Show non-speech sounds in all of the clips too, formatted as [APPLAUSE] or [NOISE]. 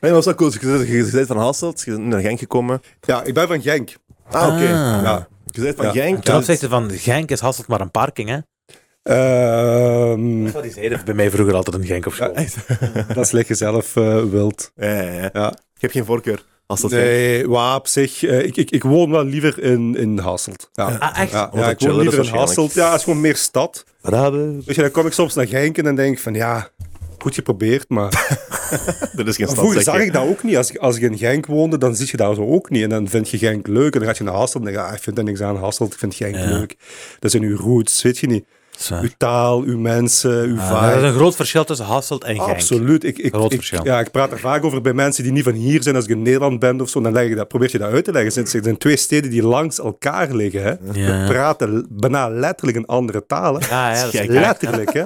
Nee, dat was wel cool. Dus je, je, je bent van Hasselt, dus je bent naar Genk gekomen. Ja, ik ben van Genk. Ah, oké. Ah. Ja. Je bent van Ja. Genk. Ten dus- opzichte van Genk is Hasselt maar een parking, hè? Ehm, [LAUGHS] Wat die zeiden bij mij vroeger altijd een Genk of school. echt? dat leg je zelf eh, wild. Ja, ja, ja. Ja. Ik heb geen voorkeur. Als dat Genk. Nee, waar op zich. eh, ik, ik, ik woon wel liever in, in Hasselt. Ja. Ah, echt? Ja, Omdat het ja, ik woon chiller is liever in waarschijnlijk. Hasselt. Ja, het is gewoon meer stad. Raden. Weet je, dan kom ik soms naar Genk en dan denk ik van ja, goed geprobeerd, maar... Dat is geen Maar vroeger zag stadsrekker. ik dat ook niet. Als, ik- als ik in Genk woonde, dan zie je dat zo ook niet. En dan vind je Genk leuk. En dan ga je naar Hasselt en dan denk je, ah, ik vind er niks aan Hasselt, ik vind Genk leuk. Dat zijn uw roots, weet je niet. Uw taal, uw mensen, uw dat is vibe. een groot verschil tussen Hasselt en Genk. Absoluut. Ik, ik, Groot ik- verschil. ja, ik praat er vaak over bij mensen die niet van hier zijn. Als ik in Nederland ben of zo, dan leg ik dat, probeer je dat uit te leggen. Het zijn- Het zijn twee steden die langs elkaar liggen. Hè. Ja. We praten bijna letterlijk een andere taal. hè. Ja, ja, dat is Gek. gek. Letterlijk, hè.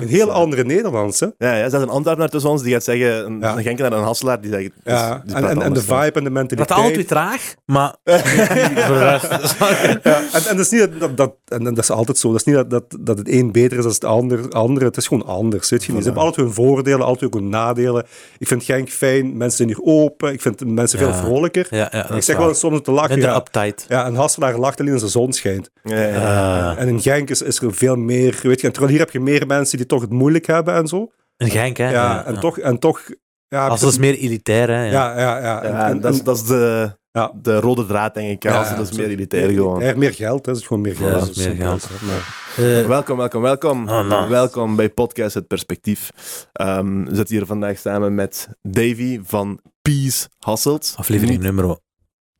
Een heel andere Nederlands, hè. Ja, ja, er zat een ambtenaar tussen ons die gaat zeggen, een, Ja. een Genkenaar en een Hasselaar, die zeggen... dus- Ja, die en, praten en, en de anders, hè. vibe en de Dat mentaliteit. altijd weer traag, [LAUGHS] maar voor de rest. Ja, en, en dat is niet dat, dat, dat, en dat is altijd zo. Dat is niet dat, dat, dat het een beter is dan het ander, andere. Het is gewoon anders. Weet je niet. Ze hebben altijd hun voordelen, altijd ook hun nadelen. Ik vind Genk fijn, mensen zijn hier open. Ik vind mensen veel Ja. vrolijker. Ja, ja, dat ik is zeg waar. wel eens soms om te lachen. Minder ja. uptight. Ja, een Hasselaar lacht alleen als de zon schijnt. Ja, ja, ja. eh, En in Genk is, is er veel meer. Weet je, en terwijl hier heb je meer mensen die toch het moeilijk hebben en zo. Een Genk, hè? Ja, en toch. En toch ja, Hasselt is meer elitair, hè? Ja. ja, ja, ja. En- Ja, en- dat, is, en- dat is de, Ja. de rode draad, denk ik. Ja, Ja, als het dat is zo- meer elitair gewoon. Ja, meer geld, hè. dat is gewoon meer geld. dat is Dat is meer simpel. geld. Maar- Eh, Welkom, welkom, welkom. Oh, nou. Welkom bij Podcast Het Perspectief. Ehm we zitten hier vandaag samen met Davy van Peace Hasselt. aflevering Niet- nummer eh,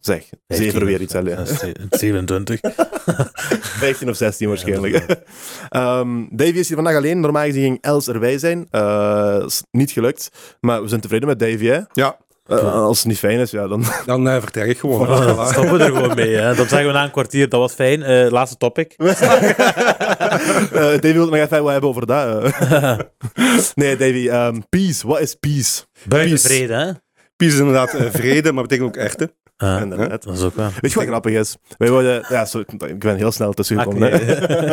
Zeg, zeven weer iets alleen. [LAUGHS] 27. 15 of 16 waarschijnlijk. [LAUGHS] Ehm, Davy is hier vandaag alleen. Normaal gezien ging Els erbij zijn. Eh, is niet gelukt. Maar we zijn tevreden met Davy, hè? Ja, Eh, als het niet fijn is, ja, dan... [LAUGHS] dan eh, vertrek ik gewoon. Dan [LAUGHS] stoppen we er gewoon mee. Hè. Dan zeggen we na een kwartier, dat was fijn. Eh, laatste topic. Eh, Davy wil het nog even wat hebben over dat. eh. nee, Davy, ehm, peace. Wat is peace? Buiten Peace. vrede, hè? Peace is inderdaad eh, vrede, maar betekent ook echte. Ah, Inderdaad. dat is ook wel. Weet je wat grappig is? Wij worden... Ja, sorry, ik ben heel snel tussengekomen. Ah, hè.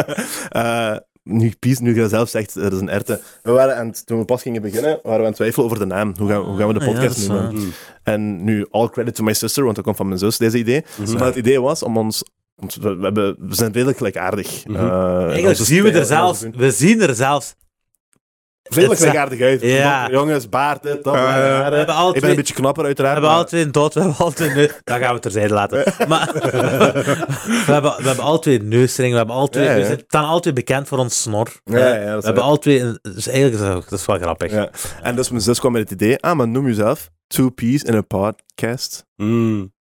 [LAUGHS] Eh, nu Pies, nu je zelf zegt, er is een erte. We waren aan het, toen we pas gingen beginnen, waren we aan het twijfelen over de naam. Hoe gaan, hoe gaan we de Ah, ja, podcast dat is noemen? En nu, all credit to my sister, want dat komt van mijn zus, deze idee. Hmm. Maar het idee was om ons... want we, we hebben, we zijn redelijk gelijkaardig. Eh, en Hmm. Eigenlijk onze zien we er stijl- zelfs, we zien er zelfs Redelijk Het- gelijkaardig uit. Ja. Eh, Jongens, baard, dit, dat. Ja, ja, ja. haren. We hebben alle ik ben twee- een beetje knapper, uiteraard. We hebben maar- alle twee een dood, we hebben alle twee een neus. Dat gaan we terzijde [LAUGHS] laten. Maar [LAUGHS] we, hebben, we hebben alle twee een neusring, we hebben alle twee, Ja, ja. we zijn- staan alle twee bekend voor ons snor. Ja, ja, dat is we waar. hebben alle twee, een- dus eigenlijk is dat, ook- dat is wel grappig. Ja. En dus mijn zus kwam met het idee, ah, maar noem jezelf Two Peas in a Podcast.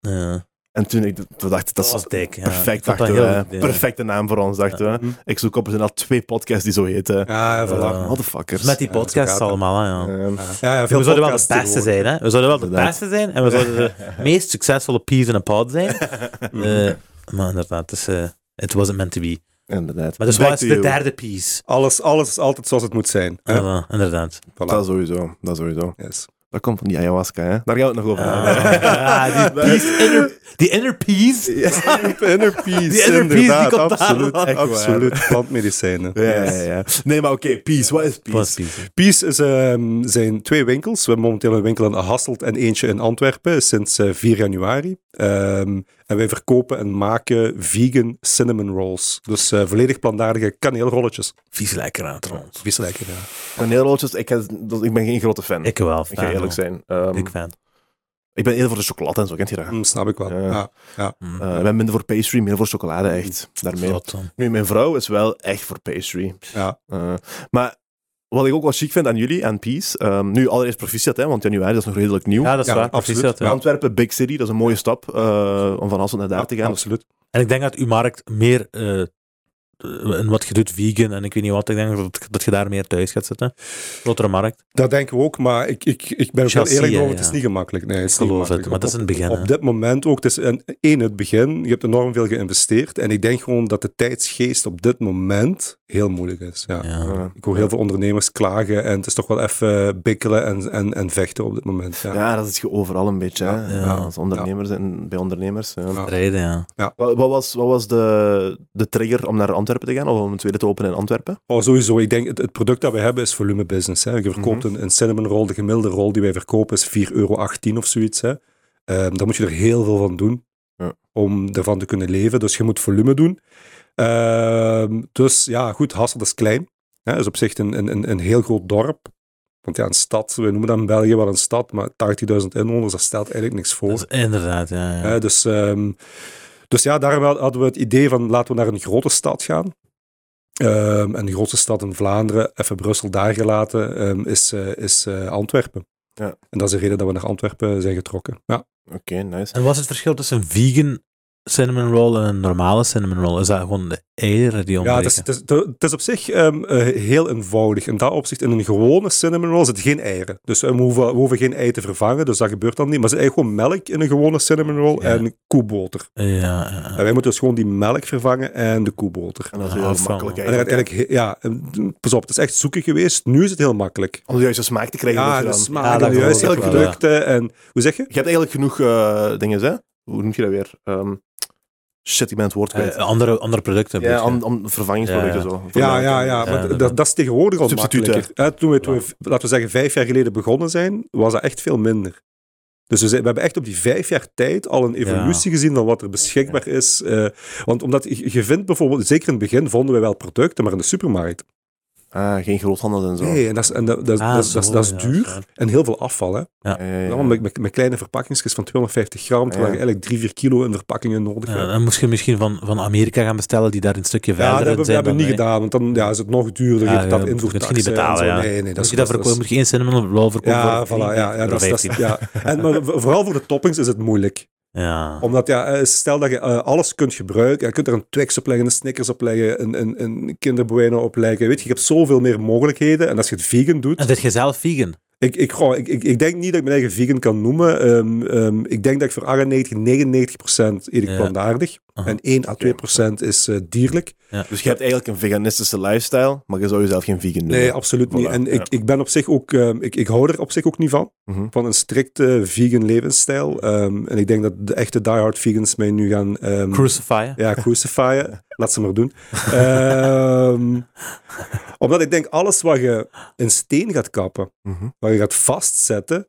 Ja. En toen ik, toen dacht ik, dat Dat is was dik. Oh, ja. perfect, Ik vond dat dachten we. heel hè. goed, ja. Perfecte naam voor ons, dachten we. Ik zoek op, er zijn al twee podcasts die zo heten. Ja, ja, voilà. Ja. Dus Motherfuckers. Met die podcasts gaat, hè. allemaal, hè, ja. Ehm, ja, ja, veel We zouden wel de podcasts beste tegenwoordig. zijn, hè. We zouden wel de Inderdaad. beste zijn en we [LAUGHS] zouden de meest succesvolle peas in een pod zijn. Eh, maar inderdaad, het is, eh, it wasn't meant to be. inderdaad. Maar dus Back wat to is de you. derde piece? Alles, alles is altijd zoals het moet zijn. hè. Ja, inderdaad. Voilà. Dat sowieso, dat sowieso. Yes. Dat komt van die ayahuasca, hè. Daar gaan we het nog over hebben. Ah, die, peace, inner, die inner peace. [LAUGHS] Inner peace, Die inner peace, inderdaad. die komt daar absoluut, vandaan. Echt waar. absoluut. Plantmedicijnen. Ja, ja, ja. Nee, maar oké, peace. Wat is peace? Plus peace. Peace is, ehm, zijn twee winkels. We hebben momenteel een winkel in Hasselt en eentje in Antwerpen sinds eh, 4 januari. Ehm, en wij verkopen en maken vegan cinnamon rolls. Dus eh, volledig plantaardige kaneelrolletjes. Vies lekker aan trouwens. Vies lekker, ja. Kaneelroodjes, ik, heb- dat- ik ben geen grote fan. Ik, Ik wel. ga eerlijk zijn. zijn. Ehm, Ik fan. ik ben eerder voor de chocolade en zo, kent je dat? Mm, snap ik wel. Ja. Ja, ja. Hm. Eh, ik ben minder voor pastry, meer voor chocolade, echt. Mm. Daarmee. Zot, dan. Nu, mijn vrouw is wel echt voor pastry. ja. Eh, maar wat ik ook wel chic vind aan jullie, aan Peace. ehm, nu allereerst proficiat, hè, want januari dat is nog redelijk nieuw. Ja, dat is Ja, waar. absoluut. Precies dat, ja. Antwerpen, Big City, dat is een mooie stap eh, om van Hasselt naar daar te gaan. Absoluut. En ik denk dat uw markt meer... eh, in wat je doet, vegan en ik weet niet wat. Ik denk dat, dat je daar meer thuis gaat zitten. Grotere markt. Dat denken we ook, maar ik, ik, ik ben ook wel Chelsea, eerlijk over, ja, het ja. is niet gemakkelijk. Nee, het is Ik geloof niet het, gemakkelijk. maar dat is in het begin, Op, hè. op dit moment ook, het is een, één het begin, je hebt enorm veel geïnvesteerd en ik denk gewoon dat de tijdsgeest op dit moment heel moeilijk is. Ja. Ja. Eh, Ik hoor heel veel ondernemers klagen en het is toch wel even bikkelen en, en, en vechten op dit moment. Ja. ja, dat is je overal een beetje. Hè, Ja. Als ondernemers en bij ondernemers. ja. Ja. Rijden, ja. Wat, wat was, wat was de, de trigger om naar Antwerpen te gaan, of om een tweede te openen in Antwerpen. Oh, sowieso. Ik denk, het, het product dat we hebben is volume business. Hè. Je verkoopt een, een cinnamon roll. De gemiddelde roll die wij verkopen is 4,18 euro of zoiets. Hè. Ehm daar moet je er heel veel van doen Ja. om ervan te kunnen leven. Dus je moet volume doen. Ehm, dus ja, goed, Hasselt is klein. Hè. is op zich een, een, een, een heel groot dorp. Want ja, een stad, we noemen dat in België wel een stad, maar 80.000 inwoners, dat stelt eigenlijk niks voor. Dat is inderdaad, ja. ja. Hè, dus, ehm, dus ja, daarom hadden we het idee van laten we naar een grote stad gaan. Ehm, en de grootste stad in Vlaanderen, even Brussel daar gelaten, ehm, is, eh, is eh, Antwerpen. Ja. En dat is de reden dat we naar Antwerpen eh, zijn getrokken. Ja. Oké, nice. En wat is het verschil tussen een vegan cinnamon roll en een normale cinnamon roll? Is dat gewoon de eieren die Ja, ontbreken? het is, het, is, het is op zich ehm, eh, heel eenvoudig. In dat opzicht, in een gewone cinnamon roll zit geen eieren. Dus eh, we, hoeven, we hoeven geen ei te vervangen, dus dat gebeurt dan niet. Maar er zit eigenlijk gewoon melk in een gewone cinnamon roll Ja. en koeboter. Ja, ja. En wij moeten dus gewoon die melk vervangen en de koeboter. En dat is Ah, heel van- makkelijk En dat gaat eigenlijk. eigenlijk, he- ja, en- pas op, het is echt zoeken geweest. Nu is het heel makkelijk. Om de juiste smaak te krijgen. moet Ja, je de dan- smaak, Ja, en dat de geloof juiste ik wel, producten. En hoe zeg je? Je hebt eigenlijk genoeg eh, dingen, hè? Hoe noem je dat weer? Ehm, shit, ik ben het woord kwijt. Eh, andere, andere producten. ja, bedoel je? om, om vervangingsproducten Ja. zo. Ja, ja, ja. Maar inderdaad. dat, dat is tegenwoordig al Substituten. makkelijker. Hè, toen we, toen we, laten we zeggen, vijf jaar geleden begonnen zijn, was dat echt veel minder. Dus we, zijn- we hebben echt op die vijf jaar tijd al een evolutie gezien van wat er beschikbaar is. eh, want omdat je, je vindt bijvoorbeeld, zeker in het begin vonden wij wel producten, maar in de supermarkt. Ah, geen groothandel en zo. Nee, en dat is, en dat, dat, Ah, dat, is- dat is- zo, dat is ja, duur zo. en heel veel afval. Hè. Ja, ja, ja. Allemaal met, met, met kleine verpakkingsjes van 250 gram, terwijl Ja. je eigenlijk 3, 4 kilo in verpakkingen nodig Ja, hebt. dan moest je misschien van, van Amerika gaan bestellen, die daar een stukje verder Ja, dat in hebben, dat zijn. hebben we niet dan wij. gedaan, want dan ja, is het nog duurder. Ja, je hebt ja, dat moet je invoertax misschien niet en zo. betalen, ja. Nee, nee, dat Moet is, je dat dat is- verkopen, moet je één cinnamon roll verkopen Ja, voilà, voor ja, ja, dat, is- dat, is- 15. ja. En, maar voor- vooral voor de toppings is het moeilijk. Ja. Omdat ja, eh, stel dat je eh, alles kunt gebruiken. Je kunt er een Twix op leggen, een Snickers op leggen, een, een, een Kinder Bueno op leggen. Weet je, je hebt zoveel meer mogelijkheden. En als je het vegan doet... En zit je zelf vegan? Ik, ik, goh, ik, ik, ik denk niet dat ik mijn eigen vegan kan noemen. Ehm, ehm, ik denk dat ik voor 98, 99 procent eet ik Ja. plantaardig. Aha. En 1 à 2 procent is eh, dierlijk. Dus je hebt eigenlijk een veganistische lifestyle, maar je zou jezelf geen vegan noemen. Nee, absoluut niet. Voilà, En ik, ik ben op zich ook, ehm, ik, ik hou er op zich ook niet van. Mhm. Van een strikte vegan levensstijl. Ehm, en ik denk dat de echte diehard vegans mij nu gaan ehm, Crucify? ja, crucifyen. [LAUGHS] Laat ze maar doen. Ehm, omdat ik denk, alles wat je in steen gaat kappen, Mhm. wat je gaat vastzetten,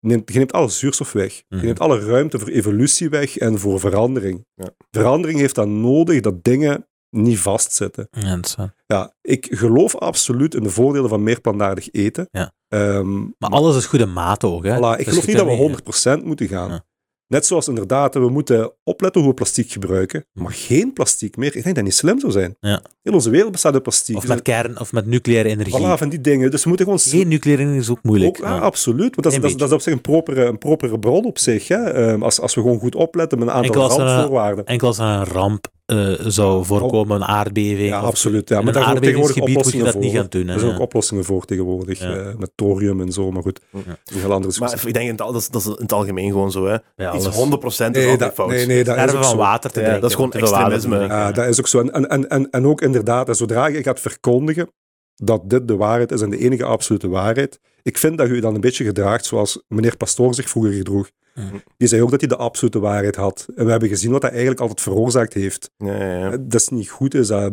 neemt, je neemt alle zuurstof weg. Mhm. Je neemt alle ruimte voor evolutie weg en voor verandering. Ja. Verandering heeft dan nodig dat dingen niet vastzitten. Ja, dat is waar. Ja, ik geloof absoluut in de voordelen van meer plantaardig eten. Ja. Ehm, Maar alles is goede mate ook, hè? voilà, ik Dus geloof je niet dat kunt we 100% moeten gaan. Ja. Net zoals inderdaad, we moeten opletten hoe we plastiek gebruiken. Maar geen plastiek meer. Ik denk dat niet slim zou zijn. Mhm. Ja. Heel onze wereld bestaat uit plastiek. Dus, Of met kern, of met nucleaire energie. Voilà, van die dingen. Dus we moeten gewoon... Geen nucleaire energie is ook moeilijk. Ook, Ah, ja, maar- absoluut. Want dat is, Een dat, is, dat is op zich een propere, een propere bron op zich. Hè? Ehm, als, als we gewoon goed opletten met een aantal Enkel als er een- randvoorwaarden. Enkel als er een ramp eh, zou voorkomen, een aardbeving. Ja, of- absoluut. Ja. in Maar een daar zijn ook tegenwoordig aardbevingsgebied moet je oplossingen dat voor. niet gaan doen, hè, Er zijn ja. ook oplossingen voor tegenwoordig. Ja. eh, met thorium en zo, maar goed. Ja. Dat is een heel andere discussie. Maar ik denk in het, al- dat, is, dat is in het algemeen gewoon zo, hè. Ja, Iets 100% alles. is altijd nee, dat, fout. nee, nee, dat is Sterven ook van zo. water te Ja, drinken. dat is gewoon te veel water te extremisme. drinken, Ja, ja. Ah, dat is ook zo. En, en- en, en, en ook inderdaad, en zodra je gaat verkondigen dat dit de waarheid is en de enige absolute waarheid, ik vind dat je je dan een beetje gedraagt zoals meneer Pastoor zich vroeger gedroeg. Mhm. Die zei ook dat hij de absolute waarheid had. En we hebben gezien wat dat eigenlijk altijd veroorzaakt heeft. Ja, ja, ja. Dat is niet goed, is dat...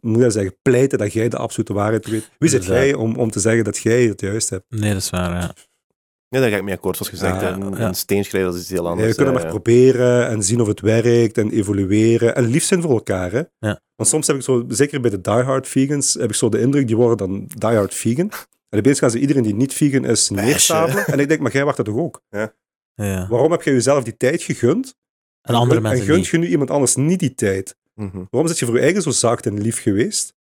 Moet je dat zeggen, pleiten dat jij de absolute waarheid weet. Wie zit Inderdaad. jij om, om te zeggen dat jij het juist hebt? Nee, dat is waar, ja. Ja, daar ga ik mee akkoord, zoals gezegd. Ja, hè. een, ja. een steen schrijven, dat is iets heel Nee, anders. we kunnen hè, maar eh, ja. proberen en zien of het werkt en evolueren. En lief zijn voor elkaar. Hè? Ja. Want soms heb ik zo, zeker bij de diehard vegans, heb ik zo de indruk, die worden dan diehard vegan. En opeens gaan ze iedereen die niet vegan is Bashen. neerstapelen. En ik denk, maar jij wacht dat toch ook? ja. Waarom heb jij jezelf die tijd gegund? En andere en mensen gunt niet. je nu iemand anders niet die tijd? Mhm. Waarom zit je voor je eigen zo zacht en lief geweest?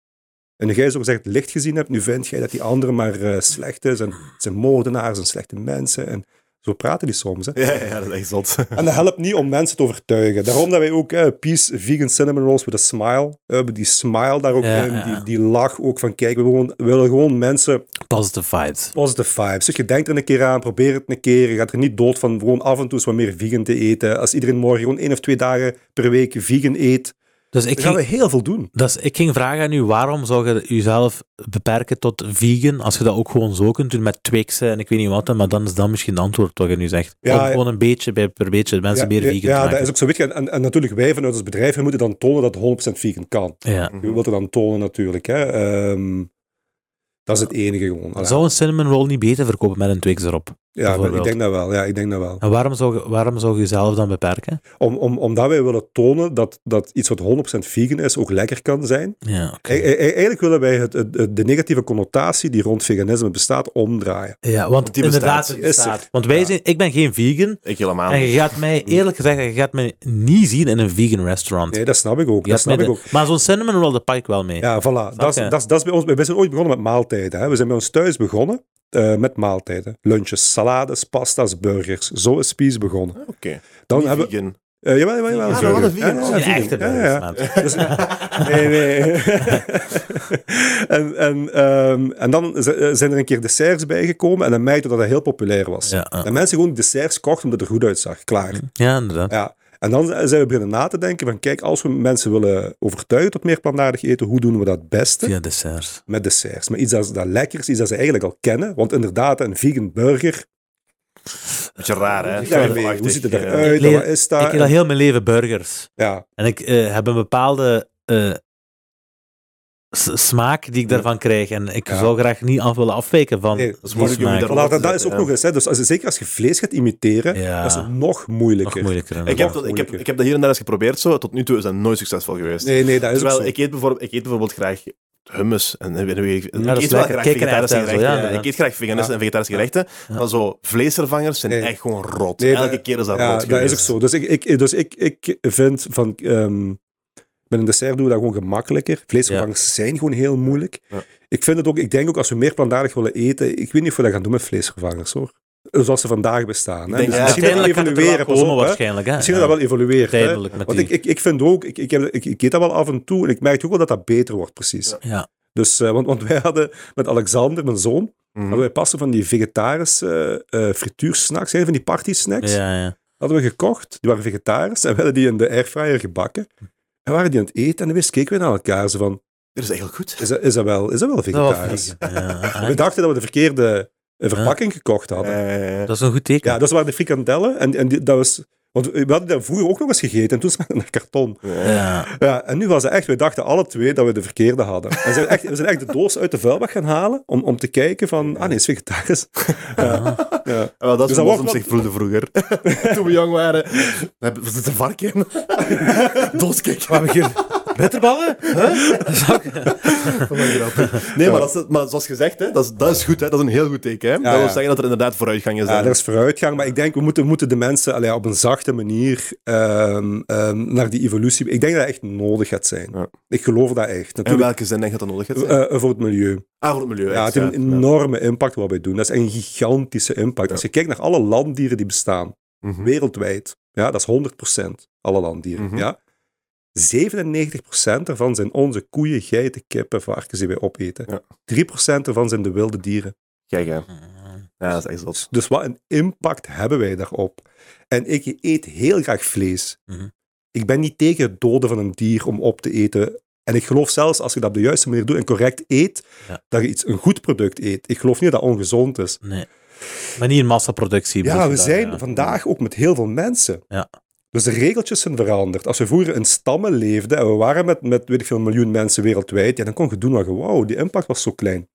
En jij zo gezegd het licht gezien hebt, nu vind jij dat die andere maar eh, slecht is. En het zijn moordenaars en slechte mensen. En zo praten die soms. Hè? Ja, ja, dat is echt zot. En dat helpt niet om mensen te overtuigen. Daarom dat wij ook eh, Peace Vegan Cinnamon Rolls with a Smile eh, hebben. Die smile daar ook Ja, in, ja. Die, die lach ook van kijk, we willen, we willen gewoon mensen Positive vibes. positive vibes. Dus je denkt er een keer aan, probeer het een keer. Je gaat er niet dood van gewoon af en toe eens wat meer vegan te eten. Als iedereen morgen gewoon één of twee dagen per week vegan eet, Dus ik Daar gaan ging, we heel veel doen. dat is- Dus ik ging vragen aan u, waarom zou je jezelf beperken tot vegan, als je dat ook gewoon zo kunt doen met Twixen en ik weet niet wat, maar dan is dat misschien het antwoord wat je nu zegt. Ja, Om ja. gewoon een beetje bij, per beetje de mensen meer ja, vegan ja, te dat maken. is ook zo. Weet je, en, en natuurlijk, wij vanuit ons bedrijf we moeten dan tonen dat het 100% vegan kan. Ja. Mhm. Je wilt het dan tonen natuurlijk. Hè. Ehm, dat is het enige gewoon. Allee. Zou een cinnamon roll niet beter verkopen met een Twix erop? ja, maar ik bijvoorbeeld. denk dat wel. Ja, ik denk dat wel. En waarom zou, je- waarom zou je jezelf dan beperken? Om, om, omdat wij willen tonen dat, dat iets wat 100% vegan is ook lekker kan zijn. Ja, oké. E- e- eigenlijk willen wij het, het- het- de negatieve connotatie die rond veganisme bestaat omdraaien. Ja, want die bestaat, inderdaad, die is er. bestaat. Want wij zijn, ik ben geen vegan. Ik helemaal En niet. je gaat [LAUGHS] mij, eerlijk gezegd, je gaat mij niet zien in een vegan restaurant. Nee, dat snap ik ook. Je Dat gaat mij snap ik de- ook. Maar zo'n cinnamon roll, dat pak ik wel mee. Ja, voilà. Dat je? is- dat is- dat is bij ons. We zijn ooit begonnen met maaltijden. Hè. We zijn bij ons thuis begonnen eh, met maaltijden. Lunches, salades, pasta's, burgers. Zo is Spies begonnen. Oké. Dan Niet hebben we. vegan. eh, jawel, jawel, jawel. Ja, burger. we hadden vegan. Ja, Oh, ja, Een vegan. echte Ja, ja. burgers, man. Dus- nee, nee. en, en, ehm, en dan z- eh, zijn er een keer desserts bijgekomen en dan merkte dat dat heel populair was. Ja, ja. Mhm. En mensen gewoon desserts kochten omdat het er goed uitzag. Klaar. Ja, inderdaad. Ja. En dan zijn we beginnen na te denken van kijk, als we mensen willen overtuigen tot meer plantaardig eten, hoe doen we dat het beste? Via desserts. Met desserts. Maar iets dat, dat lekker is, iets dat ze eigenlijk al kennen. Want inderdaad, een vegan burger, Beetje raar, hè? ja, nee, hoe ziet het eruit? leer- Wat is dat? ik eet al heel mijn leven burgers. Ja, En ik eh, heb een bepaalde eh, s- smaak die ik daarvan krijg. En ik Ja. zou graag niet af willen afwijken van Nee, dat is die moeilijk om je smaak. daarop voilà, dat, dat is ook Ja. nog eens. Hè. Dus als, zeker als je vlees gaat imiteren, Ja. dat is nog moeilijker. Nog moeilijker. Ik heb, dat, ik, heb, ik heb dat hier en daar eens geprobeerd. Zo. Tot nu toe is dat nooit succesvol geweest. Nee, nee, dat is ook Terwijl zo. ik eet, bijvoorbeeld, ik eet bijvoorbeeld graag hummus. En, en, en, en, ik dat is eet wel lekker. graag Kikkererwten vegetarische en zo, gerechten. ja, ja. ik eet graag veganistische Ja. en vegetarische gerechten. Maar zo vleesvervangers zijn Nee. echt gewoon rot. Nee, Elke dat- keer is dat ja, rot dat is ook zo. Dus ik, ik, dus ik, ik vind van... ehm, met een dessert doen we dat gewoon gemakkelijker. Vleesvervangers zijn gewoon heel moeilijk. Ja. Ik vind het ook... Ik denk ook als we meer plantaardig willen eten... Ik weet niet of we dat gaan doen met vleesvervangers, hoor. Zoals ze vandaag bestaan. Hè? denk, Dus ja, misschien dat we uiteindelijk gaat het er wel evolueren, pas komen op, hè. waarschijnlijk. Hè? Misschien Ja. dat dat wel evolueert. hè. Tijdelijk met Want die- ik, ik, ik vind ook... Ik, ik, heb- ik, ik eet dat wel af en toe. En ik merk ook wel dat dat beter wordt, precies. Ja. Dus, eh, want, want wij hadden met Alexander, mijn zoon... Mhm. Hadden wij passen van die vegetarische eh, eh, frituursnacks, hè, van die partysnacks Ja, ja. hadden we gekocht. Die waren vegetarisch en we hadden die in de airfryer gebakken. En waren die aan het eten en dan wist keken we naar elkaar. Zo van, Dat is eigenlijk [LAUGHS] goed. is dat, is dat, wel, is dat wel Dat was vegetarisch? vegan, ja. Ah, we dachten dat we de verkeerde eh, verpakking gekocht hadden. Eh, Dat is een goed teken. Ja, dat waren de frikandellen. En, en die, dat was, want we hadden dat vroeger ook nog eens gegeten en toen smaakte het naar karton. Ja. Ja, en nu was het echt, we dachten alle twee dat we de verkeerde hadden. En zijn we, echt, we zijn echt de doos uit de vuilbak gaan halen om, om te kijken van, ah nee, het is vegetarisch. Ja. Ja. wel, dat is Dus hoe moslims dat wordt zich voelden [LAUGHS] vroeger. Toen we jong waren. Dan hebben- Wat is een varken? [LAUGHS] Doodskik. Bitterballen? Nee, maar, dat is, maar zoals gezegd, hè, dat, is, dat is goed. Hè, dat is een heel goed teken. Hè? dat wil ja. zeggen dat er inderdaad vooruitgang is. Ja, hè. er Dus is vooruitgang, maar ik denk we moeten, we moeten de mensen allee, op een zachte manier ehm, ehm, naar die evolutie. Ik denk dat dat echt nodig gaat zijn. Ja. Ik geloof dat echt. In Natuurlijk. welke zin denk je dat dat nodig gaat zijn? eh, eh, voor het milieu. ah, voor het milieu. Ja, echt, het heeft een ja. enorme impact wat wij doen. Dat is echt een gigantische impact. Als je kijkt naar alle landdieren die bestaan, Mhm. wereldwijd, ja, dat is 100% alle landdieren. Mhm. ja. 97% daarvan zijn onze koeien, geiten, kippen, varkens die wij opeten. Ja. 3% daarvan zijn de wilde dieren. Kijk, hè. Mm, ja, dat is echt zot. Dus wat een impact hebben wij daarop? En ik eet heel graag vlees. Mhm. Ik ben niet tegen het doden van een dier om op te eten. En ik geloof zelfs als je dat op de juiste manier doet en correct eet, Ja. dat je iets, een goed product eet. Ik geloof niet dat dat ongezond is. Nee. Maar niet in massaproductie. bedoel Ja, je we dan, zijn ja. vandaag ook met heel veel mensen. Ja. Dus de regeltjes zijn veranderd. Als we vroeger in stammen leefden en we waren met, met weet ik veel, een miljoen mensen wereldwijd, ja, dan kon je doen wat je wou. Die impact was zo klein.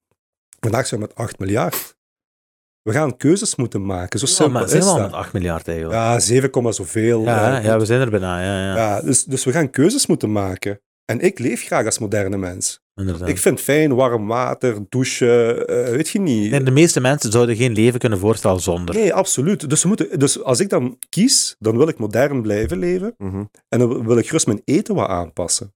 Vandaag zijn we met 8 miljard. We gaan keuzes moeten maken. Zo Ja, simpel maar is zijn we al dat. met 8 miljard eigenlijk. Ja, 7, komma zoveel. Ja, ja, Eh, ja, we zijn er bijna. Ja, ja. ja, dus, dus we gaan keuzes moeten maken. En ik leef graag als moderne mens. inderdaad. Ik vind fijn warm water, douchen, eh, weet je niet. Nee, de meeste mensen zouden geen leven kunnen voorstellen zonder. Nee, absoluut. Dus, we moeten, dus als ik dan kies, dan wil ik modern blijven leven. Mhm. En dan wil ik gerust mijn eten wat aanpassen.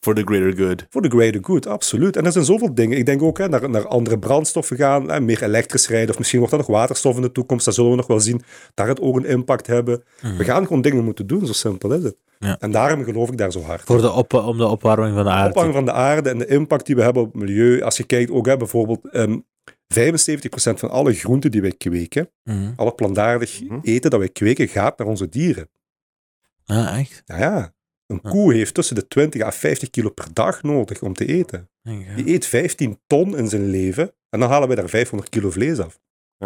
For the greater good. Voor de greater good, absoluut. En er zijn zoveel dingen. Ik denk ook hè, naar, naar andere brandstoffen gaan, hè, meer elektrisch rijden. Of misschien wordt dat nog waterstof in de toekomst. Dat zullen we nog wel zien. Daar gaat ook een impact hebben. We gaan gewoon dingen moeten doen, zo simpel is het. Mhm. Ja. En daarom geloof ik daar zo hard. Voor de op, om de opwarming van de aarde. opwarming van de aarde en de impact die we hebben op het milieu. Als je kijkt ook hè, bijvoorbeeld ehm 75% van alle groenten die wij kweken, Mhm. alle plantaardig Mhm. eten dat wij kweken, gaat naar onze dieren. Ah, echt? Nou ja, Een koe heeft tussen de 20 à 50 kilo per dag nodig om te eten. Die eet 15 ton in zijn leven en dan halen wij daar 500 kilo vlees af.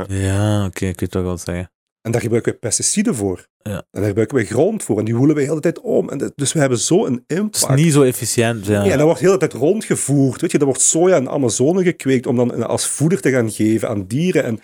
Ja, oké, ik weet toch wel zeggen. En daar gebruiken wij pesticiden voor. Ja. En daar gebruiken wij grond voor. En die woelen wij de hele tijd om. En dat- dus we hebben zo'n Het is impact. niet zo efficiënt. Ja. Ja, en dat wordt de hele tijd rondgevoerd. Weet je, er wordt soja in de Amazone gekweekt om dan als voeder te gaan geven aan dieren. En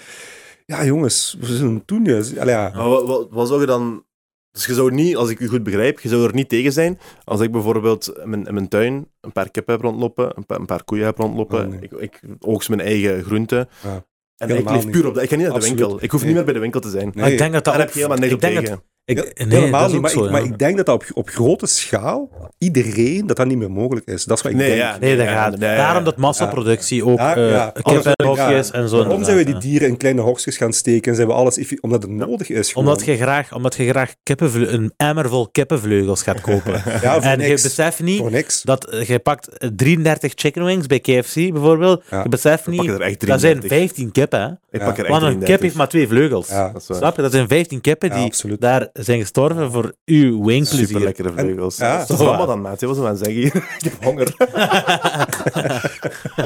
ja, jongens, we zullen het doen. Ja. Allee, ja. Maar wat, wat, wat zou je dan... Dus je zou niet, als ik u goed begrijp, je zou er niet tegen zijn als ik bijvoorbeeld in mijn, in mijn tuin een paar kippen heb rondlopen, een paar, een paar koeien heb rondlopen, Oh, nee. ik, ik oogst mijn eigen groenten. Ja. En ik Helemaal leef niet. puur op dat. Ik ga niet naar Absoluut. de winkel. Ik hoef Nee. niet meer bij de winkel te zijn. Nee, Maar ik denk dat dat Daar heb ook- je helemaal niks op ik denk tegen. dat- ik, Ja, nee, helemaal dat niet. is ook Maar, zo, ik, ja. maar ik denk dat dat op, op grote schaal, iedereen, dat dat niet meer mogelijk is. Dat is wat ik Nee, denk. ja. Nee, dat gaat. Nee, Daarom dat massaproductie ook Ja, eh ja. kippenhokjes Ja. en zo. Waarom zijn we die inderdaad, ja. dieren in kleine hokjes gaan steken? Zijn we alles, effi- omdat het nodig is. gewoon. Omdat je graag, omdat je graag kippenvleu- een emmer vol kippenvleugels gaat kopen. [LAUGHS] Ja, voor en je niks. beseft niet Voor niks. dat eh, je pakt eh, 33 chicken wings bij KFC bijvoorbeeld. Ja. Je beseft pak je niet, er echt dat zijn 33. 15 kippen. hè. Ik pak er echt Want een kip 33. heeft maar twee vleugels. Ja. Dat is waar. Snap je? Dat zijn 15 kippen Ja, die absoluut. daar zijn gestorven voor uw Super wingplezier. lekkere vleugels. En- ja. Dat is allemaal dan, maat. hè. Wat ze maar zeggen hier. [LAUGHS] Ik heb honger.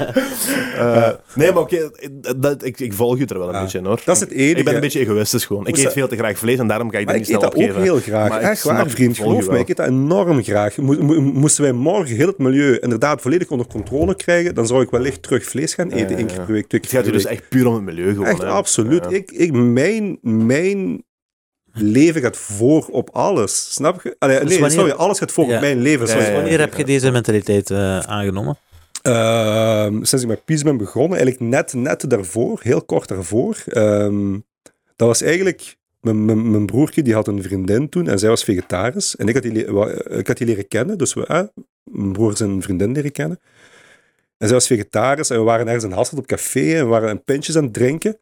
Eh, nee, maar oké. dat- ik, ik volg je er wel een Ja. beetje in, hoor. Dat is het enige. Ik ben een beetje egoïstisch gewoon. Ik Moest eet dat- veel te graag vlees en daarom ga ik Maar dat ik niet eet snel dat ook opgeven. heel graag. Maar ik Echt waar, snap- volg vriend. je Geloof me, wel. ik eet dat enorm graag. Mo- mo- Moesten wij morgen heel het milieu inderdaad volledig onder controle krijgen, dan zou ik wellicht terug vlees gaan eten. ja, één keer ja. per week, twee Het keer gaat u per dus week. echt puur om het milieu gewoon. Echt, hè. absoluut. Ja. Ik, ik, mijn, mijn leven gaat voor op alles. Snap je? Allee, nee, wanneer- sorry, alles gaat voor Ja. op mijn leven. Ja, Sorry. ja, ja. Wanneer heb je deze mentaliteit eh, aangenomen? Ehm, sinds ik met Peace ben begonnen, eigenlijk net, net daarvoor, heel kort daarvoor. ehm, dat was eigenlijk... Mijn, mijn, mijn broertje die had een vriendin toen en zij was vegetarisch. En ik had die, le- wa- ik had die leren kennen, dus we, eh, mijn broer zijn vriendin leren kennen. En zij was vegetarisch en we waren ergens in Hasselt op café en we waren een pintjes aan het drinken.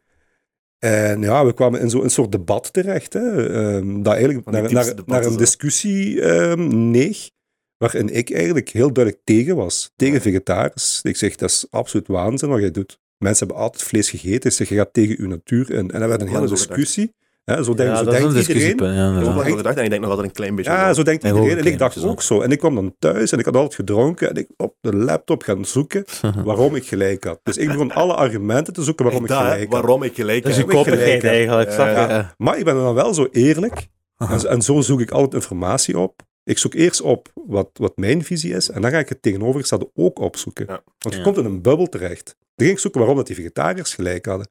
En ja, we kwamen in zo'n soort debat terecht, hè, ehm, dat eigenlijk Van die naar, diepste naar, naar debatten een zo. discussie ehm neeg, waarin ik eigenlijk heel duidelijk tegen was. Tegen vegetarisch. Ik zeg, dat is absoluut waanzin wat jij doet. Mensen hebben altijd vlees gegeten. Ik zeg, je gaat tegen uw natuur in. En dat werd een Lang hele zo gedacht. discussie. Hè, zo denkt, ja, zo dat is een denkt iedereen. discussiepunt. Ja, Ik heb ook inderdaad. lang over gedacht en ik denk nog altijd een klein beetje. Ja, over. zo denkt Nee, iedereen. ook En ik dacht een klein ook zo. En ik kwam dan thuis en ik had altijd gedronken. En ik op de laptop gaan zoeken waarom ik gelijk had. Dus ik begon alle argumenten te zoeken waarom ik Echt dat, hè, gelijk had. waarom ik gelijk Dat is heb. een ik gelijk, koppigheid hè. eigenlijk. snap je? Ja, Ja. Maar ik ben dan wel zo eerlijk. En, zo- en zo zoek ik altijd informatie op. Ik zoek eerst op wat, wat mijn visie is. En dan ga ik het tegenovergestelde ook opzoeken. Ja. Want je Ja. komt in een bubbel terecht. Dan ging ik zoeken waarom dat die vegetariërs gelijk hadden.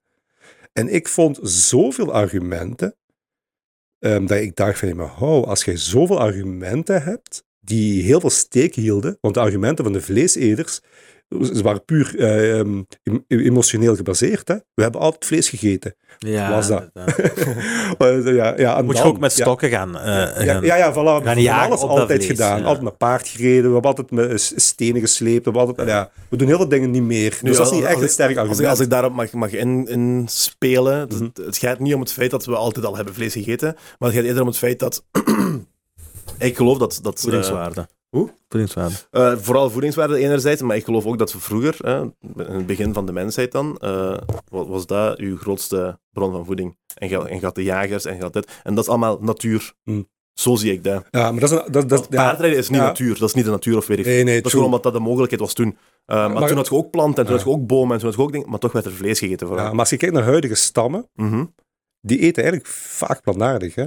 En ik vond zoveel argumenten. ehm, dat ik dacht van, ja, maar hou, als jij zoveel argumenten hebt. die heel veel steek hielden. Want de argumenten van de vleeseters. ze waren puur eh, ehm, em- emotioneel gebaseerd. Hè? We hebben altijd vlees gegeten. Ja, Was dat. inderdaad. Maar, eh, ja, ja, en Moet je dan, ook met ja. stokken gaan. eh, Ja, gaan- ja, ja, voilà. We gaan hebben jagen alles op dat altijd vlees, gedaan. ja. Altijd met paard gereden, we hebben altijd met eh, s- stenen gesleept. We, hebben altijd, ja, we doen heel veel dingen niet meer. Nu, dus dat is niet als- echt als een ik- Als sterk ik, Mhm. argument. als ik daarop mag, mag in- inspelen, dat- het gaat niet om het feit dat we altijd al hebben vlees gegeten, maar het gaat eerder om het feit dat... [CLEARS THROAT] ik geloof dat... dat eh, Voedingswaarde. hoe? Voedingswaarde. eh, vooral voedingswaarde enerzijds, maar ik geloof ook dat we vroeger, eh, in het begin van de mensheid dan, eh, wa- was dat uw grootste bron van voeding. En gaat en gaat de jagers en gaat dit. En dat is allemaal natuur. Hm. Zo zie ik dat. ja, maar dat is een, dat, dat, Want ja, Paardrijden is niet Ja. natuur, dat is niet de natuur of weet ik nee, Dat nee, is true. gewoon omdat dat de mogelijkheid was toen. Uh, maar, maar- toen had je ook planten, en toen Ja. had je ook bomen, en toen had je ook dingen, maar toch werd er vlees gegeten vooral. Ja, maar als je kijkt naar huidige stammen, Mhm. die eten eigenlijk vaak plantaardig. Hè?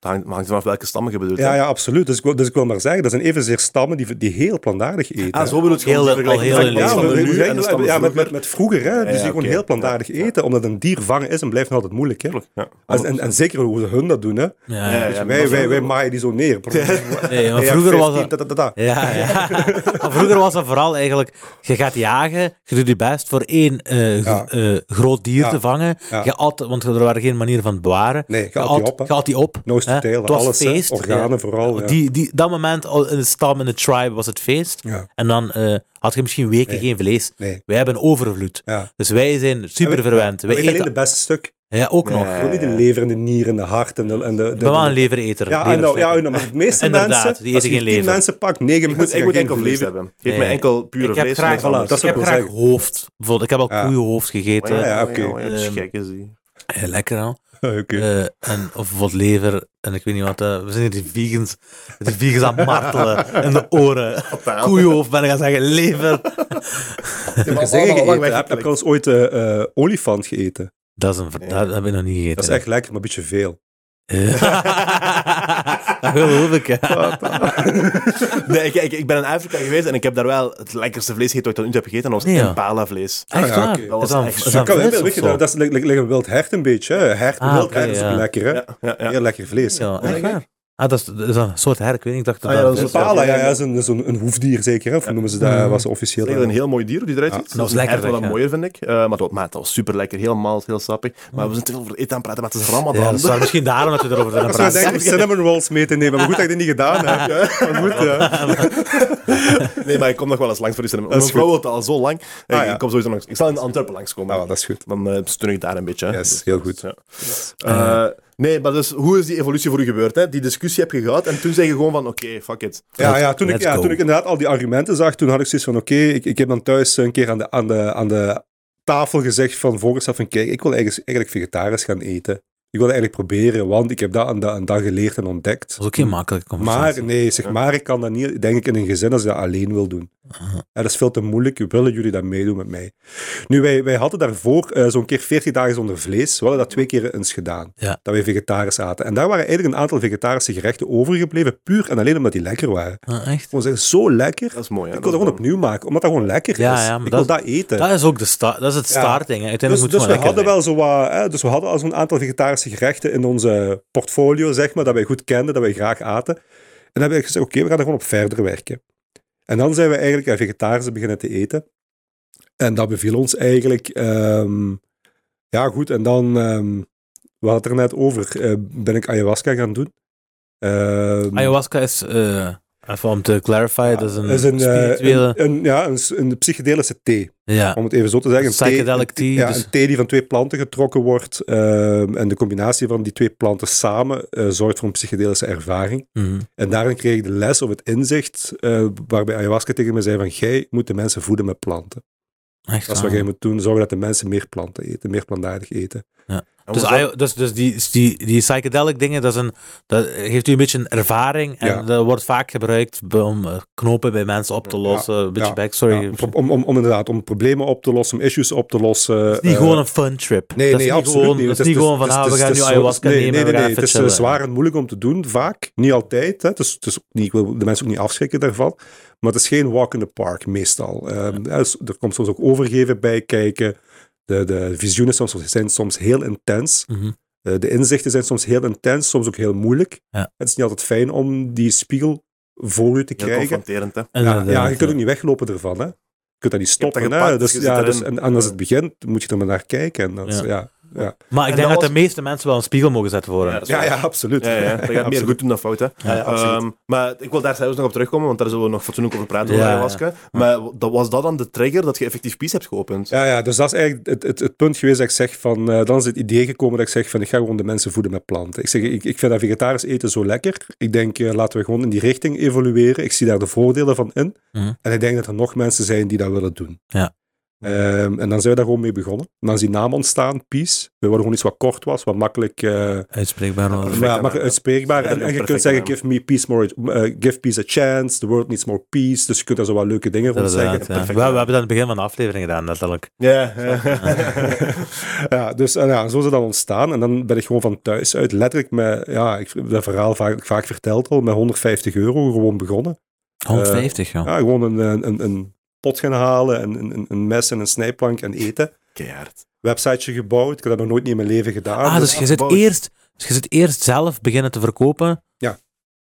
Dat hangt, maar hangt vanaf welke stammen je bedoelt. Ja, hè? ja, absoluut. Dus ik, wil, dus ik wil maar zeggen, dat zijn evenzeer stammen die, die heel plantaardig eten. Ah, zo bedoel je Heel- gewoon te vergelijken al heel met de stammen Ja, maar in we- we leven. nu en de zeggen- stammen ja, met, met, vroeger. met vroeger, hè, Ja, dus die ja, gewoon oké. heel plantaardig Ja, ja. eten, omdat een dier vangen is en blijft nog altijd moeilijk. Hè? Ja, En, en, en zeker hoe hun dat doen. Hè? Dus Ja, Ja, ja. ja, maar dat wij, is wij, ook- wij maaien die [LAUGHS] zo neer. Nee, maar vroeger was dat- dat. dat- [LAUGHS] Ja, ja. maar vroeger was dat vooral eigenlijk, je gaat jagen, je doet je best voor één eh, Ja. gr- eh, groot dier Ja. te vangen. Ja. Je at, want er waren geen manieren van het bewaren. Nee, je at die op, hè. Je at die op. Nose to hè. tail, Het was alles, hè. feest. Organen vooral, ja. Die, die, dat moment al in de stam, in de tribe, was het feest. Ja. En dan eh, had je misschien weken geen vlees. Nee. Wij hebben overvloed. Ja. Dus wij zijn super verwend. We Wij eten alleen de eten beste stuk. ja, ook nog. We niet de lever en de nieren en de hart en de... En de, de, Ik ben wel een levereter. ja, I leverflikker. know, ja, I know, maar de meeste Inderdaad, mensen, die eten als je geen tien lever. mensen pakt, negen Ik moet, mensen ik gaan moet enkel geen vlees vlees hebben. Geef Nee. mij enkel pure Ik heb vlees. graag- niks Voilà, anders. dat is Ik heb wil graag zeggen. hoofd. Bijvoorbeeld, Ik heb al Ja. koeienhoofd gegeten. Ja, Ja, ja, oké. ja, ja, het is Gek is die. Eh, lekker al. Oké. Eh, en, of wat lever, en ik weet niet wat. eh, we zijn hier die vegans, die vegans aan [LAUGHS] het martelen in de oren. Koeienhoofd ben ik gaan zeggen, lever. Heb je zeggen gegeten? Heb, heb ik al eens ooit eh, eh, olifant gegeten? Dat, is een, ver- dat heb ik nog niet gegeten. Dat is echt lekker, maar een beetje veel. Eh, [LAUGHS] dat geloof ik, ja. [LAUGHS] Ah, Nee, ik, ik, ik ben in Afrika geweest en ik heb daar wel het lekkerste vlees gegeten wat ik tot nu toe heb gegeten. En dat was Ja. impala vlees. Echt ja, waar? Dat oké. Is was dat, echt is zo. dat Kan, vlees weet of je, zo? dat, dat is lijkt lijkt- lijkt een wild hert een beetje. Hè. Hert, Ah, wild oké, hert is ja. ook lekker, hè? Ja, ja, ja. Heel lekker vlees. Ja, Denk echt waar? Ah, dat is, dat is een soort herk, weet niet. Ik dacht dat Ah, ja, dat, dat is dat een Pala, ja, ja, ja, zo'n zo'n- een hoefdier zeker. Hè? Of noemen ze dat, was officieel. Het is eigenlijk een heel mooi dier die eruit Ja. ziet. Dat was lekker, wel zeg, ja. mooier, vind ik. Eh, maar, dat, maar dat was super lekker. Heel mild, heel sappig. Maar we zijn te veel over eten aan het praten, maar het is Ramadan. ja, dat is waar. misschien daarom dat we erover [LAUGHS] zijn aan Ik zou het praten. denken om cinnamon rolls mee te nemen, maar goed dat ik dit niet gedaan heb. Ja. [LAUGHS] Maar goed, ja. Nee, maar ik kom nog wel eens langs voor die cinema. Dat Mijn is vrouw wil het al zo lang. Eh, Ah, ja. Ik kom sowieso langs. Ik zal in Antwerpen Ah, langskomen. Nou, dat is goed. Dan eh, steun ik daar een beetje. hè. Yes, Dus- heel goed. ja. Eh, nee, maar dus hoe is die evolutie voor u gebeurd? Hè? Die discussie heb je gehad en toen zei je gewoon van oké, fuck it. Ja, ja, toen, ik, Let's ja go. toen ik inderdaad al die argumenten zag, toen had ik zoiets van, oké, ik, ik heb dan thuis een keer aan de, aan de, aan de tafel gezegd van volgens af van, kijk, ik wil eigenlijk, eigenlijk vegetarisch gaan eten. Ik wil dat eigenlijk proberen, want ik heb dat aan, dat aan dat geleerd en ontdekt. Dat is ook geen makkelijke conversatie. Maar nee, zeg maar, ik kan dat niet, denk ik, in een gezin als je dat alleen wil doen. Ja, dat is veel te moeilijk. Willen jullie dat meedoen met mij? Nu, wij, wij hadden daarvoor eh, zo'n keer 40 dagen zonder vlees. We hadden dat twee keer eens gedaan. Ja. Dat wij vegetarisch aten. En daar waren eigenlijk een aantal vegetarische gerechten overgebleven, puur en alleen omdat die lekker waren. Ah, echt? Gewoon zeggen, zo lekker. Dat is mooi. Hè? ik wil dat gewoon opnieuw maken, omdat dat gewoon lekker Ja, is. ja, maar ik dat- wil dat eten. Dat is ook de sta- dat is het Ja. starting. hè. Uiteindelijk dus, moet dus het we gewoon hadden lekker wel zo wat, hè, dus we hadden al zo'n aantal vegetarische gerechten in onze portfolio, zeg maar, dat wij goed kenden, dat wij graag aten. En dan hebben we gezegd, oké, we gaan er gewoon op verder werken. En dan zijn we eigenlijk aan vegetarische beginnen te eten. En dat beviel ons eigenlijk, ehm, ja goed, en dan, ehm, we hadden het er net over, eh, ben ik ayahuasca gaan doen. Ehm, zijn. Ayahuasca is, eh, even om te clarify, dat is een, is een, eh, spirituele... een, een- ja, een, een psychedelische thee. ja. om het even zo te zeggen. een Psychedelic thee- een- tea, Ja, dus- een thee die van twee planten getrokken wordt. ehm, en de combinatie van die twee planten samen eh, zorgt voor een psychedelische ervaring. Mhm. En daarin kreeg ik de les of het inzicht eh, waarbij ayahuasca tegen me zei van jij moet de mensen voeden met planten. Echt Dat is waar. wat jij moet doen. Zorgen dat de mensen meer planten eten, meer plantaardig eten. En Dus, hoe is dat- ayo- dus, dus die, die, die psychedelic dingen, dat, is een, dat geeft u een beetje een ervaring. En Ja. dat wordt vaak gebruikt bij- om eh, knopen bij mensen op te lossen. een beetje ja, backstory. Ja, Het om, om, om, om inderdaad om problemen op te lossen, om issues op te lossen. is niet eh, gewoon een fun trip. Nee, dat nee, is niet absoluut gewoon, niet. Dat Het is niet het gewoon van, het is- het ah, we is- gaan nu het is- ayahuasca nee, nemen Nee, en we nee, gaan nee. even Het is eh, chillen. zwaar en moeilijk om te doen, vaak. Niet altijd. Hè. Het is, het is ook niet, ik wil de mensen ook niet afschrikken daarvan. Maar het is geen walk in the park, meestal. Ehm, hè, dus er komt soms ook overgeven bij kijken. De, de visioenen soms, zijn soms heel intens. Mhm. Eh, de inzichten zijn soms heel intens, soms ook heel moeilijk. Ja. Het is niet altijd fijn om die spiegel voor u te heel krijgen. confronterend, hè? Ja, Inderdaad, ja, je kunt ook niet weglopen ervan. Hè. Je kunt dat niet hebt dat stoppen. hè. gepakt, Dus, je ja, zit dus, erin. en, en als het begint, moet je er maar naar kijken. En dat is- Ja. ja, ja. Maar ik En denk dat dat de was- meeste mensen wel een spiegel mogen zetten voor hen. Ja, dat is Ja, waar. ja, absoluut. Ja, [LAUGHS] [LAUGHS] ja, dat gaat meer Absoluut. goed doen dan fout, hè. Ja, Ehm, maar ik wil daar zelfs nog op terugkomen, want daar zullen we nog fatsoenlijk over praten, Ja, over ja. ayahuasca. Maar dat, was dat dan de trigger dat je effectief peace hebt geopend? Ja, ja, dus dat is eigenlijk het, het, het punt geweest dat ik zeg van... eh, dan is het idee gekomen dat ik zeg van, ik ga gewoon de mensen voeden met planten. Ik zeg, ik, ik vind dat vegetarisch eten zo lekker. Ik denk, eh, laten we gewoon in die richting evolueren. Ik zie daar de voordelen van in. Mhm. En ik denk dat er nog mensen zijn die dat willen doen. Ja. Ehm, en dan zijn we daar gewoon mee begonnen. En dan is die naam ontstaan, Peace. We wilden gewoon iets wat kort was, wat makkelijk... eh, Uitspreekbaar. wel. perfect. maar, naam, maar ja. uitspreekbaar. Ja, En, een en je kunt perfecte zeggen, naam. give, me peace more, eh, give peace a chance, the world needs more peace. Dus je kunt daar zo wat leuke dingen rond Inderdaad, zeggen. ja. perfect. eh, we, we hebben dat aan het begin van de aflevering gedaan, letterlijk. Ja, ja. ja, dus eh, ja, zo is het dan ontstaan. En dan ben ik gewoon van thuis uit, letterlijk met, ja, ik heb dat verhaal vaak, vaak verteld al, met 150 euro gewoon begonnen. Oh. 150, joh. Ja, gewoon een, een, een, een pot gaan halen, en een, een, een mes en een snijplank en eten. [LAUGHS] Keihard. Websiteje gebouwd, ik heb dat nog nooit niet in mijn leven gedaan. Ah, dus Dus- je zit, afgebouwd. eerst, dus je zit eerst zelf beginnen te verkopen. Ja.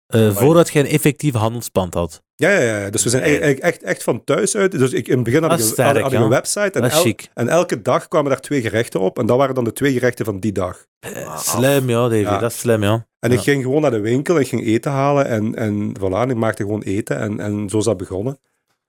eh, voordat je een effectief handelspand had. ja, ja, ja, ja. dus we zijn eigenlijk eigenlijk echt, echt van thuis uit. Dus ik, in het begin had Dat ik, is een- had, sterk, had ik ja. een website en, Dat is el- chic. en elke dag kwamen daar twee gerechten op. En dat waren dan de twee gerechten van die dag. Ah, Eh, Slim, ja, Davy. Ja. Dat is slim, ja. En Ja. ik ging gewoon naar de winkel en ik ging eten halen. En, en voilà, en ik maakte gewoon eten. En, en zo is dat begonnen.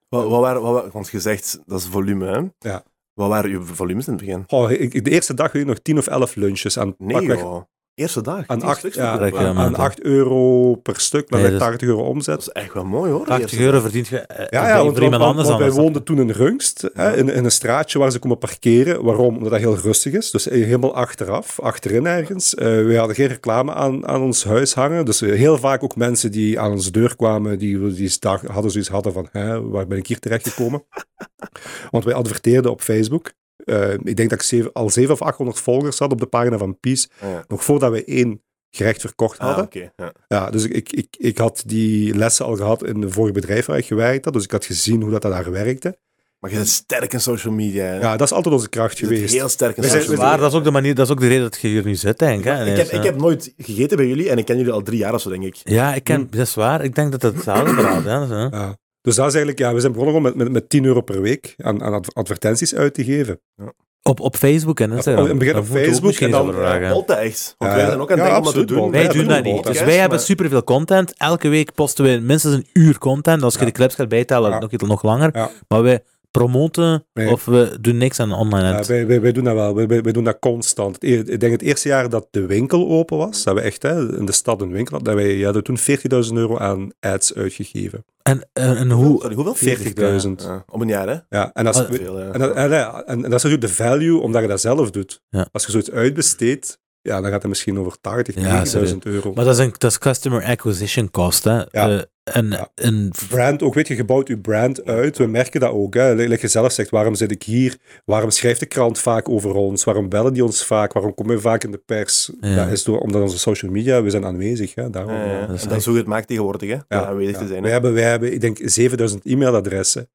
Wat, wat waren, wat, wa- want je zegt, dat is volume, hè? Ja. Wat waren uw volumes in het begin? Oh, ik, ik- de eerste dag weet ik nog 10 of 11 lunches aan Nee, pakweg joh. Eerste dag. Aan tien 8, stuks ja, verkopen. Lekker, aan- man. aan 8 euro per stuk, maar Nee, met dat 80 euro Dat omzet. is echt wel mooi hoor. 80 Eerste euro verdient je eh, Ja, bij- ja, want, voor iemand want- anders want dan. wij dat- woonden toen in Rungst, hè, in, in een straatje waar ze komen parkeren. Waarom? Omdat dat heel rustig is. Dus helemaal achteraf, achterin ergens. Eh we hadden geen reclame aan, aan ons huis hangen. Dus heel vaak ook mensen die aan onze deur kwamen, die, die dag, hadden zoiets hadden van, hè, waar ben ik hier [LAUGHS] terechtgekomen? want wij adverteerden op Facebook. Eh, ik denk dat ik zeven- al 700 of 800 volgers had op de pagina van Peace. dag. Ja. Nog voordat wij één gerecht verkocht Ah, hadden. oké, ja. Ja, dus ik, ik, ik, ik had die lessen al gehad in het vorige bedrijf waar ik gewerkt had. Dus ik had gezien hoe dat daar werkte. Maar je bent sterk in social media. hè. Ja, dat is altijd onze kracht je bent geweest. heel sterk in We Dat zijn- social is we media. waar, dat is ook de manier, dat is ook de reden dat je hier nu zit, denk ik. Hè? eh, Ik heb, ik heb nooit gegeten bij jullie en ik ken jullie al drie jaar of zo, denk ik. Ja, ik ken, dat is waar. Ik denk dat het hetzelfde verhaal is. eh, hè. Ja. Dus dat is eigenlijk, ja, we zijn begonnen gewoon met, met, met 10 euro per week aan, aan adver- advertenties uit te geven. Op, op Facebook en Instagram. Oh, in het begin Daar op moeten we ook Facebook misschien en eens dan- over vragen. Altijd echt. Want Ja, wij zijn ook aan ja, het denken om dat te absoluut, doen. Bol. Wij Ja, doen doen dat we niet. podcast, dus wij hebben super superveel content. Elke week posten we minstens een uur content. Als je Ja. de clips gaat bijtellen, Ja. nog, iets- nog langer. Ja. Maar wij promoten Nee. of we doen niks aan online Ja, ads. wij, wij, wij doen dat wel. Wij, wij, wij doen dat constant. Het e- Ik denk het eerste jaar dat de winkel open was, dat we echt hè, in de stad een winkel hadden, dat wij ja, dat we toen 40.000 euro aan ads uitgegeven. En, eh, en, en hoe... Sorry, hoeveel? 40.000. Ja, Op een jaar, hè? Ja, en als, Ah, we- Veel, ja. En dat, en, ja, en, en dat is natuurlijk de value omdat je dat zelf doet. Ja. Als je zoiets uitbesteedt, ja, dan gaat het misschien over 80, Ja, 90.000 euro. Maar dat is, een, dat is customer acquisition cost, hè. Eh, en, Ja. en brand, ook weet je, je bouwt je brand uit. We merken dat ook. Hè. Like je zelf zegt, waarom zit ik hier? Waarom schrijft de krant vaak over ons? Waarom bellen die ons vaak? Waarom komen we vaak in de pers? Ja. Dat is door, omdat onze social media, we zijn aanwezig. Hè, daarom. Ja, ja. En dat is dat echt- is hoe je het maakt tegenwoordig, hè? Ja, Door aanwezig ja. te zijn. We hè. hebben, we hebben, ik denk, 7000 e-mailadressen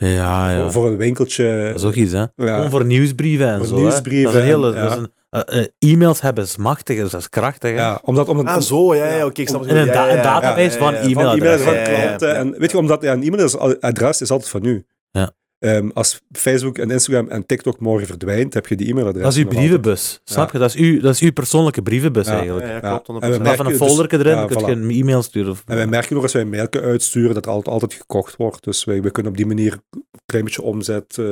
ja, ja. voor, voor een winkeltje. Dat is ook iets, hè. Gewoon ja. voor nieuwsbrieven en Voor zo, hè. nieuwsbrieven Dat is een hele... en- ja. dat is een- eh, eh, e-mails hebben is machtig, dus dat is krachtig, hè. Ja, omdat, omdat, Ah, zo, ja, ja, oké. ik snap het. En een Ja, da- ja, ja, een database ja, van ja, ja. e-mail. van e-mailadres van Ja, ja, ja. klanten. En weet je, omdat ja, een e-mailadres is altijd van u. Ja. Ehm, als Facebook en Instagram en TikTok morgen verdwijnt, heb je die e-mailadres. Dat is uw nog altijd. brievenbus, snap je? Dat is uw, dat is uw persoonlijke brievenbus, Ja. eigenlijk. Ja, ja, Ja. klopt. 100%. En we Maar merken van een dus- folderke erin ja, kun je voilà. een e-mail sturen. Of, En wij merken nog als wij mailken uitsturen dat altijd, altijd gekocht wordt. Dus wij, wij kunnen op die manier een klein beetje omzet. eh,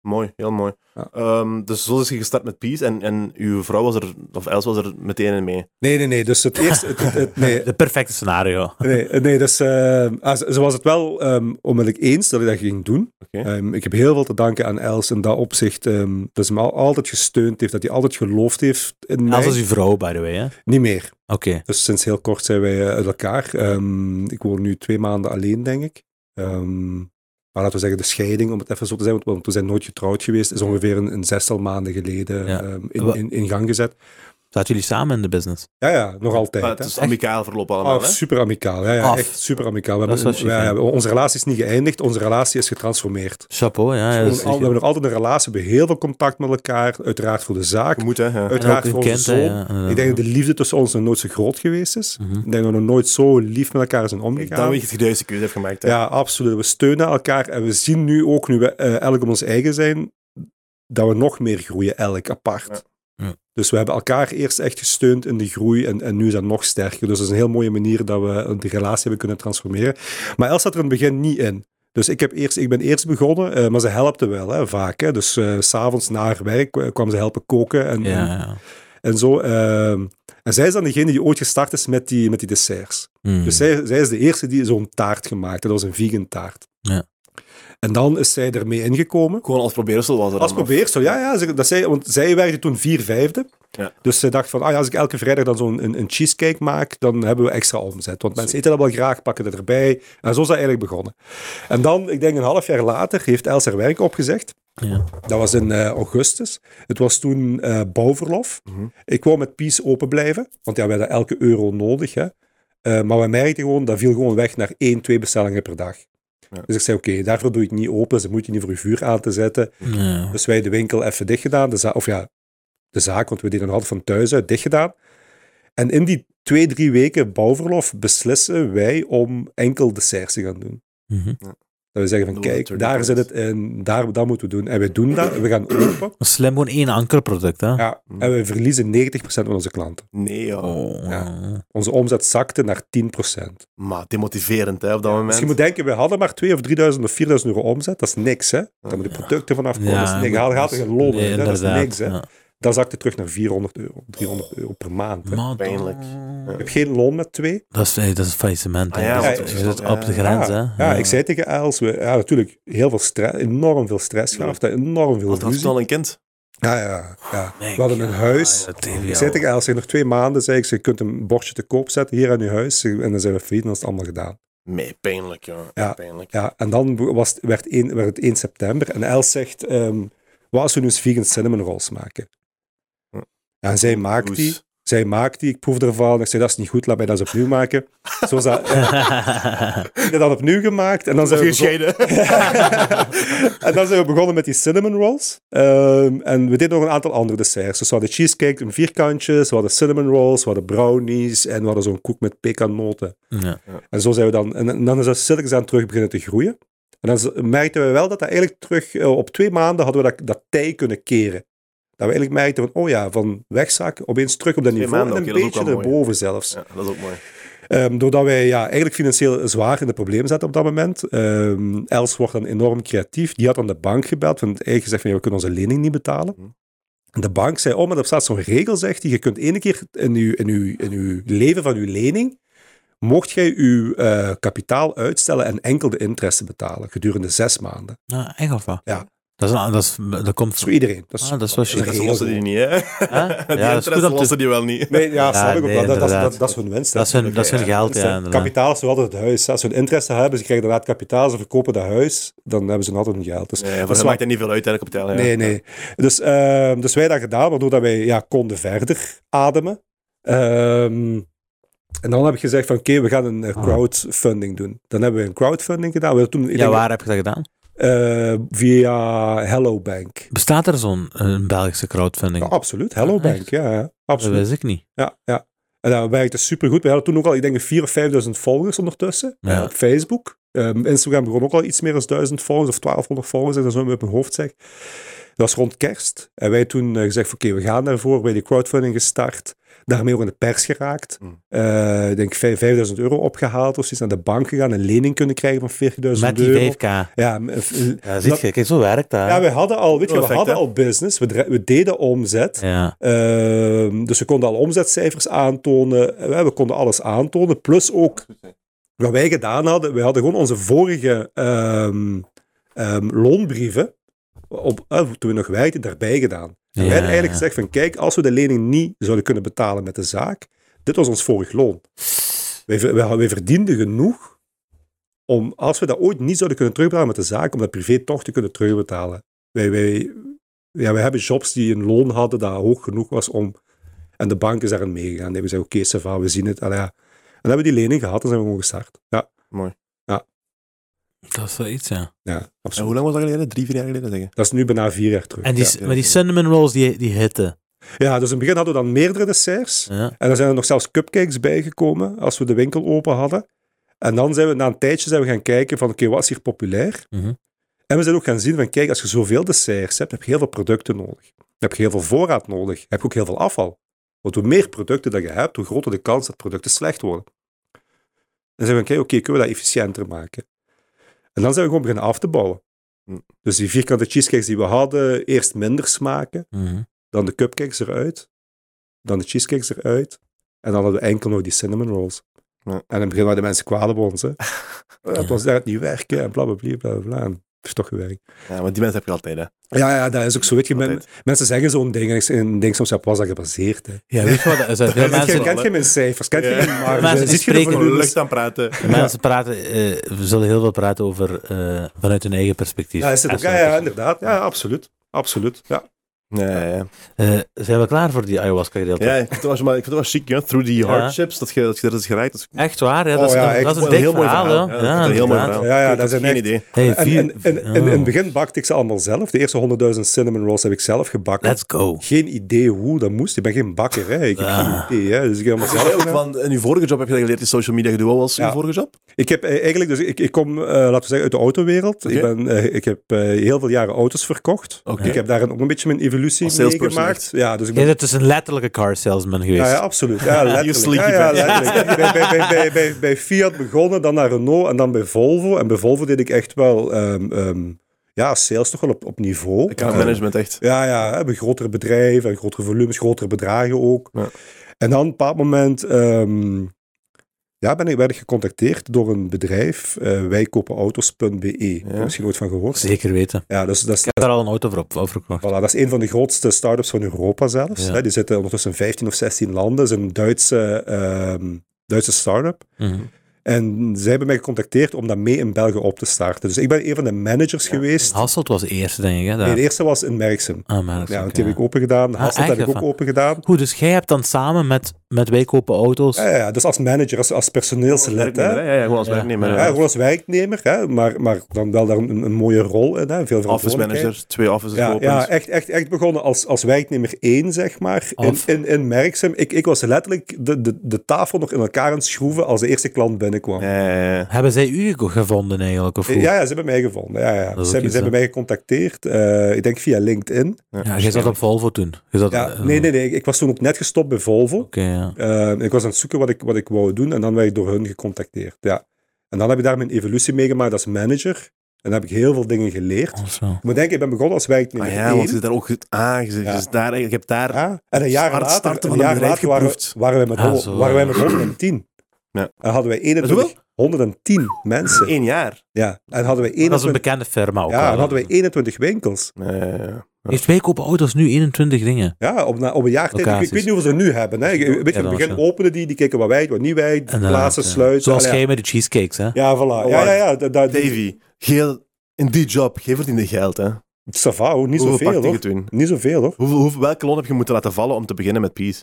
Mooi, heel mooi. Ja. Ehm, dus zo is je gestart met Peace en, en uw vrouw was er, of Els was er meteen in mee. Nee, nee, nee. Dus het eerste. het- het- het- nee, De perfecte scenario. Nee, eh, nee dus eh, ah, ze ze was het wel ehm onmiddellijk eens dat ik dat ging doen. Oké. Ehm, ik heb heel veel te danken aan Els in dat opzicht. ehm, dat ze me al- altijd gesteund heeft, dat hij altijd geloofd heeft in mij. Als is dus uw vrouw, by the way. Hè? Oké. Niet meer. Dus sinds heel kort zijn wij eh, uit elkaar. Ehm, ik woon nu twee maanden alleen, denk ik. Ehm, maar laten we zeggen, de scheiding, om het even zo te zeggen, want- want we zijn nooit getrouwd geweest, is ongeveer een, een zestal maanden geleden Ja. ehm, in, Wa- in, in gang gezet. Zaten jullie samen in de business? Ja, ja, nog altijd. Maar het hè. is amicaal verloop allemaal, Oh, hè? super amicaal. Ja, ja, Af. echt super amicaal. We Dat hebben, is wel we- chic, hè? we- onze relatie is niet geëindigd, onze relatie is getransformeerd. Chapeau, ja. ja, we, dat is hebben al- we hebben zeker. nog altijd een relatie, we hebben heel veel contact met elkaar, uiteraard voor de zaak, Je moet, hè? Ja. En ook uiteraard een voor onze kind, hè, zoon. ja, inderdaad. Ik denk dat de liefde tussen ons nog nooit zo groot geweest is. Mhm. Ik denk dat we nog nooit zo lief met elkaar zijn Kijk, Dan omgegaan. weet je dat je de juiste keuze hebt gemaakt, hè? ja, absoluut. We steunen elkaar en we zien nu ook, nu we eh, elk om ons eigen zijn, dat we nog meer groeien, elk apart. Ja. Ja. Dus we hebben elkaar eerst echt gesteund in de groei en, en nu is dat nog sterker. Dus dat is een heel mooie manier dat we de relatie hebben kunnen transformeren. Maar Els zat er in het begin niet in. Dus ik, heb eerst, ik ben eerst begonnen, eh, maar ze helpte wel hè, vaak. Hè. Dus eh, s s'avonds na haar werk eh, kwam ze helpen koken en, Ja, en, ja. en zo. ehm. en zij is dan degene die ooit gestart is met die, met die desserts. Hmm. Dus zij, zij is de eerste die zo'n taart gemaakt. Dat was een vegan taart. Ja. En dan is zij ermee ingekomen. Gewoon als probeersel was er Als dan, of- probeersel, ja, ja. ze- Dat zij, want zij werkte toen vier vijfde. Ja. Dus zij dacht van, ah ja, als ik elke vrijdag dan zo'n een, een cheesecake maak, dan hebben we extra omzet. Want mensen eten dat wel graag, pakken dat erbij. En zo is dat eigenlijk begonnen. En dan, ik denk een half jaar later, heeft Els haar werk opgezegd. Ja. Dat was in eh, augustus. Het was toen eh, bouwverlof. Mhm. Ik wou met Peace open blijven, want ja, we hadden elke euro nodig. Hè. Eh, maar we merkten gewoon, dat viel gewoon weg naar één, twee bestellingen per dag. Ja. Dus ik zei, oké, daarvoor doe ik niet open. Ze moet je niet voor je vuur aan te zetten. Ja. Dus wij de winkel even dicht gedaan. De za- of ja, de zaak, want we deden nog altijd van thuis uit, dicht gedaan. En in die twee, drie weken bouwverlof beslissen wij om enkel desserts te gaan doen. Mhm. Dat we zeggen van, Doen we kijk, natuurlijk daar ook zit eens. het in, daar, dat moeten we doen. En we doen dat, en we gaan open. Slim, gewoon één ankerproduct, hè? Ja, Hm. en we verliezen 90% van onze klanten. Nee, joh. Oh. Ja. Onze omzet zakte naar 10%. Maar demotiverend, hè, op dat Dus moment. je moet denken, we hadden maar 2.000 of 3.000 of 4.000 euro omzet. Dat is niks, hè. Dan moeten producten vanaf komen. Ja, dat is niks. Daar gaat er geen loon Nee, in, hè. Dat is inderdaad, niks, hè. ja. Dat zakte terug naar 400 euro, 300 euro per maand. hè. Maar Pijnlijk. Ik heb geen loon met twee. Dat is, hey, dat is een faillissement. Ah, hè. ja, Dat want- is- je zit op de grens, ja, hè. Ja, ik zei tegen Els, we, ja, natuurlijk, heel veel stress, enorm veel stress gehad, enorm veel Want had het ruzie. al een kind? Ja, ja, ja. Nee, we hadden een huis. Ah, ja, dat deed hij ik zei al. tegen Els, zeg, nog twee maanden, zei ik, ze kunt een bordje te koop zetten hier aan je huis. En dan zijn we failliet en dan is het allemaal gedaan. Nee, pijnlijk, ja. Ja. Pijnlijk. Ja, en dan was het, werd, één- werd het 1 september. En Els zegt, ehm, wat als we nu eens vegan cinnamon rolls maken? Hm. En zij maakt Oes. die. Zij maakt die, ik proef ervan. Ik zei, dat is niet goed, laat mij dat eens opnieuw maken. Zo was [LAUGHS] dat, ja, ik heb dat opnieuw gemaakt. En dan zijn we begon- Gescheiden. [LAUGHS] en dan zijn we begonnen met die cinnamon rolls. Ehm, en we deden nog een aantal andere desserts. Dus we hadden cheesecake, een vierkantje, we hadden cinnamon rolls, we hadden brownies en we hadden zo'n koek met pekannoten. [LAUGHS] Ja. En zo zijn we dan, en, en dan is dat stilletjes aan terug beginnen te groeien. En dan z- merkten we wel dat dat eigenlijk terug, eh, op twee maanden hadden we dat, dat tij kunnen keren. Dat we eigenlijk merkten van, oh ja, van wegzakken, opeens terug op dat Twee niveau maanden, en een oké, dat is ook beetje wel mooi. erboven zelfs. Ja, dat is ook mooi. Ehm, doordat wij ja, eigenlijk financieel zwaar in de problemen zaten op dat moment. Ehm, Els wordt dan enorm creatief. Die had aan de bank gebeld. Want eigenlijk gezegd van, ja, we kunnen onze lening niet betalen. Mhm. En de bank zei, oh, maar er staat zo'n regel, zegt die. Je kunt ene keer in uw, in, uw, in uw leven van uw lening, mocht jij uw eh, kapitaal uitstellen en enkel de interesse betalen gedurende zes maanden. Ja, echt of wat? Ja. Dat, is, een- dat, is, dat Dat komt... is voor iedereen. Dat is, Ah, dat is wel een Dat shit. regel. lossen die niet, hè? [LAUGHS] Hè? Die Ja, dat is goed interesse om te... lossen die wel niet. Nee, ja, snap Ja, ik ook nee, wel. Dat, dat, is- inderdaad. dat, dat is hun winst. hè. Dat is hun, dat is hun geld, Dus, ja. eh, inderdaad. kapitaal is altijd het huis. Als ze een interesse hebben, ze krijgen inderdaad kapitaal, ze verkopen dat huis, dan hebben ze altijd hun geld. Dus, Nee, voor dat hen is wel- maakt dat niet veel uit, hè, de kapitaal. Ja. nee, nee. Dus, ehm, dus wij dat gedaan, waardoor dat wij ja, konden verder ademen. Ehm, en dan heb ik gezegd van oké, we gaan een eh, Ah. crowdfunding doen. Dan hebben we een crowdfunding gedaan. We hebben toen, ik Ja, denk, waar heb je dat gedaan? eh, via Hello Bank. Bestaat er zo'n eh, Belgische crowdfunding? Ja, absoluut, Hello Ah, Bank, echt? ja, ja. dat Absoluut. wist ik niet. Ja, ja. En dat werkte supergoed. We hadden toen ook al, ik denk, 4.000 of 5.000 volgers ondertussen Ja. eh, op Facebook. Ehm, Instagram begon ook al iets meer dan 1000 volgers of 1200 volgers, en dat is wat ik uit mijn hoofd zeg. Dat was rond kerst. En wij toen eh, gezegd, van, oké, we gaan daarvoor. Bij die crowdfunding gestart. Daarmee ook in de pers geraakt. Mm. Eh, ik denk vijf- 5000 euro opgehaald of zoiets. Naar de bank gegaan. Een lening kunnen krijgen van 40.000 euro. Met die 5k. Ja, m- eh, Ja, zie je. Kijk, zo werkt dat. hè. ja, we hadden al, weet je, we Perfect, hadden hè? al business. We, dra- we deden omzet. Ja. Ehm, dus we konden al omzetcijfers aantonen. Eh, We konden alles aantonen. Plus ook wat wij gedaan hadden. We hadden gewoon onze vorige ehm, ehm, loonbrieven. Op, eh, toen we nog werkten, daarbij gedaan. En Ja, wij hadden eigenlijk ja. gezegd van kijk, als we de lening niet zouden kunnen betalen met de zaak, dit was ons vorig loon. Wij, ver- wij, wij verdienden genoeg om, als we dat ooit niet zouden kunnen terugbetalen met de zaak, om dat privé toch te kunnen terugbetalen. Wij, wij, ja, wij hebben jobs die een loon hadden dat hoog genoeg was om... En de bank is daarin meegegaan. Nee, we zeiden, oké, ça va, we zien het. Allee, ja. En dan hebben we die lening gehad en zijn we gewoon gestart. Ja, Dat is wel iets, ja. ja En absoluut. hoe lang was dat geleden? Drie, vier jaar geleden, zeggen. Dat is nu bijna vier jaar terug. En die, ja. ja, maar die ja. cinnamon rolls, die, die hitten. ja, dus in het begin hadden we dan meerdere desserts. Ja. En er zijn er nog zelfs cupcakes bijgekomen als we de winkel open hadden. En dan zijn we na een tijdje zijn we gaan kijken van oké, wat is hier populair? Mhm. En we zijn ook gaan zien van kijk, als je zoveel desserts hebt, heb je heel veel producten nodig. Heb je heel veel voorraad nodig. Heb je ook heel veel afval. Want hoe meer producten dat je hebt, hoe groter de kans dat producten slecht worden. En zijn we gaan kijken, oké, kunnen we dat efficiënter maken? En dan zijn we gewoon beginnen af te bouwen. Hm. Dus die vierkante cheesecakes die we hadden, eerst minder smaken Mhm. dan de cupcakes eruit, dan de cheesecakes eruit, en dan hadden we enkel nog die cinnamon rolls. Ja. En in het begin waren de mensen kwaad op [LAUGHS] ons. Hè. Ja, Het was daar niet werken, en bla bla bla bla bla. En het heeft toch gewerkt. Ja, maar die mensen heb je altijd, hè. Ja, ja, dat is ook zo. Weet je, men- Altijd. mensen zeggen zo'n ding en ik- en ik denk soms, ja, op wat is dat gebaseerd? Hè? Ja, weet je wat dat is? [LAUGHS] Veel Ja, mensen, je kent hè? geen mijn cijfers, kent Ja. geen mijn marge. Ziet Mensen je de spreken Gewoon volumes? lucht aan praten. mensen praten, eh, we zullen heel veel praten over eh, vanuit hun eigen perspectief. Ja, is het ook? Ja, ja, inderdaad. Ja, absoluut. Absoluut. Ja. Ja, ja, ja. Eh, zijn we klaar voor die ayahuasca gedeelte? Ja, ik vind het wel, maar ik vind het wel chic, ja. Through the hardships, dat je, dat je er is geraakt. Dat is Echt waar, ja, dat, Oh, is, ja, een, echt dat is een wel dik verhaal. hè. Ja, dat is een heel mooi inderdaad. verhaal. Ja, ja, Ik dat heb zijn geen echt- idee. Hey, En, vier- en, en, en in oh, het begin bakte ik ze allemaal zelf. De eerste 100.000 cinnamon rolls heb ik zelf gebakken. Let's go. geen idee hoe dat moest. Ik ben geen bakker, hè. Ik heb Ah. geen idee, hè. Dus ik heb allemaal Maar [LAUGHS] zelf ook gedaan. van, in uw vorige job heb je dat geleerd, die social media gedoe. Wat was Ja. uw vorige job? Ik heb eh, eigenlijk, dus ik, ik kom, eh, laten we zeggen, uit de autowereld. Oké. Ik, ben, eh, ik heb eh, heel veel jaren auto's verkocht. Oké. Ik heb daarin ook een beetje mijn evolutie Als salesperson meegemaakt. echt. Ja, dus ik Jij ben... bent dus een letterlijke car salesman geweest. Ja, ja, absoluut. [LAUGHS] Ja, letterlijk. sleaky Ja, ja, bent. letterlijk. bij, bij, bij, bij, bij, bij Fiat begonnen, dan naar Renault en dan bij Volvo. En bij Volvo deed ik echt wel ehm, ehm, ja, sales toch wel op, op niveau. Ik kan Eh, management echt. Ja, ja, hebben grotere bedrijven, en grotere volumes, grotere bedragen ook. Ja. En dan op een bepaald moment ehm, ja, ben ik, werd ik gecontacteerd door een bedrijf, eh wijkopenautos.be. Heb je misschien nooit van gehoord? Zeker weten. Ja, dus dat is, Ik heb daar al een auto voor, op, voor gekocht. voilà, dat is een van de grootste start-ups van Europa zelfs. Ja. Hè, die zitten ondertussen in 15 of 16 landen. Dat is een Duitse, ehm, Duitse start-up. Mhm. En zij hebben mij gecontacteerd om dat mee in België op te starten. Dus ik ben een van de managers geweest. Hasselt was de eerste, denk ik. Hè, daar. Nee, de eerste was in Merksem. Ah, maar dat Ja, is oké, want die ja. heb ik open gedaan. Ah, Hasselt heb ik echt? ook open gedaan. Goed, dus jij hebt dan samen met, met Wij Kopen Auto's... Ja, ja, dus als manager, als, als personeelslid. Werknemer, Hè? hè? Ja, ja, gewoon als Ja. werknemer. Ja, Ja. gewoon als werknemer, hè? Maar, maar dan wel daar een, een mooie rol in. Hè? Veel Office verantwoordelijkheid. manager, twee offices Ja, geopend. ja echt, echt, echt begonnen als, als werknemer één, zeg maar, in, Of- in, in Merksem. Ik, ik was letterlijk de, de, de tafel nog in elkaar aan het schroeven als de eerste klant binnenkwam. Ja, Ja, ja, ja. Hebben zij u ge- gevonden eigenlijk? Of hoe? ja, ze hebben mij gevonden. Ja, ja. ook Ze, hebben, iets, ze hebben mij gecontacteerd, eh, ik denk via LinkedIn. Ja, jij zat op Volvo toen. Je zat, Ja, nee, nee, nee, ik, ik was toen ook net gestopt bij Volvo. Oké, ja. Eh, ik was aan het zoeken wat ik, wat ik wou doen en dan werd ik door hun gecontacteerd. Ja. En dan heb ik daar mijn evolutie meegemaakt als manager. En dan heb ik heel veel dingen geleerd. Of zo. Ik moet denken, ik ben begonnen als werknemer Ah, één. ja, want je zit daar ook goed aan. Je, zit- je Ja. zit daar, je hebt daar... Ja, En een jaar Start- later, starten een van een jaar bedrijf later waren, geproefd. waren wij met, Ah, honderd- zo, waren wij ja. met 110. Ja. En hadden wij Hoeveel? 21, 110 mensen. Eén jaar. Ja. En hadden wij Dat is een 21, bekende firma ook. ja, wel. en hadden wij 21 winkels. Nee, ja, ja. Heeft Wij Kopen Auto's nu 21 dingen? Ja, op, na- op een jaar tijd. Ik, ik Locaties. weet niet hoeveel ze er nu hebben. Hè. Ik- ik- Weet je, in Ja, het dat begin was, openen die, die kijken wat wij, wat niet wij, Inderdaad, plaatsen, eh, ja. sluiten. Zoals Allee, jij met de cheesecakes, hè? ja, voilà. Ja, ja, ja. Dat, dat, Davy, geel, in die job, jij verdiende geld, hè. ça va, hoor. niet Hoeveel zoveel pakte je hoor. toen? Niet zoveel hoor. Hoeveel, hoeveel, welke loon heb je moeten laten vallen om te beginnen met Peace?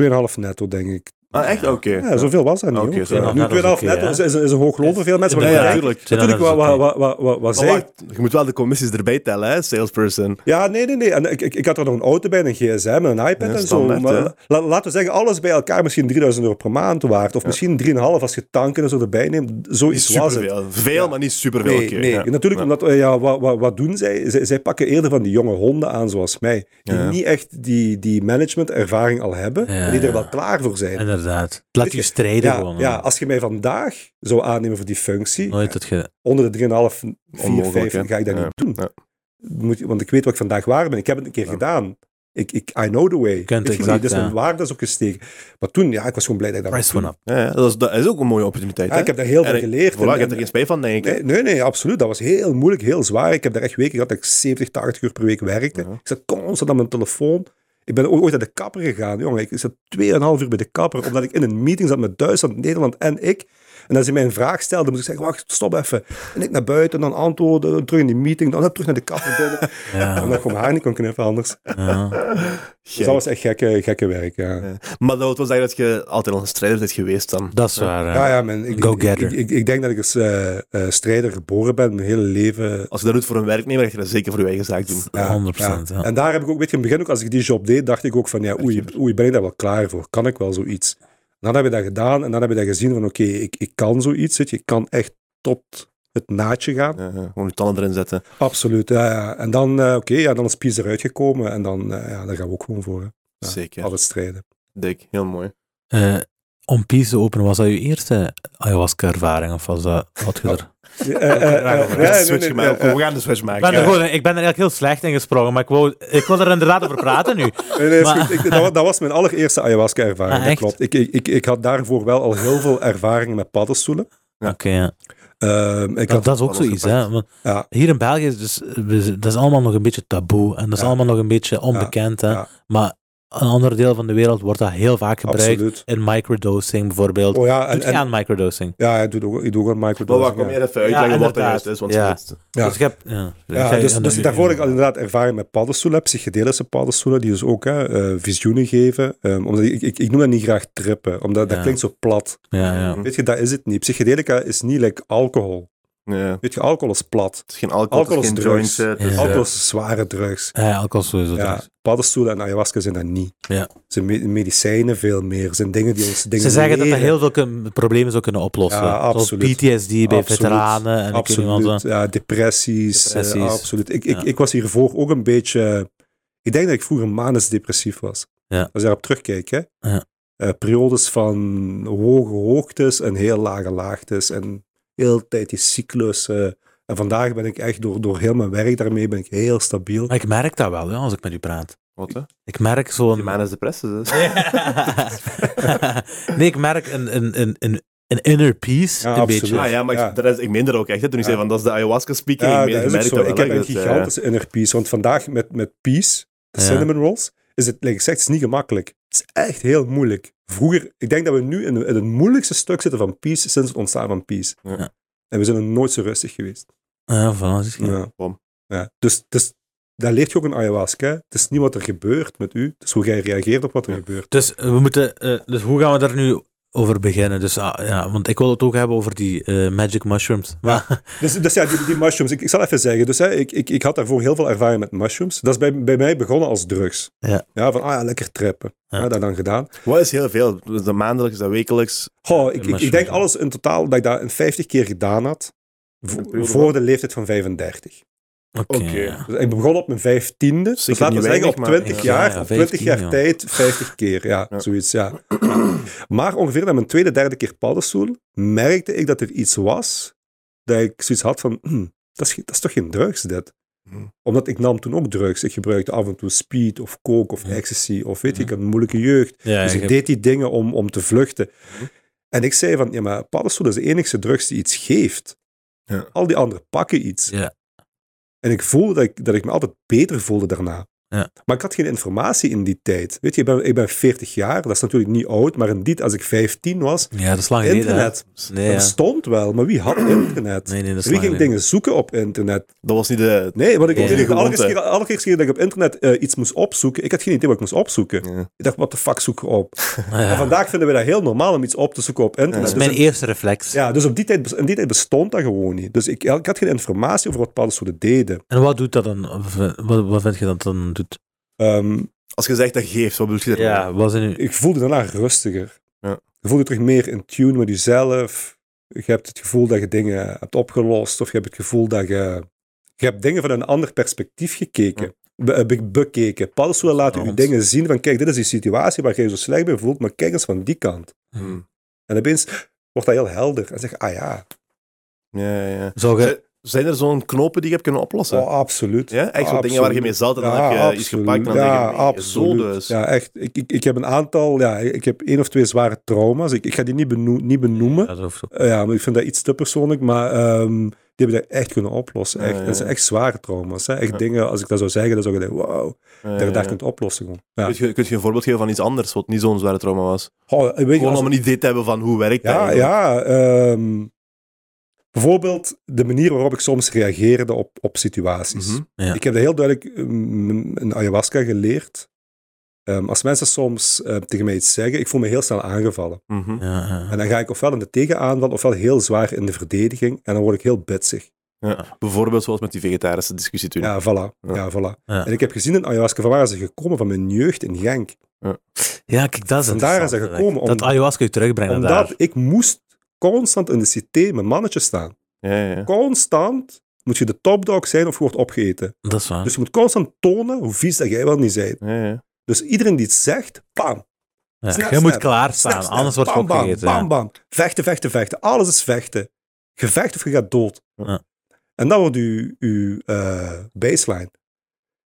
2,5 netto, denk ik. Ah, echt? Oké. Ja, zoveel was dat niet. Oké, hoor. zo. Nu 2,5 Ja, dat is netto oké, hè. is, is, is een hoog loon voor veel mensen. Maar Ja, ja, ik denk, tuurlijk. natuurlijk, wat, wat, wat, wat, wat, wat Maar zij wacht, je moet wel de commissies erbij tellen, hè, salesperson. Ja, nee, nee, nee. En ik, ik, ik had er nog een auto bij, een gsm en een iPad Ja, en zo. standaard, Maar hè? la- la- laten we zeggen, alles bij elkaar misschien 3000 euro per maand waard. Of misschien 3,5 als je tanken en zo erbij neemt. Niet Zoiets was het. superveel. Veel, maar niet superveel. Nee, oké, nee. ja. natuurlijk, Ja. omdat eh, ja, wat, wat, wat doen zij? zij? Zij pakken eerder van die jonge honden aan, zoals mij. Die Ja. niet echt die, die managementervaring al hebben, Ja, maar die er ja. wel klaar voor zijn. Inderdaad. Laat je strijden ja, gewoon. hè. ja, als je mij vandaag zou aannemen voor die functie, Nooit dat je... onder de 3,5, 4, Onmogelijk, 5 hè? ga ik dat Ja. niet doen. Ja. Moet, want ik weet wat ik vandaag waar ben. Ik heb het een keer gedaan. Ik, ik, I know the way. kent Weet je exact, niet? Dus ja. mijn waarde is ook gestegen. Maar toen, ja, ik was gewoon blij dat ik dat Price mocht went up. Ja, ja, dat, is, dat is ook een mooie opportuniteit. doen. Ja, hè. ik heb daar heel En veel ik- geleerd. Voilà, je En- hebt er geen spijt van, denk ik. Nee, nee, nee, absoluut. Dat was heel moeilijk, heel zwaar. Ik heb daar echt weken gehad dat ik 70, 80 uur per week werkte. Uh-huh. Ja. Ik zat constant aan mijn telefoon. Ik ben ooit naar de kapper gegaan, jongen. Ik zat 2,5 uur bij de kapper, omdat ik in een meeting zat met Duitsland, Nederland en ik. En als hij mij een vraag stelde, moest ik zeggen, wacht, stop even. En ik naar buiten, dan antwoorden, dan terug in die meeting, dan terug naar de kapper [LAUGHS] binnen. Ja, Omdat ik mijn haar niet kon knippen anders. ja. Gek. Dus dat was echt gekke, gekke werk, ja. Ja, Maar dat was eigenlijk dat je altijd al een strijder bent geweest dan. Dat is waar. hè. ja, man. Ik, Go ik, ik, getter. ik- ik denk dat ik als eh, eh, strijder geboren ben, mijn hele leven Als je dat doet voor een werknemer, ga je dat zeker voor je eigen zaak doen. 100%, ja. En daar heb ik ook, weet je, in het begin ook, als ik die job deed, dacht ik ook van, ja, oei, oei, ben ik daar wel klaar voor? Kan ik wel zoiets? En dan heb ik dat gedaan en dan heb ik dat gezien van, oké, ik, ik kan zoiets, weet je, ik kan echt tot het naadje gaan. Ja, ja, gewoon je tanden erin zetten. Absoluut, ja, ja. En dan, eh, oké, ja, dan is Pies eruit gekomen en dan, eh, ja, daar gaan we ook gewoon voor, hè. Ja. Zeker. Alles [LAUGHS] strijden. Dik, heel mooi. Eh, om Peace te openen, was dat je eerste ayahuasca-ervaring? Of was dat... Wat je er... Eh, eh, eh, we, eh, gaan de nee, switch nee, nee, maken. eh, we gaan de switch Ik maken. ben, er Ja. gewoon, ik ben er eigenlijk heel slecht in gesprongen, maar ik, wou, ik wil er inderdaad over [LAUGHS] praten nu. Nee, nee, is Maar- goed. Ik- dat, wa- dat was mijn allereerste ayahuasca-ervaring, Ah, dat echt? klopt. Ik, ik, ik, ik had daarvoor wel al heel veel ervaringen met paddenstoelen. Ja. Oké, ja. Ehm, ik Dat, had, dat is ook alles zoiets, gepakt. hè. Want ja, hier in België is dus, we- dat is allemaal nog een beetje taboe en dat is Ja. allemaal nog een beetje onbekend, hè. ja. Maar een ander deel van de wereld wordt dat heel vaak gebruikt. absoluut. In microdosing bijvoorbeeld. Oh ja, Doet en, je en, aan microdosing? Ja, ik doe ook, ik doe ook een Maar microdosing. waar kom ja. je even uitleggen wat dat inderdaad. juist is? Want Ja. het- Ja. Dus ik heb... Ja, Ja, Jij- dus, en dus dan- daarvoor heb ik al inderdaad ervaring met paddenstoelen, heb, psychedelische paddenstoelen, die dus ook hè, eh, visioenen geven. Ehm, omdat ik, ik, ik noem dat niet graag trippen, omdat dat Ja. klinkt zo plat. Ja, ja. Hm. Weet je, dat is het niet. Psychedelica is niet like alcohol. Ja. Het Weet je, alcohol is plat. is geen alcohol, Alcohol het is is geen drugs. joints. eh, het is, Ja. eh, Alcohol is zware drugs. Ja, alcohol is sowieso Ja, drugs. paddenstoelen en ayahuasca zijn dat niet. Ja. Zijn me- medicijnen veel meer. Zijn dingen die ons dingen Ze zeggen dat er leren. heel veel kun- problemen zou kunnen oplossen. Ja, Zoals absoluut. PTSD bij Absoluut. veteranen. En ik eh, weet niet wat. Absoluut, ja, depressies. eh, Depressies. absoluut. Ik, Ja. ik, ik was hiervoor ook een beetje... eh, Ik denk dat ik vroeger manisch depressief was. Ja. Als je daarop terugkijkt, hè. Ja. Eh, periodes van hoge hoogtes en heel lage laagtes. En heel de tijd die cyclus. eh, en vandaag ben ik echt door, door heel mijn werk daarmee ben ik heel stabiel. Maar ik merk dat wel, ja, als ik met u praat. Wat, hè? Ik merk zo'n... Die man is depressed, dus. nee, ik merk een, een, een, een, een inner peace, Ja, een absoluut. [LAUGHS] beetje. Ah ja, maar Ja. ik, dat is, ik meen dat ook echt. Hè, toen ik Ja. zei van dat is de ayahuasca speaker. Ja, ik meen, dat ik is ook merk zo. dat wel, Ik heb hè, een dat, eh, gigantische inner peace. Want vandaag met, met peace, de Ja. cinnamon rolls, is het, like ik zeg, het is niet gemakkelijk. Het is echt heel moeilijk. Vroeger, ik denk dat we nu in, in het moeilijkste stuk zitten van peace sinds het ontstaan van peace. Ja. En we zijn er nooit zo rustig geweest. Ah, Ja, voilà, dus zie je. Ja. Bom. Ja. Dus, dus dat leert je ook in ayahuasca. hè. Het is niet wat er gebeurt met u, het is hoe jij reageert op wat er gebeurt. Dus, eh, we moeten, eh, dus hoe gaan we daar nu over beginnen? Dus, ah, ja, want ik wil het ook hebben over die eh, magic mushrooms. Maar, Dus, dus ja, die, die mushrooms, ik, ik zal even zeggen. Dus hè, ik, ik, ik had daarvoor heel veel ervaring met mushrooms. Dat is bij, bij mij begonnen als drugs. Ja. van, ah ja, lekker trappen. Ja. Ja, dat dan gedaan. Wat is heel veel? Is dat maandelijks, is dat wekelijks? Goh, ik, ik, mushrooms, ik denk ja. alles in totaal dat ik dat een 50 keer gedaan had. vo- Een periode voor van? de leeftijd van 35. [LAUGHS] Oké. Oké. ja. Dus ik begon op mijn 15e. Dus Zeker laten we niet zeggen op weinig, maar- 20 ja. jaar. Ja, ja, op 20 jaar 15, ja. tijd 50 keer. Ja, Ja. zoiets. Ja. [CLEARS THROAT] Maar ongeveer na mijn tweede, derde keer paddenstoel. merkte ik dat er iets was. dat ik zoiets had van. "Hm, dat, is, ge- dat is toch geen drugs, dit? Hmm. Omdat ik nam toen ook drugs. Ik gebruikte af en toe speed of coke of Ja. ecstasy. of weet je, ik Ja. had een moeilijke jeugd. Ja, Dus ik ik heb- deed die dingen om, om te vluchten. Mhm. Hm. En ik zei van, ja, maar paddenstoel is de enige drugs die iets geeft. Ja. Al die anderen pakken iets. Ja. En ik voelde dat ik, dat ik me altijd beter voelde daarna. Ja. Maar ik had geen informatie in die tijd. Weet je, ik ben, ik ben 40 jaar, dat is natuurlijk niet oud, maar in die, als ik 15 was, ja, dat is lang geleden. hè. internet. Nee, Dat ja. stond wel, maar wie had internet? nee, nee, dat Wie is lang ging geleden. dingen zoeken op internet? Dat was niet de... Nee, want ik, Ja. ik- ik- de Gewoonte. allereerste keer, allereerste keer dat ik op internet eh, iets moest opzoeken, ik had geen idee wat ik moest opzoeken. Ja. Ik dacht, wat de fuck zoek je op? Ah, Ja. En vandaag vinden we dat heel normaal om iets op te zoeken op internet. Ja. Dat Dus is mijn in- eerste reflex. ja, dus op die tijd, in die tijd bestond dat gewoon niet. Dus ik, ik had geen informatie over wat paddenstoelen deden. En wat doet dat dan? Of, eh, Wat, wat vind je dat dan doet? Ehm, Als je zegt dat geeft, wat bedoel je daarmee? Ja, wat is nu? ik voelde daarna rustiger. Ja. Je voelde terug meer in tune met jezelf. Je hebt het gevoel dat je dingen hebt opgelost. Of je hebt het gevoel dat je... Je hebt dingen van een ander perspectief gekeken. Be- eh, be- bekeken. Paddenstoelen laten je Rond. dingen zien van... Kijk, dit is die situatie waar je je zo slecht bij voelt. Maar kijk eens van die kant. Hmm. Hm. En opeens wordt dat heel helder. En zeg je, ah ja... Ja, ja, ja. Zou je... Ze- Zijn er zo'n knopen die je hebt kunnen oplossen? Oh, absoluut. ja? Echt zo'n dingen waar je mee zat en dan heb je iets gepakt en dan ja, denk je, nee, zo absoluut. dus. Ja, echt. Ik, ik, ik heb een aantal, ja, ik heb één of twee zware trauma's. Ik, ik ga die niet, beno- niet benoemen. Ja, dat hoeft ook. Eh, ja, maar ik vind dat iets te persoonlijk, maar ehm, die hebben dat echt kunnen oplossen. Echt. Ja, ja, Dat zijn ja. echt zware trauma's. Hè. Echt Ja. dingen, als ik dat zou zeggen, dan zou ik denken, wauw, Ja, daar, ja, daar ja. kunt je oplossen gewoon. Ja. Kun je, kun je een voorbeeld geven van iets anders wat niet zo'n zware trauma was? Oh, weet je, Gewoon als- om een idee te hebben van hoe werkt dat Ja, eigenlijk. ja. ehm, bijvoorbeeld de manier waarop ik soms reageerde op, op situaties. Mhm. Ja. Ik heb dat heel duidelijk mm, in ayahuasca geleerd. Ehm, als mensen soms eh, tegen mij iets zeggen, ik voel me heel snel aangevallen. Mhm. Ja, ja. En dan ga ik ofwel in de tegenaanval, ofwel heel zwaar in de verdediging. En dan word ik heel bitsig. Ja. Bijvoorbeeld zoals met die vegetarische discussie toen. Ja, voilà. Ja. Ja. voilà. Ja. En ik heb gezien in ayahuasca, van waar ze gekomen? Van mijn jeugd in Genk. Ja, kijk, dat Vandaar is is dat interessant, gekomen, eigenlijk. Dat om- ayahuasca je terugbrengen Omdat daar. ik moest constant in de cité mijn mannetje staan. Ja, ja, ja. Constant moet je de topdog zijn of je wordt opgegeten. Dat is waar. Dus je moet constant tonen hoe vies dat jij wel niet bent. Ja, ja. Dus iedereen die het zegt, bam, Ja, Snap, je snap. moet klaarstaan, Snap, snap. anders wordt je bam, bam, opgegeten. Bam, bam. Vechten, vechten, vechten. Alles is vechten. Gevecht of je gaat dood. Ja. En dat wordt uw, uw eh, baseline.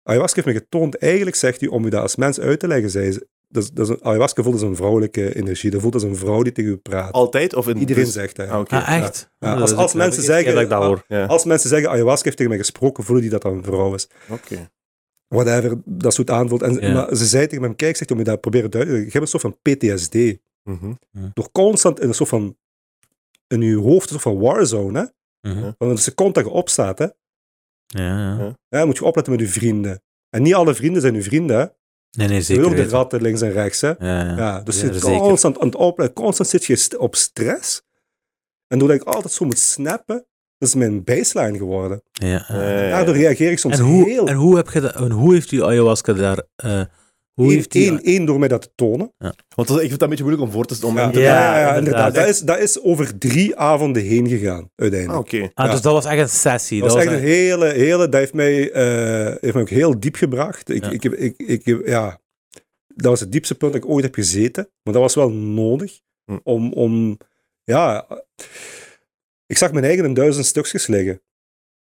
Ayahuasca heeft me getoond, eigenlijk zegt hij, om je dat als mens uit te leggen, zei ze, dat is, dat is een, ayahuasca voelt als een vrouwelijke energie. Dat voelt als een vrouw die tegen u praat. Altijd? Of in Iedereen dus- zegt dat. ja. Ah, oké. Ja. Ah, echt? Ja, als- Dat is als ook- mensen dat is de eerste zeggen- keer dat ik dat hoor. Ja. Als mensen zeggen, ayahuasca heeft tegen mij gesproken, voelen die dat dat een vrouw is. Oké. Whatever, dat is hoe het aanvoelt. En, Ja. Maar ze zei tegen hem, kijk, zegt, om je dat te proberen duidelijk te leggen, je hebt een soort van PTSD. Mhm. door constant in een soort van in je hoofd, een soort van warzone. Hè? Mhm. Want een seconde dat je opstaat, hè? Ja, ja. Ja. hè, moet je opletten met je vrienden. En niet alle vrienden zijn je vrienden. Hè? Nee, nee, Je wil zeker ook de weten. ratten links en rechts. Hè? Ja, ja. Ja, dus Ja, je zit zeker. constant aan het opletten, constant zit je st- op stress. En doordat ik altijd zo moet snappen, dat is mijn baseline geworden. Ja, ja. Ja, ja, ja. Daardoor reageer ik soms En, hoe, Eh, heel... en, hoe heb je dat, en hoe heeft die ayahuasca daar... eh hoe Eén, heeft die... één- één door mij dat te tonen. Want dat- ik vind het een beetje moeilijk om voor te om Ja, om te- ja, ja, inderdaad. inderdaad. Dat is, dat is over drie avonden heen gegaan, uiteindelijk. Ah, oké. Ah, Ja. dus dat was echt een sessie. Dat was echt was een hele, hele, dat heeft mij, eh, heeft mij ook heel diep gebracht. Ik, Ja. ik, heb- ik, ik, heb- ja, dat was het diepste punt dat ik ooit heb gezeten. Maar dat was wel nodig Hm. om, om ja, Ik zag mijn eigen in duizend stukjes liggen.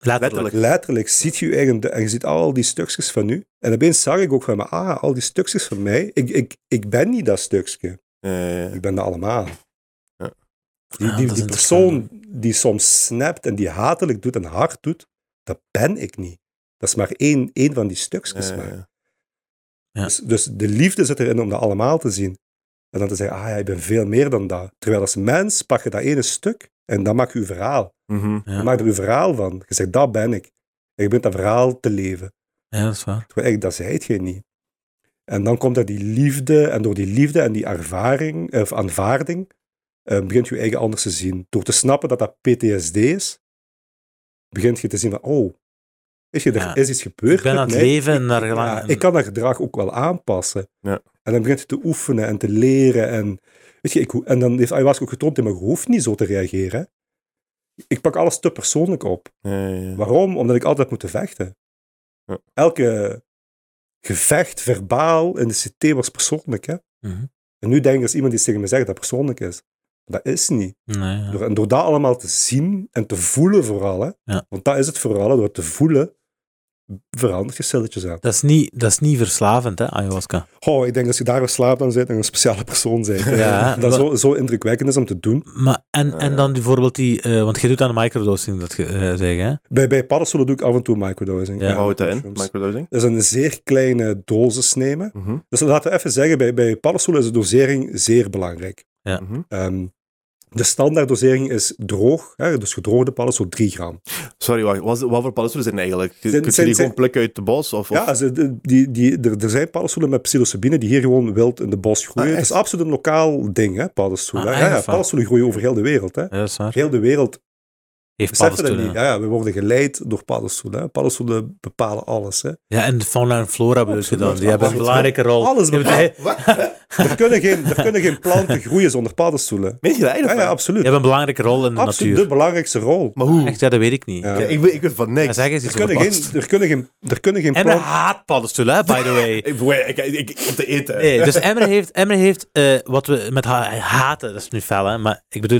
Letterlijk. Letterlijk ziet je je eigen, du- en je ziet al die stukjes van u. En opeens zag ik ook van me, ah, al die stukjes van mij. Ik, ik, ik ben niet dat stukje. Eh, Ik ben dat allemaal. Ja. Die, Ah, die, dat is die persoon die soms snapt en die hatelijk doet en hard doet, dat ben ik niet. Dat is maar één, één van die stukjes. maar. eh, Ja. Dus, dus de liefde zit erin om dat allemaal te zien. En dan te zeggen, ah ja, ik ben veel meer dan dat. Terwijl als mens pak je dat ene stuk en dan maak je je verhaal. mhm. Ja. Dan maak je er je verhaal van. Je zegt, dat ben ik. En je bent dat verhaal te leven. ja, dat is waar. Terwijl eigenlijk, dat zijt je niet. En dan komt er die liefde, en door die liefde en die ervaring, of aanvaarding, eh, begint je eigen anders te zien. Door te snappen dat dat PTSD is, begint je te zien van, oh, is, je er, Ja. is iets gebeurd Ik ben met aan het mij? leven en naar Ja, gelang. ik kan dat gedrag ook wel aanpassen. Ja. En dan begint je te oefenen en te leren. En, weet je, ik, ho- en dan heeft ayahuasca ook getoond, maar je hoeft niet zo te reageren. hè. Ik pak alles te persoonlijk op. Eh, ja. Waarom? Omdat ik altijd moet vechten. Ja. Elke gevecht, verbaal, in de CT was persoonlijk. Hè? Mhm. En nu denk ik, als iemand iets tegen me zegt dat persoonlijk is. Dat is niet. Nee, ja. Door, en door dat allemaal te zien en te voelen vooral. Hè? Ja. Want dat is het vooral, hè, door het te voelen, verandert je stilletjes aan. Dat is, niet, dat is niet verslavend, hè, ayahuasca. Oh, ik denk dat je daar slaapt dan bent en een speciale persoon bent. [LAUGHS] Ja, dat maar- zo, zo indrukwekkend is om te doen. Maar, en, en dan bijvoorbeeld die... eh, want je doet aan de microdosing, dat je eh zeggen, hè? Bij, bij paddenstoelen doe ik af en toe microdosing. Ja. Hoe houdt dat in? mushrooms. Microdosing? Dat is een zeer kleine dosis nemen. Mhm, Dus laten we even zeggen, bij, bij paddenstoelen is de dosering zeer belangrijk. mhm. Ehm, de standaard dosering is droog, hè, dus gedroogde paddenstoel 3 gram. Sorry, wacht. Wat, wat voor paddenstoelen zijn er eigenlijk? Kun je Zijn- die zijn- gewoon plukken uit de bos? Of, of- Ja, ze- de- die, die, er, er zijn paddenstoelen met psilocybine die hier gewoon wild in de bos groeien. Ah, het echt? is absoluut een lokaal ding, hè, paddenstoelen. Ah, ja, ja, echt waar? paddenstoelen groeien over heel de wereld. Hè. Ja, dat is waar. Heel de wereld Heeft Beseffen dat niet. paddenstoelen. Ja, ja, we worden geleid door paddenstoelen. hè. Paddenstoelen bepalen alles. Hè. Ja, en de fauna en flora bedoel je dan. Absoluut. Die hebben een Alles bepaalt. belangrijke rol. Alles Die hebben- bepaalt. [LAUGHS] die Er, kunnen geen, er kunnen geen planten groeien zonder paddenstoelen. Meen je dat Ja, eigenlijk? ja absoluut. hebben een belangrijke rol in de absoluut de natuur. belangrijkste rol. Maar hoe? Echt, ja, dat weet ik niet. Ja. Ja, ik, weet- ik weet van Maar niks. Zeg eens Er iets kunnen, geen, over paddenstoelen. er kunnen geen, er kunnen geen Emre planten... haat paddenstoelen, hè, by the way. Ik, ik, ik, ik- om te eten. Nee, dus Emre heeft, Emre heeft eh, wat we met ha- haten, dat is nu fel, hè, maar ik bedoel...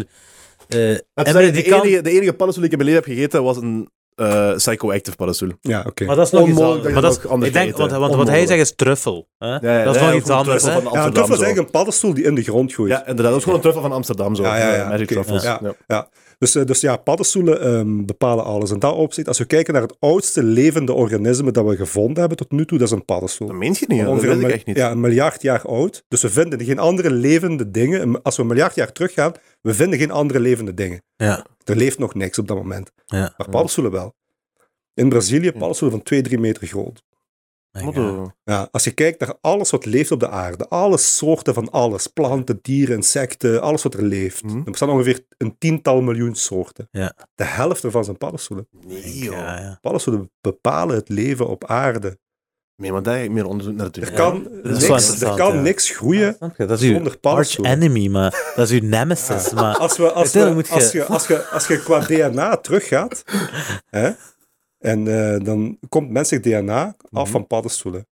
eh Maar te Emre, zeggen, die de, kan... enige, de enige paddenstoel die ik in mijn leven heb gegeten was een eh, psychoactive paddenstoel. Ja, oké. Maar dat is nog iets Onmogelijk anders. dat je dat ook Maar dat is- anders ik denk, kan want, eten. want wat hij Onmogelijk. zegt is truffel. Hè? Ja, dat is ja, nog of iets een anders. truffel Hè? van Ja, een Amsterdam, truffel is zo. eigenlijk een paddenstoel die in de grond groeit. Ja, inderdaad. Dat is gewoon een truffel van Amsterdam. Zo. Ja, ja, ja. Eh, Magic Oké, truffles. ja. Ja, dus, eh, dus ja, paddenstoelen ehm, bepalen alles. In dat opzicht, als we kijken naar het oudste levende organisme dat we gevonden hebben tot nu toe, dat is een paddenstoel. Dat meent je niet, hoor. dat Ongeveer weet een ik mil- echt niet. Ja, een miljard jaar oud. Dus we vinden geen andere levende dingen. Als we een miljard jaar teruggaan, we vinden geen andere levende dingen. Ja. Er leeft nog niks op dat moment. Ja. Maar paddenstoelen wel. In Brazilië paddenstoelen van 2, 3 meter groot. Wat, Ja. eh, Ja, als je kijkt naar alles wat leeft op de aarde, alle soorten van alles, planten, dieren, insecten, alles wat er leeft. Mhm. Er bestaan ongeveer een tiental miljoen soorten. Ja. De helft ervan zijn paddenstoelen. Nee, joh. Ja, ja. Paddenstoelen bepalen het leven op aarde. Nee, maar daar heb ik meer onderzoek naar te doen. Er kan, wel niks, er interessant, kan ja. niks groeien Snap je? Dat is uw Zonder arch paddenstoelen. enemy, maar dat is uw nemesis. Maar [LAUGHS] [LAUGHS] Als, we, als, Uiteindelijk we, moet je- als, je, als, je, als je [LAUGHS] qua DNA teruggaat, hè, en eh, dan komt menselijk DNA af Mhm. van paddenstoelen.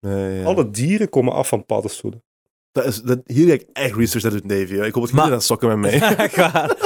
Nee, ja. Alle dieren komen af van paddenstoelen. Dat is, dat, hier heb ik echt research naar doen, Davy. Ik hoop dat je Maar- niet aan sokken met [LAUGHS] mij. Echt waar.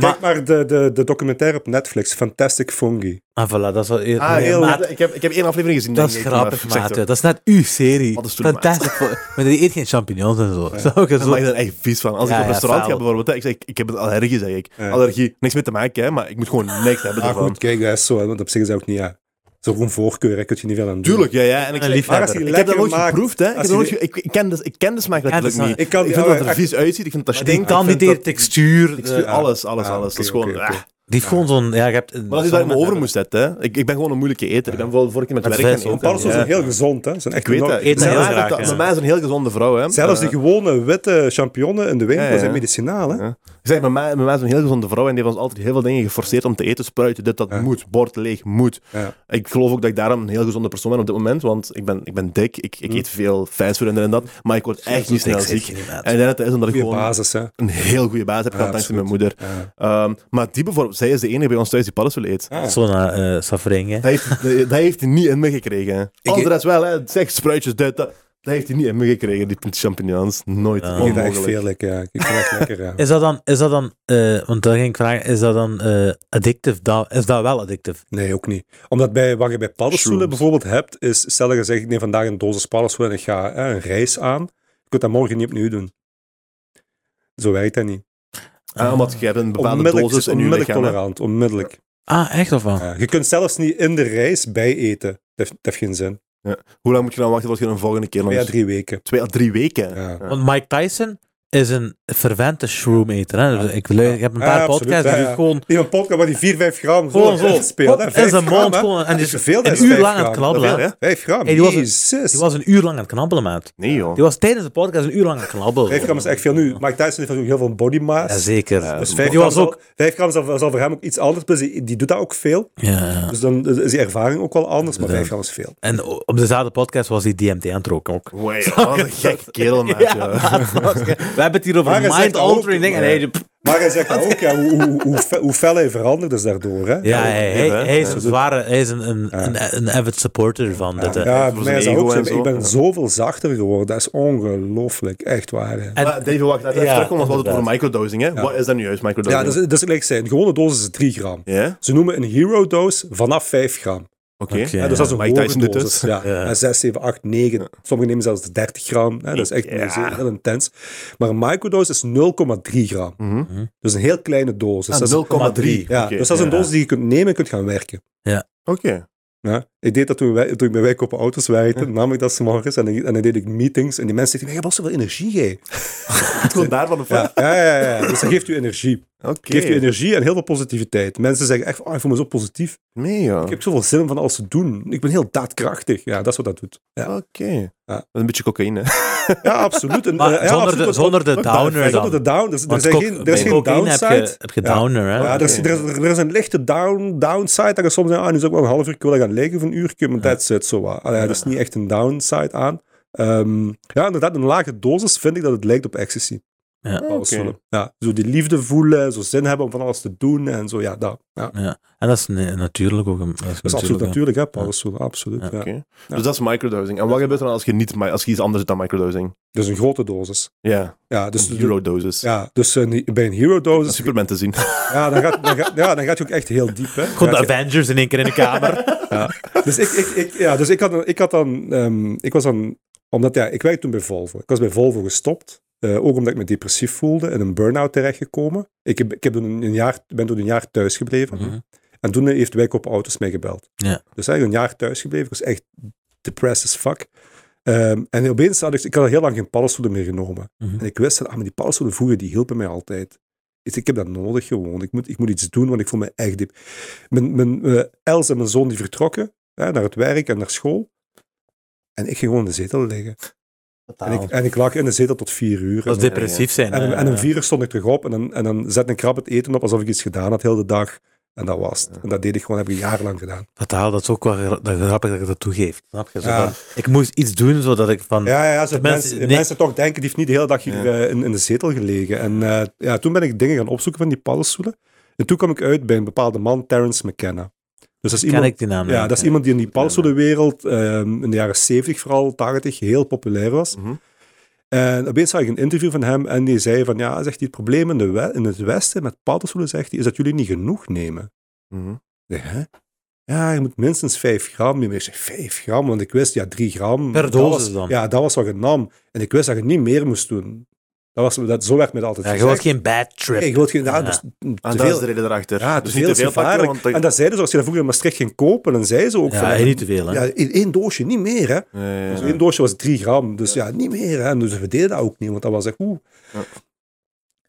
Kijk maar de, de, de documentaire op Netflix, Fantastic Fungi. Ah, voilà, dat is wel eer- Ah, nee, heel, maat, ik, heb, ik heb één aflevering gezien. Dat is denk ik, grappig, maar ik zeg maat. het ja. Dat is net uw serie. Paddenstoelen, maat. Fantastisch. voor- Maar die eet geen champignons en zo. Zou ik Dat maak zo... ik er echt vies van. Als ik Ja, op ja, een restaurant faal. ga bijvoorbeeld, hè, ik zeg, ik, ik heb een allergie, zeg ik. Ja. Allergie, niks mee te maken, hè, maar ik moet gewoon niks hebben Ah, ervan. goed, kijk, dat is zo, hè, want op zich is dat ook niet, ja. Zo gewoon voorkeur, daar kun je niet veel aan doen. Tuurlijk, ja, ja. En ik, Een zeg, liefhebber. maar als je Ik ik heb dat lekker nooit maakt, geproefd, hè. Ik, als heb je dat nooit die- ge- ik, ik ken, de, ik ken de smaak letterlijk dat is niet. waar. Ik, Ik kan die vind dat het er oude- vies uitziet, ik vind dat dat Die stinkt. kan ik niet vind tegen dat- textuur. ik eh, vind alles, alles, Ah, alles. oké, dat is gewoon... oké, oké. ah. Die heeft gewoon zo'n... Ja, je hebt een- Maar dat is waar ik me zo'n- eh, over moest zetten, hè. Ik, ik ben gewoon een moeilijke eter. Ik ben voor, voor ik in het Met werk vis ben ook, eten. Paddenstoelen ja. zijn heel gezond, hè. Zijn echt Ik weet enorm- dat. Eet dat Zij heel maakt graag, dat- ja. Mijn ma is een heel gezonde vrouw, hè. Zelfs Eh, die gewone witte champignonnen in de winkel Ja, ja. zijn medicinaal, hè. Ja. Ik zeg, mijn ma, mijn ma is een heel gezonde vrouw en die heeft ons altijd heel veel dingen geforceerd om te eten. Spruiten, dit, dat Ja. moet. Bord leeg, moet. Ja. Ik geloof ook dat ik daarom een heel gezonde persoon ben op dit moment, want ik ben, ik ben dik, ik, Hm. ik eet veel fastfood en dit en dat, maar ik word echt niet Ik snel zeg ziek. je niet, maat. En ik denk dat dat is omdat ik Goeie gewoon basis, hè. een heel goede baas heb gehad Ja, dankzij mijn moeder. Ja. Ehm, maar die bijvoorbeeld, zij is de enige bij ons thuis die paddenstoelen eet. Ah. Zo'n eh, safering, [LAUGHS] hè. e- Dat heeft, dat heeft hij niet in me gekregen. hè. Anders is wel, hè. Zeg, spruitjes, dit, dat. Dat heeft hij niet in me gekregen, die champignons. Nooit. Ja. Ik krijg echt Onmogelijk. veel lekker, ja. Ik krijg echt lekker, [LAUGHS] ja. Is dat dan, is dat dan eh, want daar ging ik vragen, is dat dan eh addictief? Dat, is dat wel addictief? Nee, ook niet. Omdat bij, wat je bij paddenstoelen Shrooms. bijvoorbeeld hebt, is stel dat je zegt, ik neem vandaag een dosis paddenstoelen en ik ga hè, een reis aan. Je kunt dat morgen niet opnieuw doen. Zo werkt dat niet. Ah, omdat jij een bepaalde Onmiddellijk, dosis in je onmiddellijk lichaam hebt. tolerant, onmiddellijk. Ah, echt of wat? Ja, je kunt zelfs niet in de reis bijeten. Dat heeft, dat heeft geen zin. Hoe lang moet je dan wachten tot je een volgende keer nog Twee à eens- drie weken. Twee à drie weken. Ja. Want Mike Tyson is een fervente shroometer. Hè? Dus ik, lu- ik heb een Ja, paar absoluut, podcasts ja, die ja. gewoon, Die van podcast waar die 4, 5 gram gewoon zo, speelt. hop, in zijn mond gewoon, en die is veel, dat een is uur vijf lang aan het gram. knabbelen. hè. 5 gram, Hey, die was een- jezus. Die was een uur lang aan het knabbelen, maat. Nee, joh. Die was tijdens de podcast een uur lang aan het knabbelen. 5 gram is echt veel. Nu, Mike Tyson heeft ook heel veel body mass. Jazeker. Ja, Dus 5 die gram, was zal- ook... vijf gram zal, zal voor hem ook iets anders. Dus die, die doet dat ook veel. Ja, ja. Dus dan is die ervaring ook wel anders. Maar Ja. 5 gram is veel. En o- op dezelfde podcast was hij DMT aan het roken ook. Wait, wat een gekke kerel, [LAUGHS] maat. [LAUGHS] Ja, joh. maat, dat [LAUGHS] was- we hebben het hier over Maar hij zegt mind-altering ook- dingen. En hij, ja, Maar hij zegt dat ook, ja, hoe, hoe, hoe, fe- hoe fel hij veranderd is daardoor. Hè? ja, hij, hij, hè? hij is een zware, hij is een, een, een, een avid supporter van eh, dit. hè. dus- Ja, voor voor mij is zijn dat ego ook en zo. zo. Ik Ja. ben zoveel zachter geworden. Dat is ongelooflijk. Echt waar. hè. Maar En- David, wacht, even Ja, terugkomen, want we hadden het over inderdaad. microdosing, hè? Wat is dat nu juist, Ja, microdosing? dat is, dat is gelijk zijn. Een gewone dosis is 3 gram. Ja? Ze noemen een hero dose vanaf 5 gram. Oké. Oké. Hè, dus dat is een Mike hoge Tyson doet dosis. het. Ja. Ja. En 6, 7, 8, 9. Sommigen nemen zelfs de 30 gram. Hè, dat is echt Ja. zeer- heel intens. Maar een microdose is 0,3 gram. Mhm. Dus een heel kleine dosis. Ah, Dat is- 0,3. Ja, Oké, dus dat is een ja. dosis die je kunt nemen en kunt gaan werken. Oké. [LAUGHS] Ja, ik deed dat toen, wij, toen ik bij Wijk op auto's werkte, nam ik dat s'morgens en, ik- en dan deed ik meetings en die mensen zeiden, je hebt al zoveel energie, jij. Het komt daarvan op. [LAUGHS] Ja, ja, ja, ja. Dus dat geeft u energie. Oké. Geeft u energie en heel veel positiviteit. Mensen zeggen echt, oh, ik voel me zo positief. Nee, joh. Ik heb zoveel zin om van alles te doen. Ik ben heel daadkrachtig. Ja, dat is wat dat doet. Ja, Oké. Dat is Een beetje cocaïne. ja absoluut. En, Maar eh, ja, zonder absoluut. de- zonder de Wat- wat- downer ja, dan. Zonder de downer. Dus, er, Want zijn kok- geen, er is bij geen cocaïne downside. Heb je, heb je downer, hè? Ja, er is, Oké. er, is, er is een lichte down, downside. Dat je soms denkt, ah, nu is ook wel een half uur, ik wil gaan liggen of een uurtje, maar that's it, zo wat. Allee, Er is niet echt een downside aan. Ehm, ja, inderdaad, een lage dosis vind ik dat het lijkt op ecstasy. Ja. Alles Oké. willen. ja, zo die liefde voelen, zo zin hebben om van alles te doen en zo, ja, dat. Ja. Dat Ja. En dat is ne- natuurlijk ook een... is Dat is, absoluut natuurlijk, natuurlijk, hè, paddenstoelen, absoluut. Ja. Oké. [LAUGHS] Dus dat is microdosing. En wat gebeurt er dan als je, niet, mi- als je iets anders doet dan microdosing? Dus een grote dosis. Ja, Ja, dus, een eurodosis. ja, dus een- bij een hero Dat is dosis, Superman [LAUGHS] te zien. ja, dan, gaat, dan, gaat, ja, dan gaat je ook echt heel diep. Hè. Dan Gewoon gaat je- de Avengers in één keer in de [LAUGHS] kamer. Dus ik, ik, ik, ja, dus ik, had, een- ik had dan, ehm, ik was dan, omdat ja, ik werkte toen bij Volvo. Ik was bij Volvo gestopt. eh, ook omdat ik me depressief voelde en een burn-out terechtgekomen. Ik, heb, ik heb toen een jaar, ben toen een jaar thuis gebleven. Mhm. En toen heeft Wijk op Auto's mij gebeld. Ja. Dus eigenlijk een jaar thuis gebleven. Ik was echt depressed as fuck. Ehm, en opeens had ik, ik had al heel lang geen paddenstoelen meer genomen. Mhm. En ik wist dat, ah, maar die paddenstoelen vroeger, die hielpen mij altijd. Ik, ik heb dat nodig gewoon. Ik moet, ik moet iets doen, want ik voel me echt diep. Mijn, mijn, eh, Els en mijn zoon die vertrokken hè, naar het werk en naar school. En ik ging gewoon in de zetel liggen. En ik, en ik lag in de zetel tot vier uur. Dat is En- depressief zijn. en, hè. en om vier uur stond ik terug op en dan, en dan zette een krab het eten op alsof ik iets gedaan had heel de dag. En dat was het. En dat deed ik gewoon, heb ik jarenlang gedaan. Fataal, dat is ook wel gra- dat is grappig dat je dat toegeeft. Snap je? Zo Ja. van, ik moest iets doen zodat ik van... Ja, ja, ja zo Mensen- mensen, mensen, nee. toch denken, die heeft niet de hele dag hier eh, in, in de zetel gelegen. En eh, ja, toen ben ik dingen gaan opzoeken van die paddenstoelen. En toen kwam ik uit bij een bepaalde man, Terence McKenna. Dus dat is Ken iemand, ik die naam Ja, niet, dat is ja. iemand die in die paddenstoelenwereld ehm, in de jaren 70 vooral, 80, heel populair was. Mhm. En opeens zag ik een interview van hem en die zei van, ja, zegt hij, het probleem in, de we- in het Westen met paddenstoelen, zegt hij, is dat jullie niet genoeg nemen. Mhm. Ik zeg, hè? Ja, je moet minstens 5 gram nemen. Ik zeg 5 gram, want ik wist, ja, 3 gram. Per dat dosis was- dan? Ja, dat was wat je nam. En ik wist dat je niet meer moest doen. Dat was, dat, zo werd mij dat altijd Ja, je gezegd. wilt geen bad trip. Nee, je wilt geen... Ja, Ja. dat is En te dat Ah, is veel. de reden daarachter. Ja, te dus veel niet te is veel pakken, gevaarlijk. want dat- En dat zeiden ze, als je dat vroeger in Maastricht ging kopen, dan zeiden ze ook... Ja, van, en niet te veel, hè. Ja, één één doosje, niet meer, hè. Ja, ja, ja. Dus één doosje was 3 gram, dus ja, niet meer, hè. En dus we deden dat ook niet, want dat was echt... Oeh. Ja.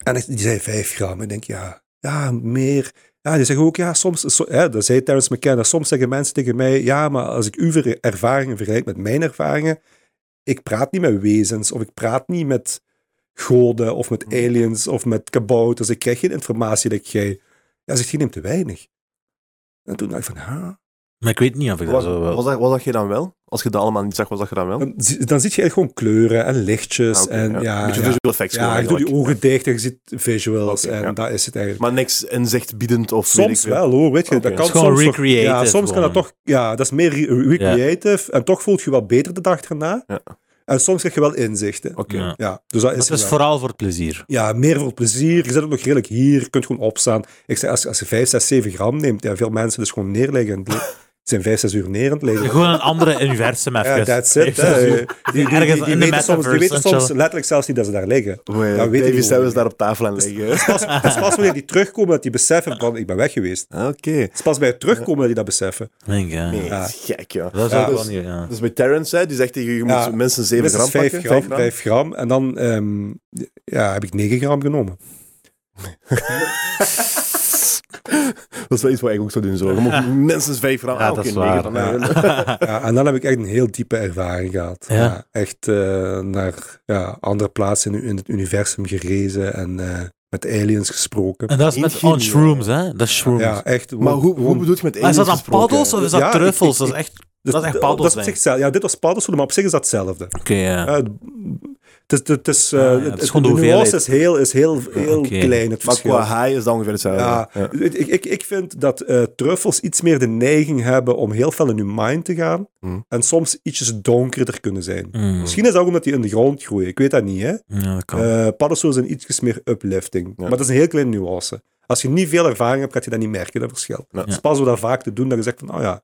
En ik- die zei 5 gram. Ik denk, ja, ja, meer. Ja, die zeggen ook, ja, soms... So, hè, dat zei Terence McKenna. Soms zeggen mensen tegen mij, ja, maar als ik uw ver- ervaringen vergelijk met mijn ervaringen, ik praat niet met wezens, of ik praat niet met goden, of Mm. met aliens, of met kabouters. Ik krijg geen informatie dat jij... Ja, zegt, je neemt te weinig. En toen dacht ik van, huh? Maar ik weet niet of ik dat was, zo wil. was, dat, was dat je dan wel? Als je dat allemaal niet zag, was dat je dan wel? Dan, zie- dan zit je echt gewoon kleuren en lichtjes Oh. Ah, oké, Dus, en ja. ja, Een beetje ja. visual effects. Ja, je doet die ogen dicht en je ziet visuals Oké, en ja. dat is het eigenlijk. Maar niks inzichtbiedend of weet ik soms veel. wel hoor, weet je, Oké. dat kan Het is gewoon soms toch- recreative Ja, soms kan dat gewoon. toch, ja, dat is meer re- recreative en toch voelt je wel beter de dag erna. Ja. En En soms krijg je wel inzichten. Oké. Ja. Ja, dus dat is, Het er is wel. vooral voor het plezier. Ja, meer voor plezier. Je zit ook nog redelijk hier, je kunt gewoon opstaan. Ik zeg, als, als je 5, 6, 7 gram neemt, ja, veel mensen dus gewoon neerleggen. [LAUGHS] en Die zijn 5, 6 uur neer aan het liggen. Gewoon een andere [LAUGHS] universum even. Ja, that's it. Even- hè. Die- Die, die, die, Ergens die in de weten soms, die metaverse weten en soms chillen. letterlijk zelfs niet dat ze daar liggen. Oei, Dat weet ik Davy niet. Dus- Stevens eh, daar op tafel aan liggen. [LAUGHS] Pas, het is pas wanneer die terugkomen dat die beseffen van ik ben weg geweest. Ah, Oké. Het is pas bij het terugkomen dat die dat beseffen. Denk, ja. Nee, dat is gek, joh. Dat is Ja, ook wel dus- niet, ja. Dus bij Terrence, hè, die zegt tegen je, je Ja, moet minstens 7 gram Minstens 5 pakken. gram, Vijf 5 gram. En dan ehm, ja, heb ik 9 gram genomen. Dat is wel iets wat ik ook zou doen. Zo. Je [LAUGHS] moet minstens 5 gram. Ja, Ah, dat oké, is negen waar, gram. ja. [LAUGHS] Ja, en dan heb ik echt een heel diepe ervaring gehad. Ah. Ja. echt eh, naar ja, andere plaatsen in, in het universum gerezen en eh, met aliens gesproken. En dat is met Ingenue. on shrooms, hè? Dat is shrooms. Ja, echt. Maar hoe, hoe gewoon- bedoel je met Maar is dat dan aliens gesproken? paddels of is dat Ja, ik- ik- truffels? dat is echt... dat is echt dus paddels, dat is op denk zich hetzelfde. Ja, dit was paddenstoelen, maar op zich is dat hetzelfde. Oké, ja. Ja, het, Eh, het is, het is, eh, Ah, ja, het- het is het- gewoon de de nuance hoeveelheid. is heel, is heel, heel oké. klein, het Maar verschil. qua haai is dat ongeveer hetzelfde. Ja, Dus Ik, ik, ik vind dat eh, truffels iets meer de neiging hebben om heel fel in hun mind te gaan Hmm. en soms ietsjes donkerder kunnen zijn. Mm. Misschien is dat ook omdat die in de grond groeien, ik weet dat niet. Hè? Ja, dat kan. Eh paddenstoelen zijn ietsjes meer uplifting, maar dat is een heel kleine nuance. Als je niet veel ervaring hebt, gaat je dat niet merken, dat verschil. Ja. Het is pas door dat vaak te doen dat je zegt van, oh ja.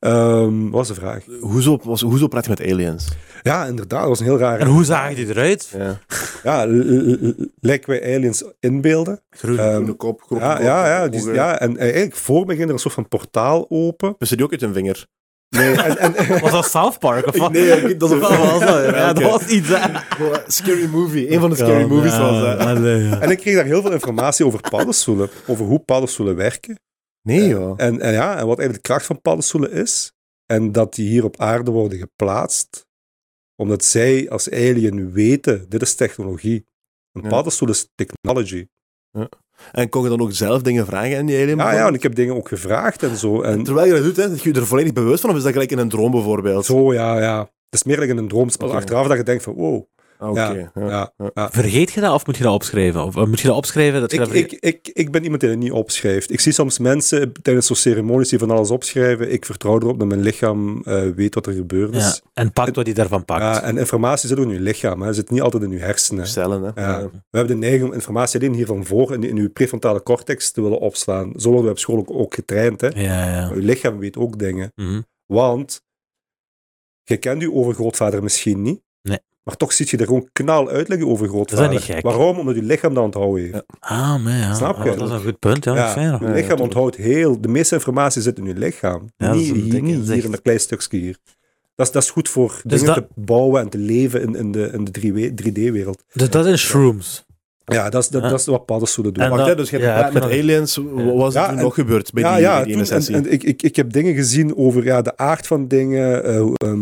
Ehm, wat was de vraag? Hoezo, was, hoezo praat je met aliens? Ja, inderdaad, dat was een heel rare... en hoe zagen die eruit? Ja. Ja, l- l- l- lijken wij aliens inbeelden. Groen. Ehm, Groene kop, grote ja, kop, ja, ja, die- ogen. ja, en eigenlijk voor me ging er een soort van portaal open. Pissen die ook uit hun vinger? En, en, Was dat South Park of wat? Nee, dat is Wat was dat? Ja, Ja, dat oké. was iets, hè? Scary Movie. Een van de Scary Movies was dat. en ik kreeg daar heel veel informatie over paddenstoelen. Over hoe paddenstoelen werken. Nee, joh. En, en ja, en wat eigenlijk de kracht van paddenstoelen is. En dat die hier op aarde worden geplaatst. Omdat zij als alien weten, dit is technologie. Een Ja. paddenstoel is technology. En kon je dan ook zelf dingen vragen aan die alien? Ah, Ja, ja, en ik heb dingen ook gevraagd en zo. En Terwijl je dat doet, hè, dat je je er volledig bewust van of is dat gelijk in een droom bijvoorbeeld? zo, ja, ja. Het is meer like in een droomspel. Oké. Achteraf dat je denkt van, wow. Ah, Oké. ja. ja. ja. Vergeet je dat of moet je dat opschrijven? Of eh, moet je dat opschrijven? Dat je Ik, dat ik, vergeet- ik, ik ben iemand die het niet opschrijft. Ik zie soms mensen tijdens zo'n ceremonies die van alles opschrijven. Ik vertrouw erop dat mijn lichaam eh, weet wat er gebeurd ja. is. En pakt wat hij daarvan pakt. Ja, en informatie zit ook in je lichaam. Hè. Zit niet altijd in je hersenen. Cellen, hè. Ja. We hebben de neiging om informatie alleen hiervan voor in, in je prefrontale cortex te willen opslaan. Zo worden we op school ook, ook getraind. Hè. ja, ja. Maar je lichaam weet ook dingen. Mhm. Want je kent je overgrootvader misschien niet. Nee. Maar toch zit je er gewoon knal uitleggen over grootvader. niet gek? Waarom? Omdat je lichaam dat onthouden heeft. Ah, maar ja. Snap je? Ah, Dat is een goed punt, ja. Ja, Fijn, je hoor. Ja, lichaam tuurlijk. onthoudt heel... De meeste informatie zit in je lichaam. Ja, dat is niet een hier, dik niet inzicht. hier in een klein stukje hier. Dat is, dat is goed voor Dus dingen dat- te bouwen en te leven in, in de, in de 3D-wereld. Dus dat is shrooms. Ja, dat is, dat, Ja. dat is wat paddenstoelen doen. En Wacht, dat- hè, dus je hebt ja, gepraat heb met je nog- aliens. Wat was Ja, er toen en- nog gebeurd bij die, ja, die ja, ene toen- en, sessie? en ik, ik, ik heb dingen gezien over ja, de aard van dingen. eh, hoe, ehm,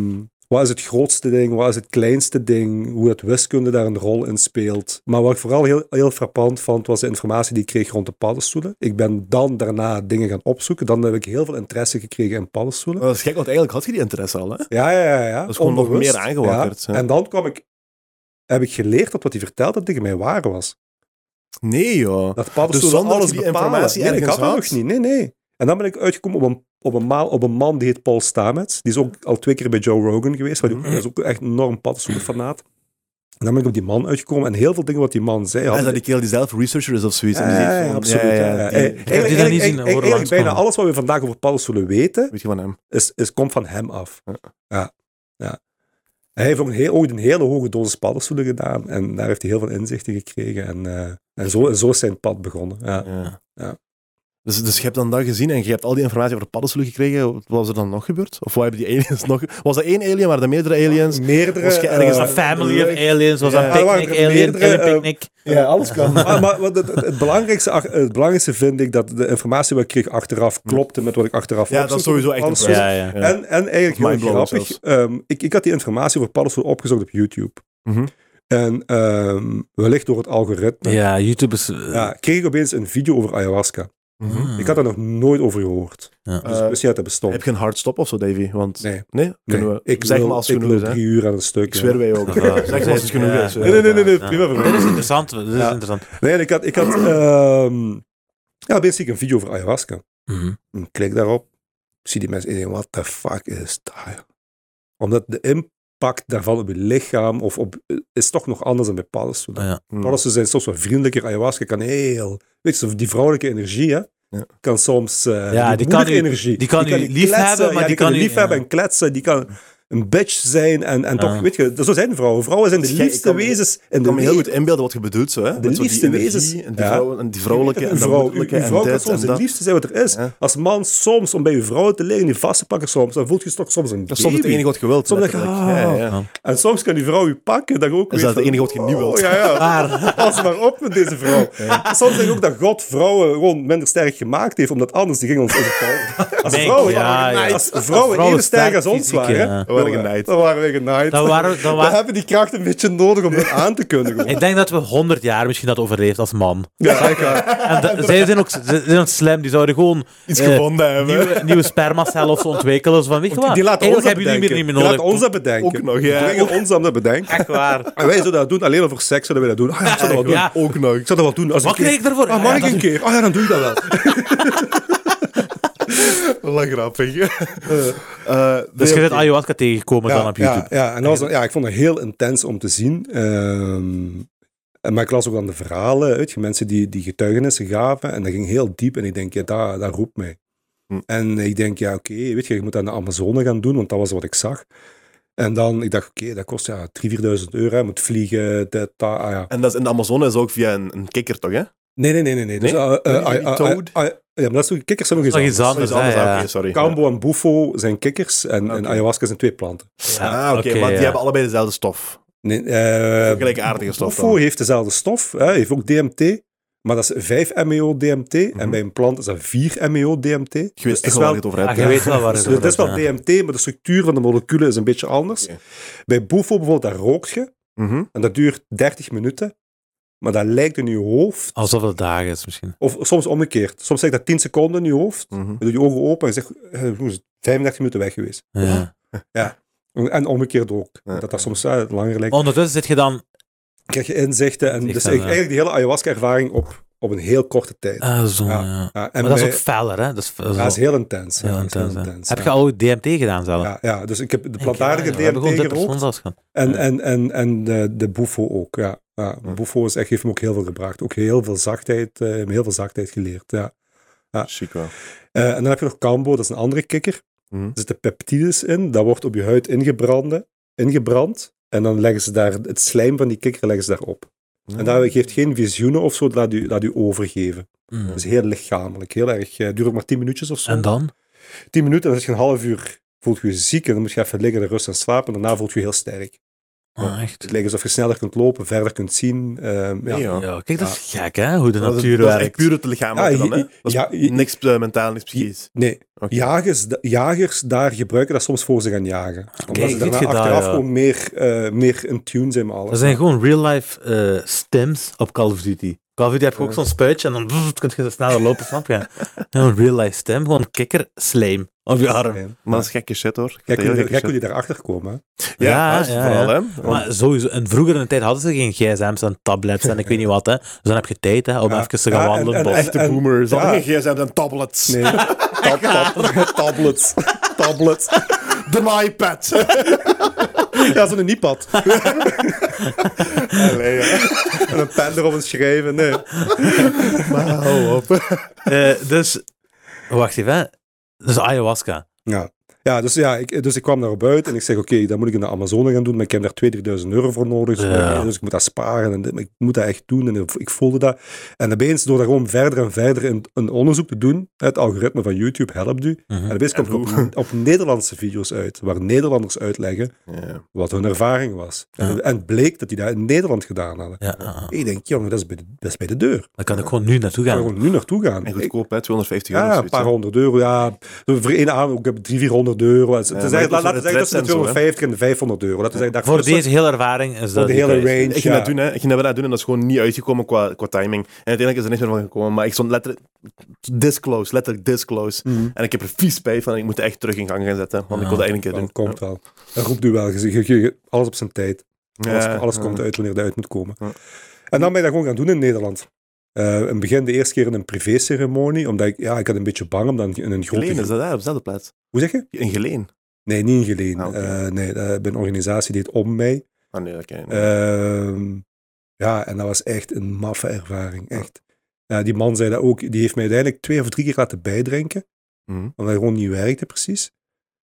wat is het grootste ding? Wat is het kleinste ding? Hoe het wiskunde daar een rol in speelt. Maar wat ik vooral heel, heel frappant vond, was de informatie die ik kreeg rond de paddenstoelen. Ik ben dan daarna dingen gaan opzoeken. Dan heb ik heel veel interesse gekregen in paddenstoelen. Maar Dat is gek, want eigenlijk had je die interesse al, hè? Ja, ja, ja. ja. Dat is gewoon nog meer aangewakkerd, hè. En dan kwam ik, heb ik geleerd dat wat hij vertelde tegen mij waar was. Nee, joh. Dat paddenstoelen zonder alles die bepalen. informatie nee, ik ergens had dat had? nog niet. Nee, nee. En dan ben ik uitgekomen op een, op een, maal, op een man die heet Paul Stamets. Die is ook al twee keer bij Joe Rogan geweest. Maar die dat is ook echt een enorm paddenstoelenfanaat. En dan ben ik op die man uitgekomen. En heel veel dingen wat die man zei... Ja, had is dat die kerel die zelf researcher is of zoiets? en die Ja, zegt ja, van, absoluut. ja, ja, ja, ja. ja. Eh, Eigenlijk, niet eigenlijk, zien eigenlijk- horen eigenlijk bijna langskomen. alles wat we vandaag over paddenstoelen weten, Weet je van hem? is, is, komt van hem af. Ja. ja. Hij heeft ook een, heel, ook een hele hoge dosis paddenstoelen gedaan. En daar heeft hij heel veel inzichten gekregen. En, eh, en, zo, en zo is zijn pad begonnen. Ja. Ja. Ja. Dus, dus je hebt dan dat gezien en je hebt al die informatie over de paddenstoelen gekregen. Wat was er dan nog gebeurd? Of wat hebben die aliens [LAUGHS] nog... Was dat één alien? Waren er meerdere aliens? Meerdere... Was je ergens eh, Ja, Een family of leuk. aliens, was Ja. een Ja, er waren picnic, er alien, meerdere, alien eh, picnic. Ja, alles kan. [LAUGHS] Maar, maar wat het, het- het belangrijkste, ach- het belangrijkste vind ik dat de informatie wat ik kreeg achteraf klopte met wat ik achteraf Ja, dat is opzocht. sowieso echt een Alles- plus. Ja, ja. Ja. En, en eigenlijk heel Mindblowing grappig, ehm, ik, ik had die informatie over paddenstoel opgezocht op YouTube. Mhm. En ehm, wellicht door het algoritme Ja, YouTube is... eh, ja, kreeg ik opeens een video over ayahuasca. Mhm. ah. Ik had daar nog nooit over gehoord. Ja. Dus Eh, ik wist niet dat het bestond. Heb je een hard stop of zo, Davy? Want... Nee. Kunnen Nee, we... ik zeg wil, maar als ik het genoeg is, wil hè? drie uur aan een stuk. Ik zweer wij ook. Ja. [LAUGHS] Zeg maar als het genoeg Ja. is. Nee, nee, nee, nee, nee, Ja. prima voor mij. Dit is interessant, dit is Ja. interessant. Nee, ik had, ik had [CLEARS THROAT] ehm, ja, opeens zie ik een video over ayahuasca. Mhm. Ik klik daarop. Ik Zie die mensen. Ik denk, what the fuck is dat? Omdat de, imp- impact daarvan op je lichaam of op, is toch nog anders dan bij paddenstoelen. Ah, ja. Hm. Paddenstoelen zijn soms wat vriendelijker. Ayahuasca kan heel... Weet je, die vrouwelijke energie, hè? Ja. Kan soms... eh Ja, die kan moederenergie, u- die kan u lief kletsen, hebben, maar ja, die kan u u- lief hebben ja. en kletsen. Die kan een bitch zijn en, en toch... Ah. Weet je, zo zijn vrouwen. Vrouwen zijn de Dus jij- ik liefste kan me- wezens in Ik de kan me heel wereld. goed inbeelden wat je bedoelt. Zo, hè? De Met zo liefste die wezens. energie En die, Ja. vrouwen, en die vrouwelijke en Een de vrouw, uw, moederlijke uw en vrouw kan dit en soms het dat. liefste zijn wat er is. Ja. Als man soms, om bij uw vrouw te liggen, die vast te pakken soms, dan voelt je toch soms een Dat is soms het baby. enige wat je wilt. Soms denk je, letterlijk. Ja, ja. ah. En soms kan die vrouw u pakken, dat je Is ook weet dat het van, enige wat je niet wilt? Oh, ja, ja. Maar, [LAUGHS] Pas maar op met deze vrouw. Soms denk ik ook dat God vrouwen gewoon minder sterk gemaakt heeft, omdat anders die gingen ons [LAUGHS] overkomen. Als Denk- vrouwen, ja, ja. als vrouwen Vrouwen even sterk sterk als ons fysiek, waren, ja. Dan waren we genaaid. Dan waren we genaaid. Dan waren- dan We waren- hebben die kracht een beetje nodig om dat aan [LAUGHS] te kunnen. gewoon. ik denk dat we 100 jaar misschien dat overleefd als man. Ja, echt waar. En [LAUGHS] da- zij zijn ook, ze zijn ook slim, die zouden gewoon Iets eh, gevonden hebben. nieuwe, nieuwe spermacellen of zo ontwikkelen. Zo van, weet je wat, Die laten ons eigenlijk dat hebben jullie bedenken. Die meer niet meer laten nodig. ons dat bedenken. Ook nog, ja. Die brengen ons aan dat bedenken. Echt waar. En wij zouden dat doen, alleen over seks zouden wij dat doen. Ah, ja, ik zou dat wel Ja. doen. Ook nog. Ik zou dat wel doen. Als Wat keer- krijg ik daarvoor? Ah, Ja, mag ik dat- een keer? Ah ja, dan doe ik dat wel. Wel grappig. Eh, [LAUGHS] nee, Dus je bent oké. ayahuasca tegengekomen dan op YouTube. Ja, ja. En dat was, ja, ik vond het heel intens om te zien. Ehm, en maar ik las ook aan de verhalen, weet je, mensen die, die getuigenissen gaven. En dat ging heel diep. En ik denk, ja, dat, dat roept mij. Hm. En ik denk, ja, oké, weet je, je moet aan de Amazone gaan doen, want dat was wat ik zag. En dan, ik dacht, oké, dat kost ja, 3.000, 4.000 euro. Je moet vliegen, dit, dat, ah, ja. En dat is in de Amazone is ook via een, een kikker, toch? Hè? Nee, nee, nee, nee. nee. Dus, Nee? eh, eh, Niet die ah, ah, toad? ah, ah, ja, maar dat is toch, kikkers zijn nog Dat is eh, eens nog iets anders. anders, hè, ah, ja. oké, sorry. Cambo en bufo zijn kikkers en, en Oké. ayahuasca zijn twee planten. Ah, oké, maar die ja. hebben allebei dezelfde stof. Nee, eh, Gelijkaardige stof Tofu dan. heeft dezelfde stof, hè, heeft ook DMT, maar dat is E 5 MEO DMT en Mhm. bij een plant is dat E 4 MEO DMT. Je weet Dus het echt is wel waar je wel, het over hebt. Ah, Ja, je hè? weet wel waar dus het het is wel over gaat. DMT, maar de structuur van de moleculen is een beetje anders. Oké. Bij Bufo bijvoorbeeld, daar rookt je Mhm. en dat duurt 30 minuten, maar dat lijkt in je hoofd, Alsof het dagen is misschien. of soms omgekeerd. Soms zeg dat 10 seconden in je hoofd, Mhm. je doet je ogen open en je zegt, eh, hoe is het? 35 minuten weg geweest. Ja. En omgekeerd ook. Ja. Dat dat soms eh, langer lijkt. Ondertussen zit je dan... krijg je inzichten. En Ik dus ben, eigenlijk ja. eigenlijk die hele ayahuasca-ervaring op, op een heel korte tijd. eh, Ah, zo, Ja. ja. Ja, en Maar dat is bij- ook feller, hè? Dat is, dat is ja, dat is wel- heel intens. heel ja, dat is intens, hè. Heb ja. je al DMT gedaan zelf? ja, ja, dus ik heb de Ik denk, ja, plantaardige we hebben gewoon DMT dit gerookt persoonsafstand gehad. en, Ja. en, en, en de, de bufo ook, ja. ja Ja. Bufo is echt, heeft me ook heel veel gebracht. Ook heel veel zachtheid, eh, heel veel zachtheid geleerd, ja. Chic wel. Eh, en dan heb je nog Cambo, dat is een andere kikker. Mhm. Er zitten peptides in, dat wordt op je huid ingebrande, ingebrand. En dan leggen ze daar, het slijm van die kikker leggen ze daarop. En dat geeft geen visioenen of zo, dat laat u, laat u overgeven. Mm. Dat is heel lichamelijk, heel erg. eh, duurt ook maar 10 minuutjes of zo. En dan? 10 minuten, dan is je een half uur. Voelt je je ziek en dan moet je even liggen, en rust en slapen. En daarna voelt je je heel sterk. Dus Ah, echt? Het lijkt alsof je sneller kunt lopen, verder kunt zien. ehm, ja. Nee, ja. joh. Ja, kijk, dat is gek, hè? Hoe de Dat is- natuur dat is echt werkt. puur het lichamelijke Ja, dan, hè? je- Dat is ja, je- niks eh, mentaal, niks psychisch. Nee, Oké. jagers, da- jagers daar gebruiken dat soms voor ze gaan jagen. Omdat Ah, Kijk, ze dit daarna gedaan, achteraf ja. gewoon meer, eh, meer in tune zijn met alles. Dat zijn gewoon real-life eh, stems op Call of Duty. Call of Duty heb je ook Ja. zo'n spuitje en dan [LAUGHS] brrr, kun je sneller lopen, snap je? Een real-life stem, gewoon kikker slijm op je arm. Ja. Maar dat is gekke shit, hoor. Ik Jij vind kunt dat heel die- gekke jij kunt shit. die daarachter komen. hè. Ja, Ja, dat is ja, vooral, ja. hè. Want- Maar sowieso, en vroeger in de tijd hadden ze geen gsm's en tablets en ik weet niet wat, hè. Dus dan heb je tijd, hè, om Ja. even te gaan Ja, en- wandelen. en- bos. Echte en- boomers. ja. Hadden geen gsm's en tablets. [LAUGHS] Nee, [LAUGHS] tab, tab, tablets. Tablets. De iPad. [LAUGHS] Ja, zo'n niepad. [LAUGHS] Allee, ja. En een pen erop en schrijven. Nee. Maar Oh, hou op. Eh, dus, wacht even, hè. Dus ayahuasca. Ja, ja, dus, ja ik, dus ik kwam daarop uit en ik zeg, oké, dat moet ik in de Amazone gaan doen, maar ik heb daar 2.000, 3.000 euro voor nodig. Dus, Ja. dus ik moet dat sparen en dit, maar ik moet dat echt doen. En ik voelde dat. En opeens, door daar gewoon verder en verder in, een onderzoek te doen, het algoritme van YouTube helpt u. En opeens komt hoe? het op, op Nederlandse video's uit, waar Nederlanders uitleggen Ja. wat hun ervaring was. En, en bleek dat die dat in Nederland gedaan hadden. Ja, ah, ah. Ik denk, jongen, dat is bij de, dat is bij de deur. dan kan ik gewoon nu naartoe Ik kan gaan. gewoon nu naartoe gaan. En Ik- goedkoop, hè. 250 euro. ja, of een zoiets, Ah, paar hè. honderd euro. Ja, voor één avond ook heb ik 300, 400 euro. Het is- het Ja, is maar je eigenlijk- hebt laten we ook zeggen tussen de zo'n 250 en de 500 euro. Laten we zeggen, Voor daartussen- deze hele ervaring is voor dat de die hele prijs. range. Ik ging dat doen, hè. Ik ging dat, wel doen en dat is gewoon niet uitgekomen qua, qua timing. En uiteindelijk is er niks meer van gekomen. Maar ik stond letterlijk disclose, letterlijk disclose. Mhm. En ik heb er vies spijt van en ik moet het echt terug in gang gaan zetten. Want ik wilde één keer ja. doen. Dat komt Ah, wel. Dat roept u wel. Je- je- je- Alles op zijn tijd. Alles, Ja, alles ja. komt uit wanneer het uit moet komen. Ja. En dan ben ik dat gewoon gaan doen in Nederland. Eh, in het begin de eerste keer in een privéceremonie, omdat ik, ja, ik had een beetje bang om dan in een grote... Geleen is dat daar, op dezelfde plaats. Hoe zeg je? In Geleen. Nee, niet ingeleen. Ah, oké. Eh, nee, eh, bij een organisatie die het om mij. Ah, nee, dat ken ik Eh, niet. Ehm, ja, en dat was echt een maffe ervaring. Echt. Ja, die man zei dat ook. Die heeft mij uiteindelijk twee of drie keer laten bijdrinken. Mhm. Omdat hij gewoon niet werkte, precies.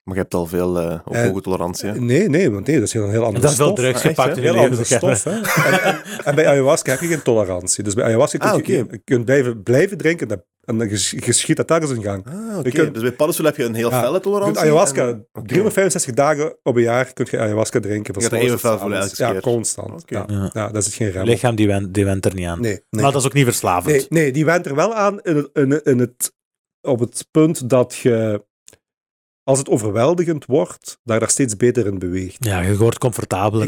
Maar je hebt al veel eh ook Eh, hoge tolerantie. hè? Nee, nee, want nee, dat is heel een heel andere Dat is wel stof. Ah, drugs echt, gepakt hè? in Heel je andere leven. zeg maar. stof, hè. En, en- en bij ayahuasca heb je geen tolerantie. Dus bij ayahuasca kun je, Ah, oké. je kunt blijven, blijven drinken. dat- En dan ges- geschiet dat daar eens in gang. Ah, oké. je kunt- Dus bij paddenstoel heb je een heel Ja, felle Je kunt tolerantie. ayahuasca, en- Oké. 365 dagen op een jaar kun je ayahuasca drinken. Je gaat er s'morgens even fel tot voelen s'avonds. elke Ja, keer. constant. Oké. Ja. Ja. Ja, dat is geen rem. Lichaam die went, die went er niet aan. Nee, nee. Maar dat is ook niet verslavend. Nee, nee, die went er wel aan in het, in, in het, op het punt dat je, als het overweldigend wordt, daar, daar steeds beter in beweegt. Ja, je wordt comfortabeler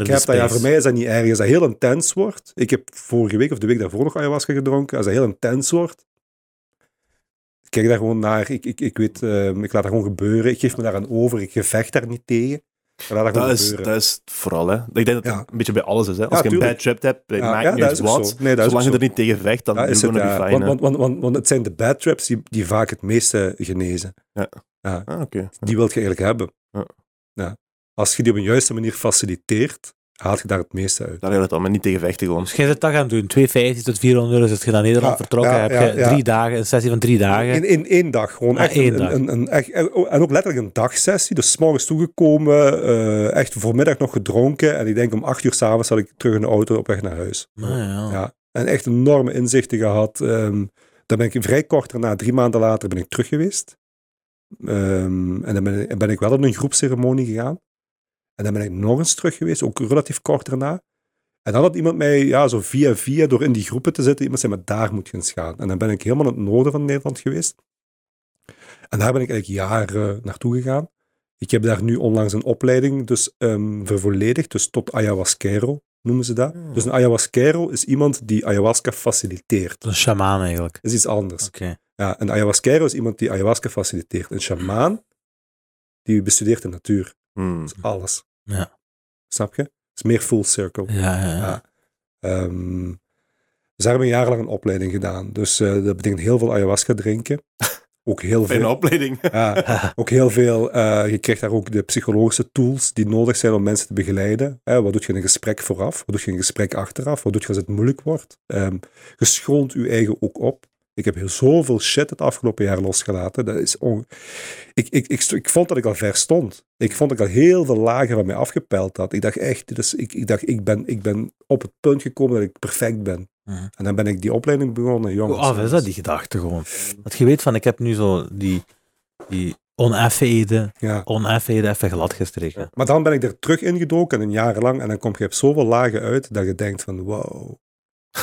Ik in de heb dat, ja, space. voor mij is dat niet erg. Als dat heel intens wordt, ik heb vorige week of de week daarvoor nog ayahuasca gedronken, als dat heel intens wordt, ik kijk daar gewoon naar, ik, ik, ik weet, ehm, ik laat dat gewoon gebeuren, ik geef me daaraan over, ik gevecht daar niet tegen. Ik laat dat gewoon Dat is, gebeuren. dat is het vooral, hè. Ik denk dat het Ja. een beetje bij alles is, hè. Als Ja, je een tuurlijk. bad trip hebt, het Ja, maakt ja, niet dat uit is ook wat. zo. Nee, dat is Zolang je ook er niet tegen vecht, dan Ja, is is het het, gonna ja. be fine, hè. want, want, want, want, want het zijn de bad traps die, die vaak het meeste genezen. Ah, oké. Die wilt je eigenlijk hebben. Ja. Ja. Als je die op een juiste manier faciliteert, haalt je daar het meeste uit. Daar gaat het om, maar niet tegen vechten gewoon. Dus jij zit dat gaan doen. 2,50 tot 400 euro zit je naar Nederland Ja, vertrokken. ja, heb ja, je ja. drie dagen, een sessie van drie dagen. In, in één dag. Gewoon Ja, echt, één een, dag. Een, een, echt- En ook letterlijk een dagsessie. Dus 's morgens toegekomen, eh, echt voormiddag nog gedronken. En ik denk om acht uur s'avonds zat ik terug in de auto op weg naar huis. Nou ja. Ja. En echt enorme inzichten gehad. Ehm dan ben ik vrij kort daarna, drie maanden later, ben ik terug geweest. Ehm, en dan ben ik, ben ik wel op een groepsceremonie gegaan. En dan ben ik nog eens terug geweest, ook relatief kort daarna. En dan had iemand mij, ja, zo via via, door in die groepen te zitten, iemand zei, maar daar moet je eens gaan. En dan ben ik helemaal in het noorden van Nederland geweest. En daar ben ik eigenlijk jaren naartoe gegaan. Ik heb daar nu onlangs een opleiding dus, ehm, vervolledigd, dus tot ayahuasquero noemen ze dat. Hmm. Dus een ayahuasquero is iemand die ayahuasca faciliteert. Een shamaan eigenlijk. Dat is iets anders. Oké. Ja, een ayahuasquero is iemand die ayahuasca faciliteert. Een shamaan die bestudeert de natuur. Hmm. Dat is alles. Ja. Snap je? Het is meer full circle. Ja, ja, ja. Ja. Ehm, dus daar heb ik jarenlang een opleiding gedaan. Dus eh, dat betekent heel veel ayahuasca drinken. Ook heel Fijne veel. opleiding. Ja, ook heel veel. eh, je krijgt daar ook de psychologische tools die nodig zijn om mensen te begeleiden. Eh, wat doet je in een gesprek vooraf? Wat doet je in een gesprek achteraf? Wat doet je als het moeilijk wordt? Ehm je schoont je eigen ook op. Ik heb heel zoveel shit het afgelopen jaar losgelaten. Dat is on... ik, ik, ik, sto- ik vond dat ik al ver stond. Ik vond dat ik al heel veel lagen van mij afgepeld had. Ik dacht echt, dit is, ik, ik, dacht, ik, ben, ik ben op het punt gekomen dat ik perfect ben. Mhm. En dan ben ik die opleiding begonnen, Hoe jongens. af is dat, die gedachte gewoon? Dat je weet van, ik heb nu zo die, die oneffenheden, Ja. oneffenheden even glad gestreken. Maar dan ben ik er terug ingedoken, een jaar lang, en dan kom je op zoveel lagen uit dat je denkt van wow.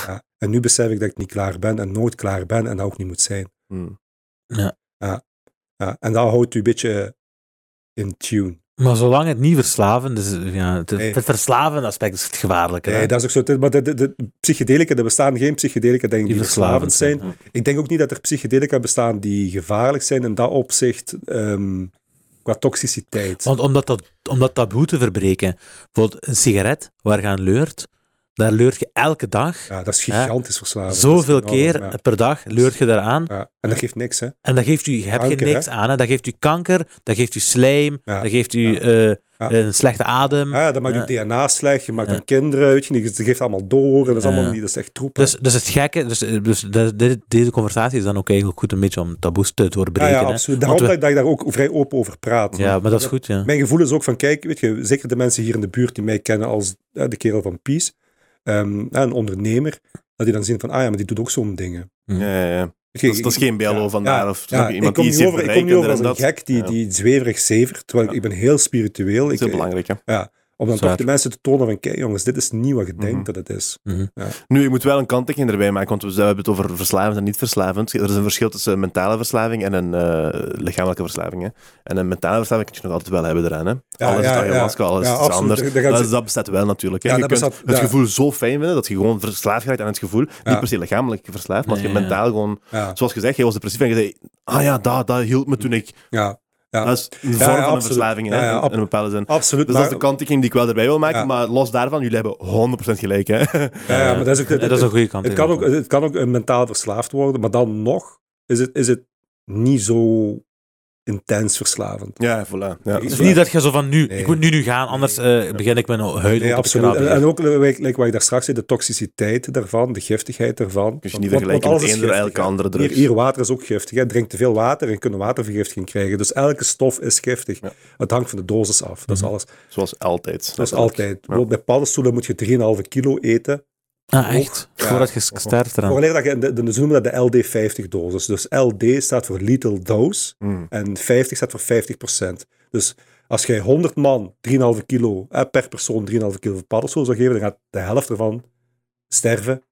Ja. En nu besef ik dat ik niet klaar ben en nooit klaar ben en dat ook niet moet zijn. [LAUGHS] Hmm. Ja. En dat houdt u een beetje in tune. Maar zolang het niet verslavend is, ja, het, Nee. het verslavende aspect is het gevaarlijke. hè? Nee, dat is ook zo. Dit- Maar de, de, de psychedelica, er bestaan geen psychedelica denk ik, die verslavend zijn. Ik denk ook niet dat er psychedelica bestaan die gevaarlijk zijn in dat opzicht ehm, qua toxiciteit. Want om dat, dat, om dat taboe te verbreken, bijvoorbeeld een sigaret waar je aan leurt, daar leurt je elke dag, ja, dat is gigantisch verslavend. zoveel Dat is enorm, keer Ja. per dag leurt je daaraan. Ja. En dat geeft niks, hè? En dat geeft u, je hebt Kanker, je niks aan. Hè? Dat geeft u kanker, dat geeft u slijm, Ja. dat geeft u Ja. eh, Ja. een slechte adem. Ah Ja, dat maakt je DNA slecht, je maakt dan kinderen uit, je je geeft allemaal door, en dat is allemaal Ja. niet, dat is echt troep. hè. Dus, dus het gekke, dus, dus de- de- deze conversatie is dan ook eigenlijk goed een beetje om taboes te ja, doorbreken. ja, hè. absoluut. Daarom Want we- dat ik daar ook vrij open over praat. ja, maar dat is goed, ja. Mijn gevoel is ook van, kijk, weet je, zeker de mensen hier in de buurt die mij kennen als eh, de kerel van Peace, ehm, ja, een ondernemer, dat die dan zien van, ah ja, maar die doet ook zo'n dingen. Ja, ja, ja. Weet je, Dat, is, dat is geen BLO ja, vandaar. Of snap je, ja, ik iemand kom die niet iets heeft over, ik bereikt kom niet en over dit als en een dat. gek die, Ja. die zweverig zevert, terwijl ik- ik ben heel spiritueel. Dat Ik, eh, is heel belangrijk, hè. om dan toch Zwaar. de mensen te tonen van, kijk jongens, dit is niet wat je denkt Mhm. dat het is. Nu, ik moet wel een kanttekening erbij maken, want we we hebben het over verslavend en niet verslavend. Er is een verschil tussen een mentale verslaving en een eh, lichamelijke verslaving. Hè. En een mentale verslaving kun je nog altijd wel hebben eraan. Hè. Ja, alles ja, is ayahuasca, ja. alles Ja, is iets absoluut. anders. Daar gaan Dat, ze- is- dat bestaat wel natuurlijk. Hè. Ja, je dat kunt bestaat- het ja. gevoel zo fijn vinden dat je gewoon verslaafd raakt aan het gevoel. Ja. Niet per se lichamelijk verslaafd, maar als je Nee, ja. mentaal gewoon... Ja, Zoals gezegd, jij was depressief en je zei... Ah ja, dat, dat hield me toen ik... ja, ja. Dat is een vorm ja, van een absoluut. verslaving, hè, Ja, ja, in- ab- in een bepaalde zin. absoluut. Dus dat is de kanttekening die ik wel erbij wil maken, Ja. maar los daarvan, jullie hebben 100% gelijk. [LAUGHS] Hè? Ja, ja, maar dat is ook... Ja, dat is een goede kant. Het kan, ook, inderdaad. het kan ook eh, mentaal verslaafd worden, maar dan nog is het, is het niet zo intens verslavend. Ja, voilà. Ja, Het is waar. niet dat je zo van nu, Nee. ik moet nu nu gaan, anders eh, begin ik mijn huid Nee, op te absoluut. En, krabben. en ook, eh, like, like wat ik daar straks zei, de toxiciteit daarvan, de giftigheid daarvan. Kun je Want- niet want- vergelijken met want alles is eender giftig, elke hè. andere Hier, drugs. hier water is ook giftig. Hè. Drink te veel water en kunnen watervergiftiging krijgen. Dus elke stof is giftig. Ja. Mhm. Het hangt van de dosis af. Dat is alles. Zoals altijd. Dat is altijd. Bijvoorbeeld Bij paddenstoelen moet je 3,5 kilo eten. Ah, echt? Ja. Voordat je start eraan. Wanneer dat je, de, de, ze noemen dat de LD50-dosis. Dus LD staat voor Little Dose Hmm. en 50 staat voor 50%. Dus als jij 100 man 3,5 kilo, eh, per persoon 3,5 kilo paddenstoel zou geven, dan gaat de helft ervan sterven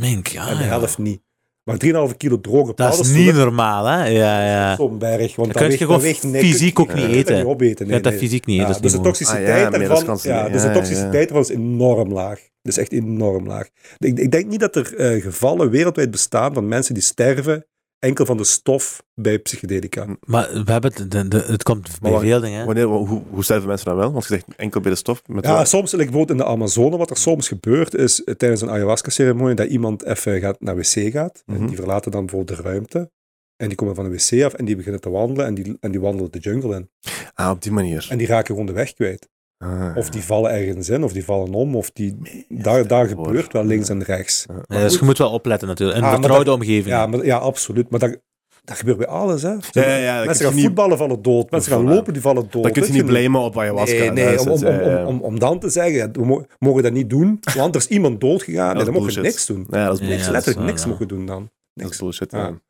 Mink, ja. en de Ah, ja. helft niet. Maar 3,5 kilo droge Dat is paddenstoelen, niet normaal, hè? Ja, ja. zo'n berg. Want Dan kun je weegt- gewoon weegt niks. fysiek ook Je niet kunt dat eten. niet opeten, Je nee, hebt dat nee. fysiek niet, Ja, dat is dus de niet mogelijk. Ah, toxiciteit ja, meer daarvan dan kansen. ja, dus de Ja, toxiciteit ja. daarvan is enorm laag. Dat is echt enorm laag. Ik, ik denk niet dat er eh, gevallen wereldwijd bestaan van mensen die sterven enkel van de stof bij psychedelica. Hm. Maar we hebben het, de, de- het komt bij Maar veel dingen. hè. Wanneer, wa- hoe, hoe sterven mensen dan wel? Want je zegt enkel bij de stof. Met Ja, de- soms, like, bijvoorbeeld in de Amazone, wat er soms gebeurt, is eh, tijdens een ayahuasca-ceremonie dat iemand even gaat naar wc gaat. En Mhm. die verlaten dan bijvoorbeeld de ruimte. En die komen van de wc af en die beginnen te wandelen en die, en die wandelen de jungle in. Ah, op die manier. En die raken gewoon de weg kwijt. Ah, Of die vallen ergens in, of die vallen om, of die... ja. Daar, daar Hoor. gebeurt wel links en rechts. Ja. Ja, dus je moet wel opletten natuurlijk. In Ah, een maar vertrouwde dat- omgeving. Ja, maar, ja absoluut. Maar dat, dat gebeurt bij alles, hè. Ja, ja, ja, dat kun je mensen gaan niet- voetballen vallen dood, mensen gaan Voilà. lopen die vallen dood. Dan kun je Weet niet blamen op ayahuasca. Nee, nee Dat om, is om, het, om, ja, ja. om, om dan te zeggen, ja, we mo- mogen dat niet doen, want er is iemand doodgegaan. Nee, Dat dan is mogen we bullshit. niks doen. Ja, dat is Ja, bullshit. Niks, dat is letterlijk waar, niks ja. mogen doen dan. Dat is Niks. bullshit, Ja. ja.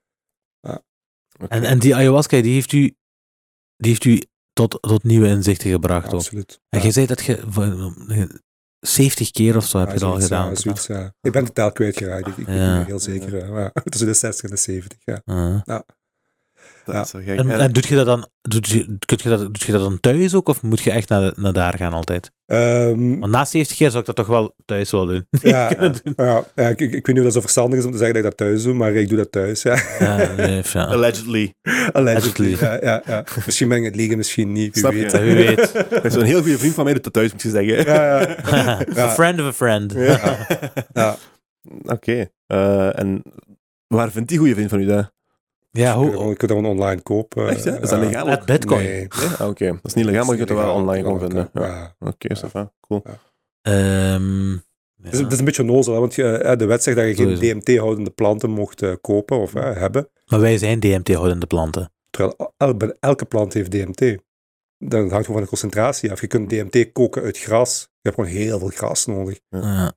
Ja. Oké. En, en die ayahuasca, die heeft u, die heeft u tot, tot nieuwe inzichten gebracht ook. Absoluut. En Ja. jij zei dat je v- 70 keer of zo heb Ja, je dat al zoiets, ja, gedaan. zoiets, ja. Ik ben de taal kwijtgeraakt, ik, ik ben Ja. er heel zeker. Ja. Ja. [LAUGHS] Tussen de 60 en de 70, ja. Ah. Dat Ja. is zo gek. En, En- en doet je dat dan, doet je, kun je dat, doet je dat dan thuis ook, of moet je echt naar, naar daar gaan altijd? Ehm, Want na 70 keer zou ik dat toch wel thuis wel doen. ja, ja, ja, ja, ik, ik ik weet niet of dat zo verstandig is om te zeggen dat ik dat thuis doe, maar ik doe dat thuis, ja. [LAUGHS] Ja, neef, ja. Allegedly. Allegedly. Allegedly. Ja, ja, ja. Misschien ben ik het liegen, misschien niet. Wie Snap weet. je? Ja, [LAUGHS] Wie weet. Dat is een heel goede vriend van mij doet dat thuis, moet je zeggen. [LAUGHS] Ja, ja. [LAUGHS] a friend of a friend. Ja. Ja. Oké. Eh, en waar vindt die goede vriend van u dat? Ja, Je kunt dat hoe, gewoon- je kunt dat gewoon online kopen. Echt, hè? Is dat Ja. legaal met ook? bitcoin. Nee. Ja, Oké, dat is niet legaal, maar je kunt het wel Legaal, online gewoon ja, vinden. Ja. ja. Oké, Ja. is dat fijn. Cool. Ehm, Het, is, ja. het is een beetje onnozel, hè, want je, eh, de wet zegt dat je geen Sowieso. DMT-houdende planten mocht eh, kopen of eh, hebben. Maar wij zijn DMT-houdende planten. Terwijl el- el- bij elke plant heeft DMT. Dan hangt gewoon van de concentratie af. Je kunt DMT koken uit gras. Je hebt gewoon heel veel gras nodig. Ja.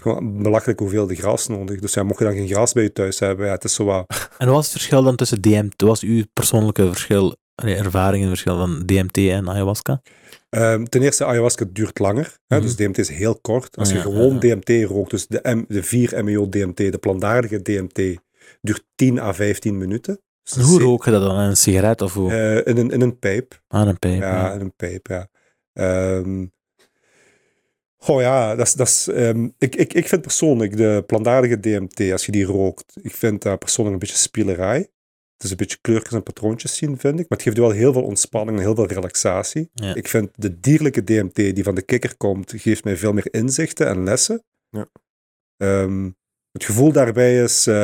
Je hebt gewoon belachelijk hoeveel de gras nodig. Dus ja, mocht je dan geen gras bij je thuis hebben, ja, het is zo wat En wat was het verschil dan tussen DMT? Wat was uw persoonlijke verschil, nee, ervaring en verschil van DMT en ayahuasca? Ehm, ten eerste, ayahuasca duurt langer. Hè, Mhm. Dus DMT is heel kort. Als Ah, je ja, gewoon ja, DMT rookt, dus de, M- de 4-MeO-DMT, de plantaardige DMT, duurt 10 à 15 minuten. Dus En hoe zeer- rook je dat dan? In een sigaret of hoe? Eh, in, een, in een pijp. Aan een pijp. Ja, ja. in een pijp, ja. Ehm, goh ja, dat is- dat is, ehm, ik, ik, ik vind persoonlijk de plantaardige DMT, als je die rookt, ik vind dat persoonlijk een beetje spielerij. Het is een beetje kleurtjes en patroontjes zien, vind ik. Maar het geeft wel heel veel ontspanning en heel veel relaxatie. Ja. Ik vind de dierlijke DMT die van de kikker komt, geeft mij veel meer inzichten en lessen. Ja. Ehm, het gevoel daarbij is eh,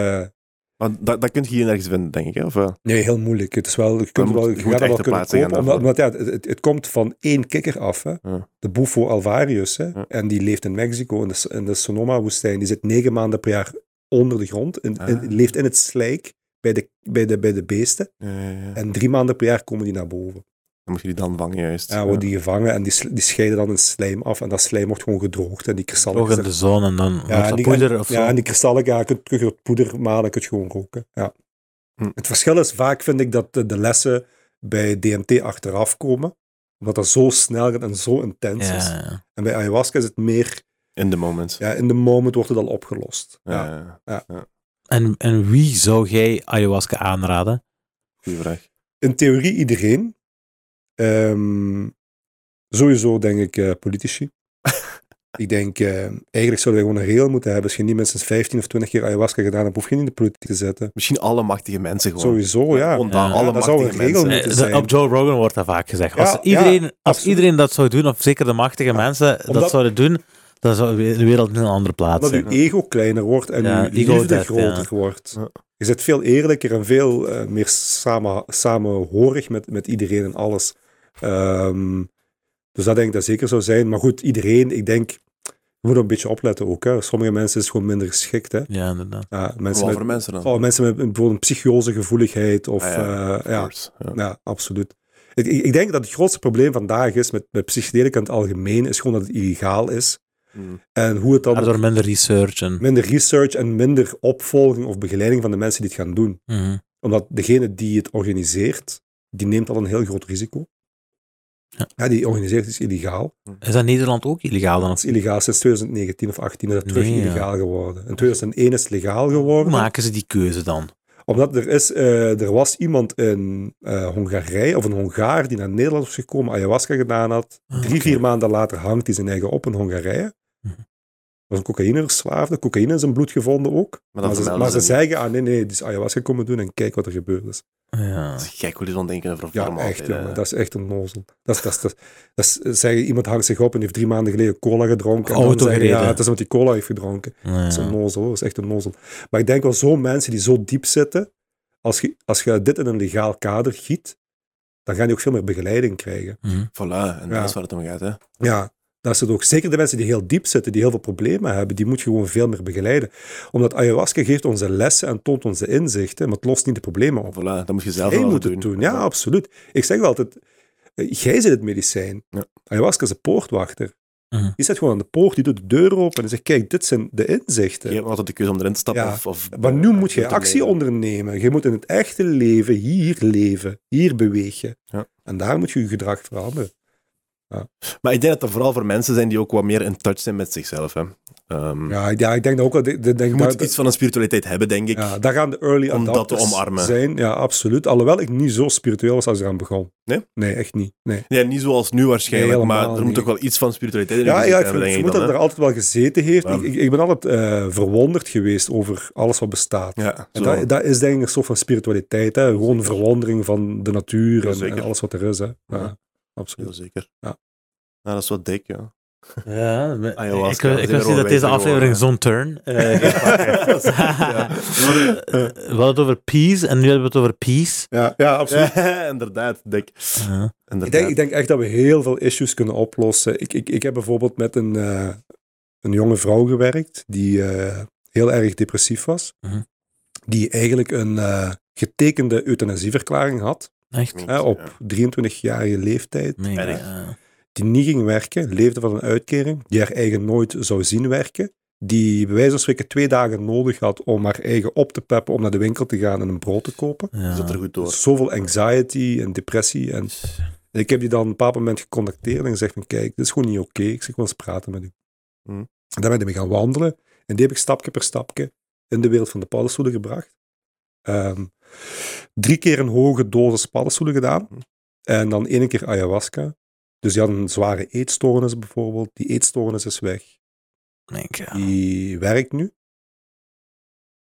Maar dat, dat kun je hier nergens vinden, denk ik. Hè? Of, eh, nee, heel moeilijk. Het is wel, je kunt moet- wel, je je moet gaat echt dat wel ter kunnen plaatse gaan kopen. Omdat, omdat, ja, het, het- het komt van één kikker af. Hè? Ja. De Bufo alvarius. Hè? Ja. En die leeft in Mexico, in de, in de Sonoma-woestijn. Die zit negen maanden per jaar onder de grond. In, in- Ah. leeft in het slijk bij de, bij, de, bij de beesten. ja, ja, ja. En drie maanden per jaar komen die naar boven. Dan moet je die dan vangen, juist. eh, Ja, worden die gevangen en die, sl- die scheiden dan een slijm af. En dat slijm wordt gewoon gedroogd en die kristallen... Droog in de zon en dan ja, wordt en dat die, poeder of zo. ja, en die kristallen, ja, kun, kun je tot poeder malen, kun je gewoon roken. Ja. Hm. Het verschil is vaak, vind ik, dat de, de lessen bij DMT achteraf komen. Omdat dat zo snel gaat en zo intens Ja, is. ja. En bij ayahuasca is het meer... In the moment. Ja, in de moment wordt het al opgelost. Ja. Ja, En, en wie zou jij ayahuasca aanraden? goeie vraag. In theorie iedereen. Ehm, sowieso denk ik eh, politici. ik denk, eh, eigenlijk zouden wij gewoon een regel moeten hebben. Als je niet minstens 15 of 20 keer ayahuasca gedaan hebt, hoef je niet in de politiek te zetten. Misschien alle machtige mensen gewoon. Sowieso, ja. Gewoon dat, Ja, alle dat zou machtige een regel mensen. moeten Eh, de- zijn. op Joe Rogan wordt dat vaak gezegd. Ja, als, iedereen, als absoluut. iedereen dat zou doen, of zeker de machtige mensen dat Omdat- zouden doen, dan zou de wereld in een andere plaats Omdat zijn. uw ego kleiner wordt en Ja, uw ego liefde death, groter wordt. Ja. Je zit veel eerlijker en veel eh, meer samen, samenhorig met, met iedereen en alles. Ehm, dus dat denk ik dat zeker zou zijn. Maar goed, iedereen, ik denk, je moet er een beetje opletten ook. Hè. Sommige mensen is het gewoon minder geschikt. Hè. Ja, inderdaad. Ja, Wat mensen, voor met, mensen dan? oh, mensen met bijvoorbeeld een psychosegevoeligheid of Ah ja, eh, of ja, course, ja. ja, absoluut. Ik, ik, ik denk dat het grootste probleem vandaag is met, met psychedelica in het algemeen, is gewoon dat het illegaal is. Mm. En hoe het dan Daardoor minder research en... minder research en minder opvolging of begeleiding van de mensen die het gaan doen. Mhm. Omdat degene die het organiseert, die neemt al een heel groot risico. Ja. Ja, die organiseert is illegaal. Is dat in Nederland ook illegaal dan? Dat is illegaal sinds 2019 of 18 is dat terug Nee, ja. illegaal geworden. In 2001 is het legaal geworden. Hoe maken ze die keuze dan? Omdat er, is, eh, er was iemand in eh, Hongarije, of een Hongaar, die naar Nederland was gekomen, ayahuasca gedaan had. Ah, Drie, oké. vier maanden later hangt hij zijn eigen op in Hongarije. Mhm. was een cocaïneverslaafde, cocaïne in zijn bloed gevonden ook. Maar dat Maar, ze, vermelden maar ze ze niet. zeggen, ah nee, nee, die is ayahuasca komen doen en kijk wat er gebeurd is. Ja. Dat is gek hoe die dan denken over Ja, formaat, echt, hè. jongen, dat is echt een nozel. Dat is, dat is, dat is- dat is, eh, zeggen, iemand hangt zich op en heeft drie maanden geleden cola gedronken. En Auto dan zeggen, ja, gereden. het is omdat hij cola heeft gedronken. Ja. Dat is een nozel, hoor. dat is echt een nozel. Maar ik denk wel, zo'n mensen die zo diep zitten, als je, als je dit in een legaal kader giet, dan gaan die ook veel meer begeleiding krijgen. Mhm. Voilà, en Ja. dat is waar het om gaat. Hè. Ja, dat is het ook. Zeker de mensen die heel diep zitten, die heel veel problemen hebben, die moet je gewoon veel meer begeleiden. Omdat ayahuasca geeft ons de lessen en toont onze inzichten, maar het lost niet de problemen op. Voilà, dat moet je zelf Jij wel moet doen. het doen, ja, absoluut. Ik zeg wel altijd, eh, jij zit het medicijn. Ja. Ayahuasca is de poortwachter. Mhm. Die zit gewoon aan de poort, die doet de deur open en zegt, kijk, dit zijn de inzichten. Je hebt altijd de keuze om erin te stappen. Ja, Of, of, eh, Maar nu moet je te actie blijven. ondernemen. Je moet in het echte leven hier leven. Hier beweeg je. Ja. En daar moet je je gedrag veranderen. Maar ik denk dat dat vooral voor mensen zijn die ook wat meer in touch zijn met zichzelf. Hè. Ehm, Ja, ik- ja ik denk dat ook. wel- ik Denk, Je denk moet dat, iets van een spiritualiteit hebben, denk ik. ja, daar gaan de early om dat te adapters omarmen. zijn. Ja, absoluut. Alhoewel ik niet zo spiritueel was als ik eraan begon. Nee? Nee, echt niet. Nee. Ja, niet zoals nu waarschijnlijk, Nee, maar er helemaal moet niet. toch wel iets van spiritualiteit in je Ja, muziek ja, ik hebben, vermoed eh, denk vermoed ik dat het dan, er altijd wel gezeten heeft. Ja. Ik, ik, ik ben altijd eh, verwonderd geweest over alles wat bestaat. hè. Ja, zo. En dat, dat is denk ik een soort van spiritualiteit. Hè? Gewoon verwondering van de natuur Ja, en, zeker. en alles wat er is. Hè? Ja, Ja. absoluut. Heel zeker. Ja. Nou, dat is wat dik, ja. Ja, ik, Ah, ik, Ayahuasca, ik dat is wist niet dat weer deze wel aflevering wijzer zo'n turn [LAUGHS] eh, gaat pakken. Ja. We hadden- [LAUGHS] We hadden het over peace en nu hebben we het over peace. Ja, ja, absoluut. [LAUGHS] inderdaad, dik. Ja. Ik Inderdaad. denk, ik denk echt dat we heel veel issues kunnen oplossen. Ik, ik, ik heb bijvoorbeeld met een, eh, een jonge vrouw gewerkt die eh, heel erg depressief was. Mhm. Die eigenlijk een eh, getekende euthanasieverklaring had Echt? hè, op 23-jarige leeftijd. Nee, Erg. ja. Die niet ging werken, leefde van een uitkering, die haar eigen nooit zou zien werken. Die bij wijze van spreken twee dagen nodig had om haar eigen op te peppen om naar de winkel te gaan en een brood te kopen. Ja. Zit er goed door. Zoveel anxiety en depressie en en ik heb die dan op een bepaald moment gecontacteerd en gezegd van kijk, dit is gewoon niet oké. Ik zeg, ik wil eens praten met u. Hm. En daar ben ik mee gaan wandelen. En die heb ik stapje per stapje in de wereld van de paddenstoelen gebracht. Ehm, drie keer een hoge dosis paddenstoelen gedaan. Hm. En dan één keer ayahuasca. Dus die had een zware eetstoornis bijvoorbeeld. Die eetstoornis is weg. Nee, ja. Die werkt nu.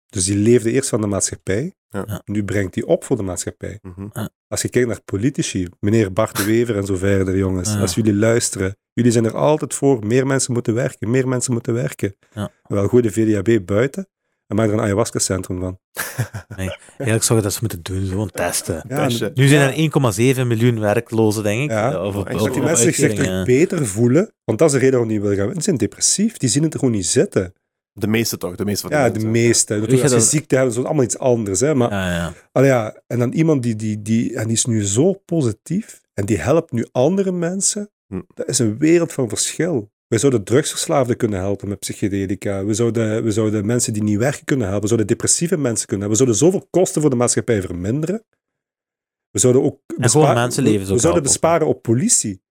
Dus die leefde eerst van de maatschappij. Ja. Ja. Nu brengt die op voor de maatschappij. Mhm. Als je kijkt naar politici, meneer Bart de Wever en zo verder, jongens. Ja. Als jullie luisteren, jullie zijn er altijd voor. Meer mensen moeten werken, meer mensen moeten werken. Ja. Wel, gooi de VDAB buiten en maak er een ayahuasca-centrum van. Eigenlijk zou je dat ze moeten doen, gewoon testen. Ja, en- Testje. Nu zijn er 1,7 miljoen werklozen, denk ik. Ja. Of Dat op, op, die dat die op mensen zich uitkeringen, terug ja. beter voelen, want dat is de reden waarom die willen gaan. werken. Ze zijn depressief, die zien het er gewoon niet zitten. De meeste toch, de meeste van Ja, de mensen. meeste. Weet Natuurlijk, je als je dat- ziekte hebt, is dat allemaal iets anders. Hè? Maar Ja, ja. Allee, ja, en dan iemand die, die, die, en die is nu zo positief en die helpt nu andere mensen. Hm. Dat is een wereld van verschil. We zouden drugsverslaafden kunnen helpen met psychedelica. We zouden, we zouden mensen die niet werken kunnen helpen. We zouden depressieve mensen kunnen helpen. We zouden zoveel kosten voor de maatschappij verminderen. We zouden ook bespa- mensenlevens we, ook we zouden helpen. besparen op politie.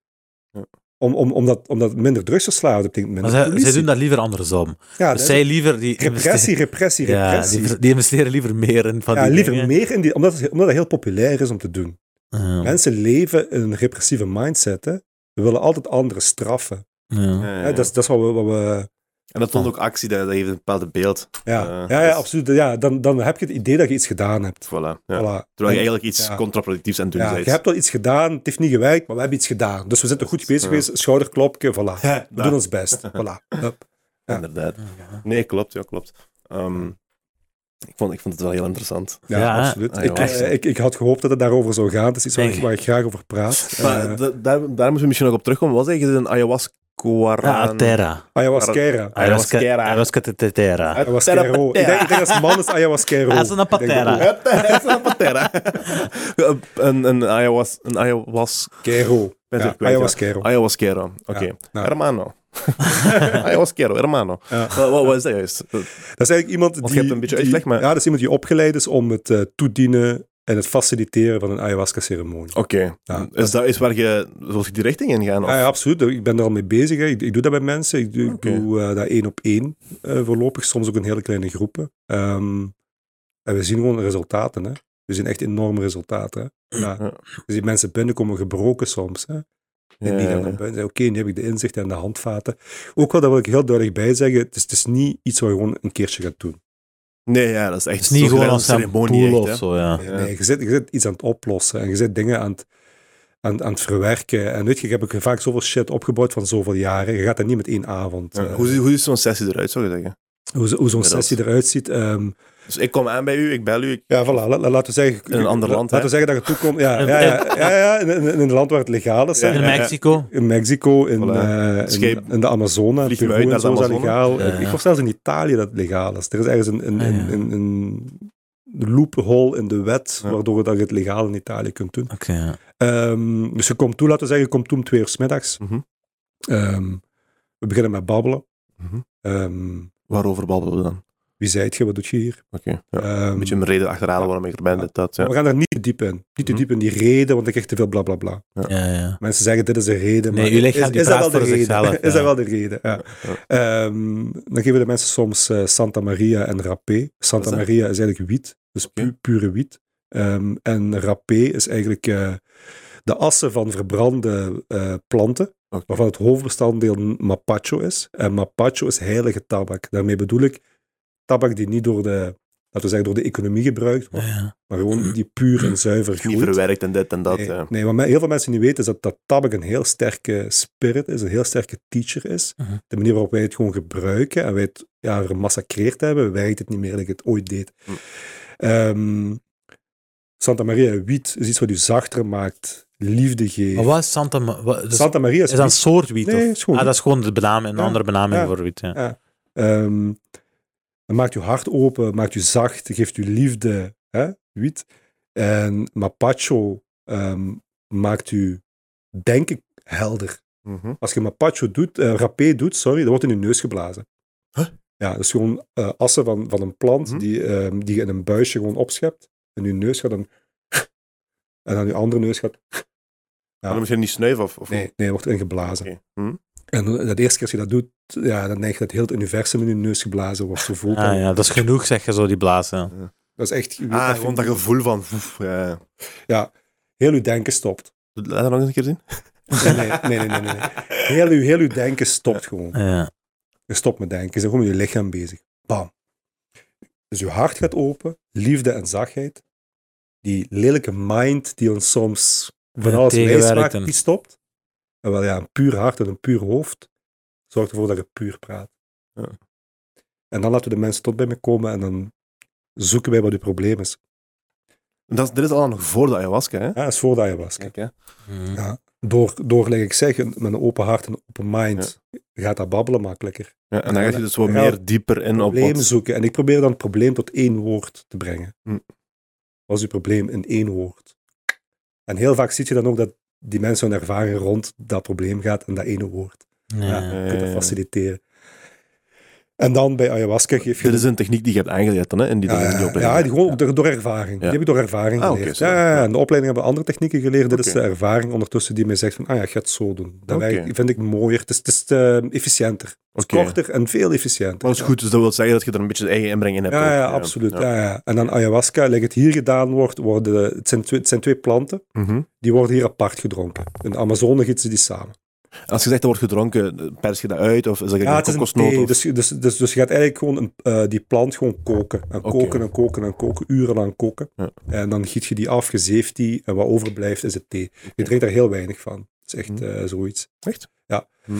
Ja. Om, om, omdat, omdat minder drugsverslaafden betekent Maar minder zij, politie. zij doen dat liever andersom. ja, dus dat zij is- liever die... repressie, repressie, Ja, die, repressie. ver- die investeren liever meer in van Ja, die liever dingen. meer in die, omdat, het- omdat dat heel populair is om te doen. Ja. Mensen leven in een repressieve mindset. Hè. We willen altijd anderen straffen. Ja. Ja, ja, Hè, ja. Dat, is, dat is wat we. Wat we En dat toont ook actie, dat dat heeft een bepaald beeld. ja. Eh, ja, ja, dus- absoluut. Ja, dan, dan heb je het idee dat je iets gedaan hebt. Voilà. Ja. Voilà. Terwijl je eigenlijk iets Ja. contraproductiefs aan het doen Ja, bent. je hebt wel iets gedaan, het heeft niet gewerkt, maar we hebben iets gedaan. Dus we zitten goed bezig Ja. geweest, schouderklopje, Ja, voilà. We daar. doen [LAUGHS] ons best. Voilà. Hup. ja. Inderdaad. Ja. Nee, klopt. Ja, klopt. Ehm, Ik vond, ik vond het wel heel interessant. Ja, Ja, hè? absoluut. Ah, ik, ja. eh, ik, ik had gehoopt dat het daarover zou gaan. Het is iets waar, Nee. ik, waar ik graag over praat. [LAUGHS] Maar da- Eh, daar, daar moeten we misschien nog op terugkomen. Wat is eigenlijk een ayahuasca? Ah, [LAUGHS] Terra. ayahuasca. Ayahuasca. Ayahuasca de Terra. Ayahuasquero. Ik denk, ik denk dat het man is ayahuasquero. Ah, is dat een Ik denk dat- patera? Patera. [LAUGHS] een, een ayahuas- een ayahuas- Quero. ben het Ja, kwijt, ja. ayahuasquero. ayahuasquero. Oké. nou. [LAUGHS] Hermano. [LAUGHS] ayahuasquero, hermano. Ja. Wa- wa- Wat, is dat juist? Eh, Dat is eigenlijk iemand die... je hebt een beetje die- uitleg, maar- Ja, dat is iemand die opgeleid is om het eh, toedienen en het faciliteren van een ayahuasca-ceremonie. Oké. Ja. Is dat is waar je, zoals je die richting in gaan? Oh, Of? Ah, Ja, ja, absoluut. Ik ben er al mee bezig. hè. Ik, ik doe dat bij mensen. Ik doe, ik Oké. doe, eh, dat één op één eh, voorlopig, soms ook in hele kleine groepen. Ehm, en we zien gewoon resultaten. Hè. We zien echt enorme resultaten. Hè. Ja. Ja. We zien mensen binnenkomen gebroken soms. Hè. En die Ja, gaan ja, naar buiten en zeggen, oké, nu heb ik de inzichten en de handvaten. Ook wel, dat wil ik heel duidelijk bij zeggen, het is, het is niet iets wat je gewoon een keertje gaat doen. Nee, ja, dat is echt Het is niet zo'n gewoon kleine als een ceremonie. pool echt, of hè. zo, ja. Ja. Nee, je zit, je zit iets aan het oplossen en je zit dingen aan het, aan, aan het verwerken. En weet je, ik heb ook vaak zoveel shit opgebouwd van zoveel jaren. Je gaat dat niet met één avond. Ja. eh, Hoe, ziet- hoe ziet zo'n sessie eruit, zou je zeggen? hoe, zo- hoe zo'n Inderdaad. sessie eruit ziet. ehm, Dus ik kom aan bij u, ik bel u. ik- ja, voilà, la- la- laten we zeggen... In een ander la- land, Laten we zeggen dat je toekomt... [LAUGHS] Ja, ja, ja, ja, ja, in, in- in een land waar het legaal is. hè. In Ja, ja, ja. Mexico. In Mexico, in, Voilà. eh, in- Scheep. in, de Amazone, Vlieg Peru me uit en naar de zo is dat Amazone. legaal. Ja, ja. Ik hoor zelfs in Italië dat het legaal is. Er is ergens een, een, Ah, ja. een, een, een loophole in de wet, Ja. waardoor dat je het legaal in Italië kunt doen. Oké, ja. Ehm, dus je komt toe, laten we zeggen, je komt toe om twee uur 's middags. Mhm. Ehm, we beginnen met babbelen. Mhm. Ehm, Waarover babbelen we dan? wie zijt je, wat doet je hier? Oké. ja. Ehm, Een beetje een reden achterhalen waarom ik er ben. Dit, dat, ja. We gaan daar niet te diep in. Niet te Mhm. diep in die reden, want dan krijg je te veel bla bla bla. Ja, ja. Mensen zeggen, dit is een reden, Nee, maar uw lichaam is, die is dat praat wel de voor reden? zichzelf, [LAUGHS] is dat ja. wel de reden? Ja. Ehm, dan geven de mensen soms eh, Santa Maria en rapé. Santa Wat is dat? Maria is eigenlijk wiet, dus pu- Oké. pure wiet. Ehm, en rapé is eigenlijk eh, de assen van verbrande eh, planten, Oké. waarvan het hoofdbestanddeel mapacho is. En mapacho is heilige tabak. Daarmee bedoel ik tabak die niet door de, laten we zeggen, door de economie gebruikt wordt, ja. maar gewoon die puur en zuiver Niet groeit. verwerkt en dit en dat. eh, Nee, ja. nee, wat me- heel veel mensen niet weten is dat, dat tabak een heel sterke spirit is, een heel sterke teacher is. Mhm. De manier waarop wij het gewoon gebruiken en wij het ja, gemassacreerd hebben, werkt het niet meer dat ik het ooit deed. Hm. Ehm, Santa Maria wiet is iets wat u zachter maakt, liefde Maar geeft. wat is Santa... Ma- wat- dus- Santa Maria is, Is dat een wiet. soort wiet? Nee, of- het is gewoon ah, wiet. dat is gewoon de benaming, een Ja. andere benaming Ja. voor wiet. Ja. Ehm, het maakt je hart open, maakt je zacht, geeft je liefde, hè, wiet. En Mapacho ehm, maakt u, denk ik, helder. Mhm. Als je mapacho doet, eh, rapé doet, sorry, dan wordt in je neus geblazen. Huh? Ja, dat is gewoon eh, assen van, van een plant Mhm. die, ehm, die je in een buisje gewoon opschept. En je neus gaat dan... [LAUGHS] En aan je andere neus gaat... Maar dan moet je niet snuiven of... of Nee, nee, wordt ingeblazen. Oké. Hm? En de eerste keer als je dat doet, ja, dan denk je dat heel het universum in je neus geblazen wordt. Zo voelt dat. Ah, ja, dat is genoeg, zeg je zo, die blazen. Dat is echt... Ah, gewoon dat gevoel van... oef, ja, ja. Ja, heel je denken stopt. Laat dat nog eens een keer zien. Nee, nee, nee, nee. nee, [LAUGHS] nee. Heel, je, heel je denken stopt gewoon. Ja. Je stopt met denken. Je bent gewoon met je lichaam bezig. Bam. Dus je hart gaat open. Liefde en zachtheid. Die lelijke mind die ons soms van Ja, alles wijs tegenwerkt maakt, en- die stopt. En wel ja, een puur hart en een puur hoofd zorgt ervoor dat je puur praat. Ja. En dan laten we de mensen tot bij me komen en dan zoeken wij wat het probleem is. Dat, is- dit is allemaal nog voor de ayahuasca, hè? Ja, dat is voor de ayahuasca. Oké. Hm. Ja. Door, door, like ik zeg, met een open hart en een open mind, gaat dat babbelen makkelijker. Ja, en dan gaat je dus wat Ja, meer dieper in op probleem wat... zoeken. En ik probeer dan het probleem tot één woord te brengen. Hm. Wat is uw probleem in één woord? En heel vaak zie je dan ook dat die mensen hun ervaring rond dat probleem gaat en dat ene woord. Ja, Ja. je kunt dat Eh. faciliteren. En dan bij ayahuasca geef je... Dit is een techniek die je hebt aangeleerd dan, hè? In die, ja, dingen die ja, opleiding. ja, die gewoon ook door, door ervaring. Die heb ik door ervaring Ah, oké, geleerd. sorry. ja, ja, ja. en de opleiding hebben we andere technieken geleerd. Dit is Oké. de ervaring ondertussen die mij zegt van, ah ja, ik ga het zo doen. Dat Oké. werkt- vind ik mooier. Het is, het is eh, efficiënter. Het is Oké. korter en veel efficiënter. Maar dat is goed, dus dat wil zeggen dat je er een beetje de eigen inbreng in hebt. Ja, ook. ja, absoluut. Ja. Ja. Ja. En dan ayahuasca, like het hier gedaan wordt, worden, het, zijn twee, het zijn twee planten, Mhm. die worden hier apart gedronken. In de Amazone gieten ze die samen. Als je zegt dat wordt gedronken, pers je dat uit? Of is dat Ja, een het is een kokosnoot? thee. of- Dus, dus, dus, dus je gaat eigenlijk gewoon een, eh, die plant gewoon koken. En Oké. koken en koken en koken, urenlang koken. Ja. En dan giet je die af, je zeeft die, en wat overblijft is het thee. Je drinkt daar heel weinig van. Dat is echt Hm. eh, zoiets. Echt? Ja. Hm.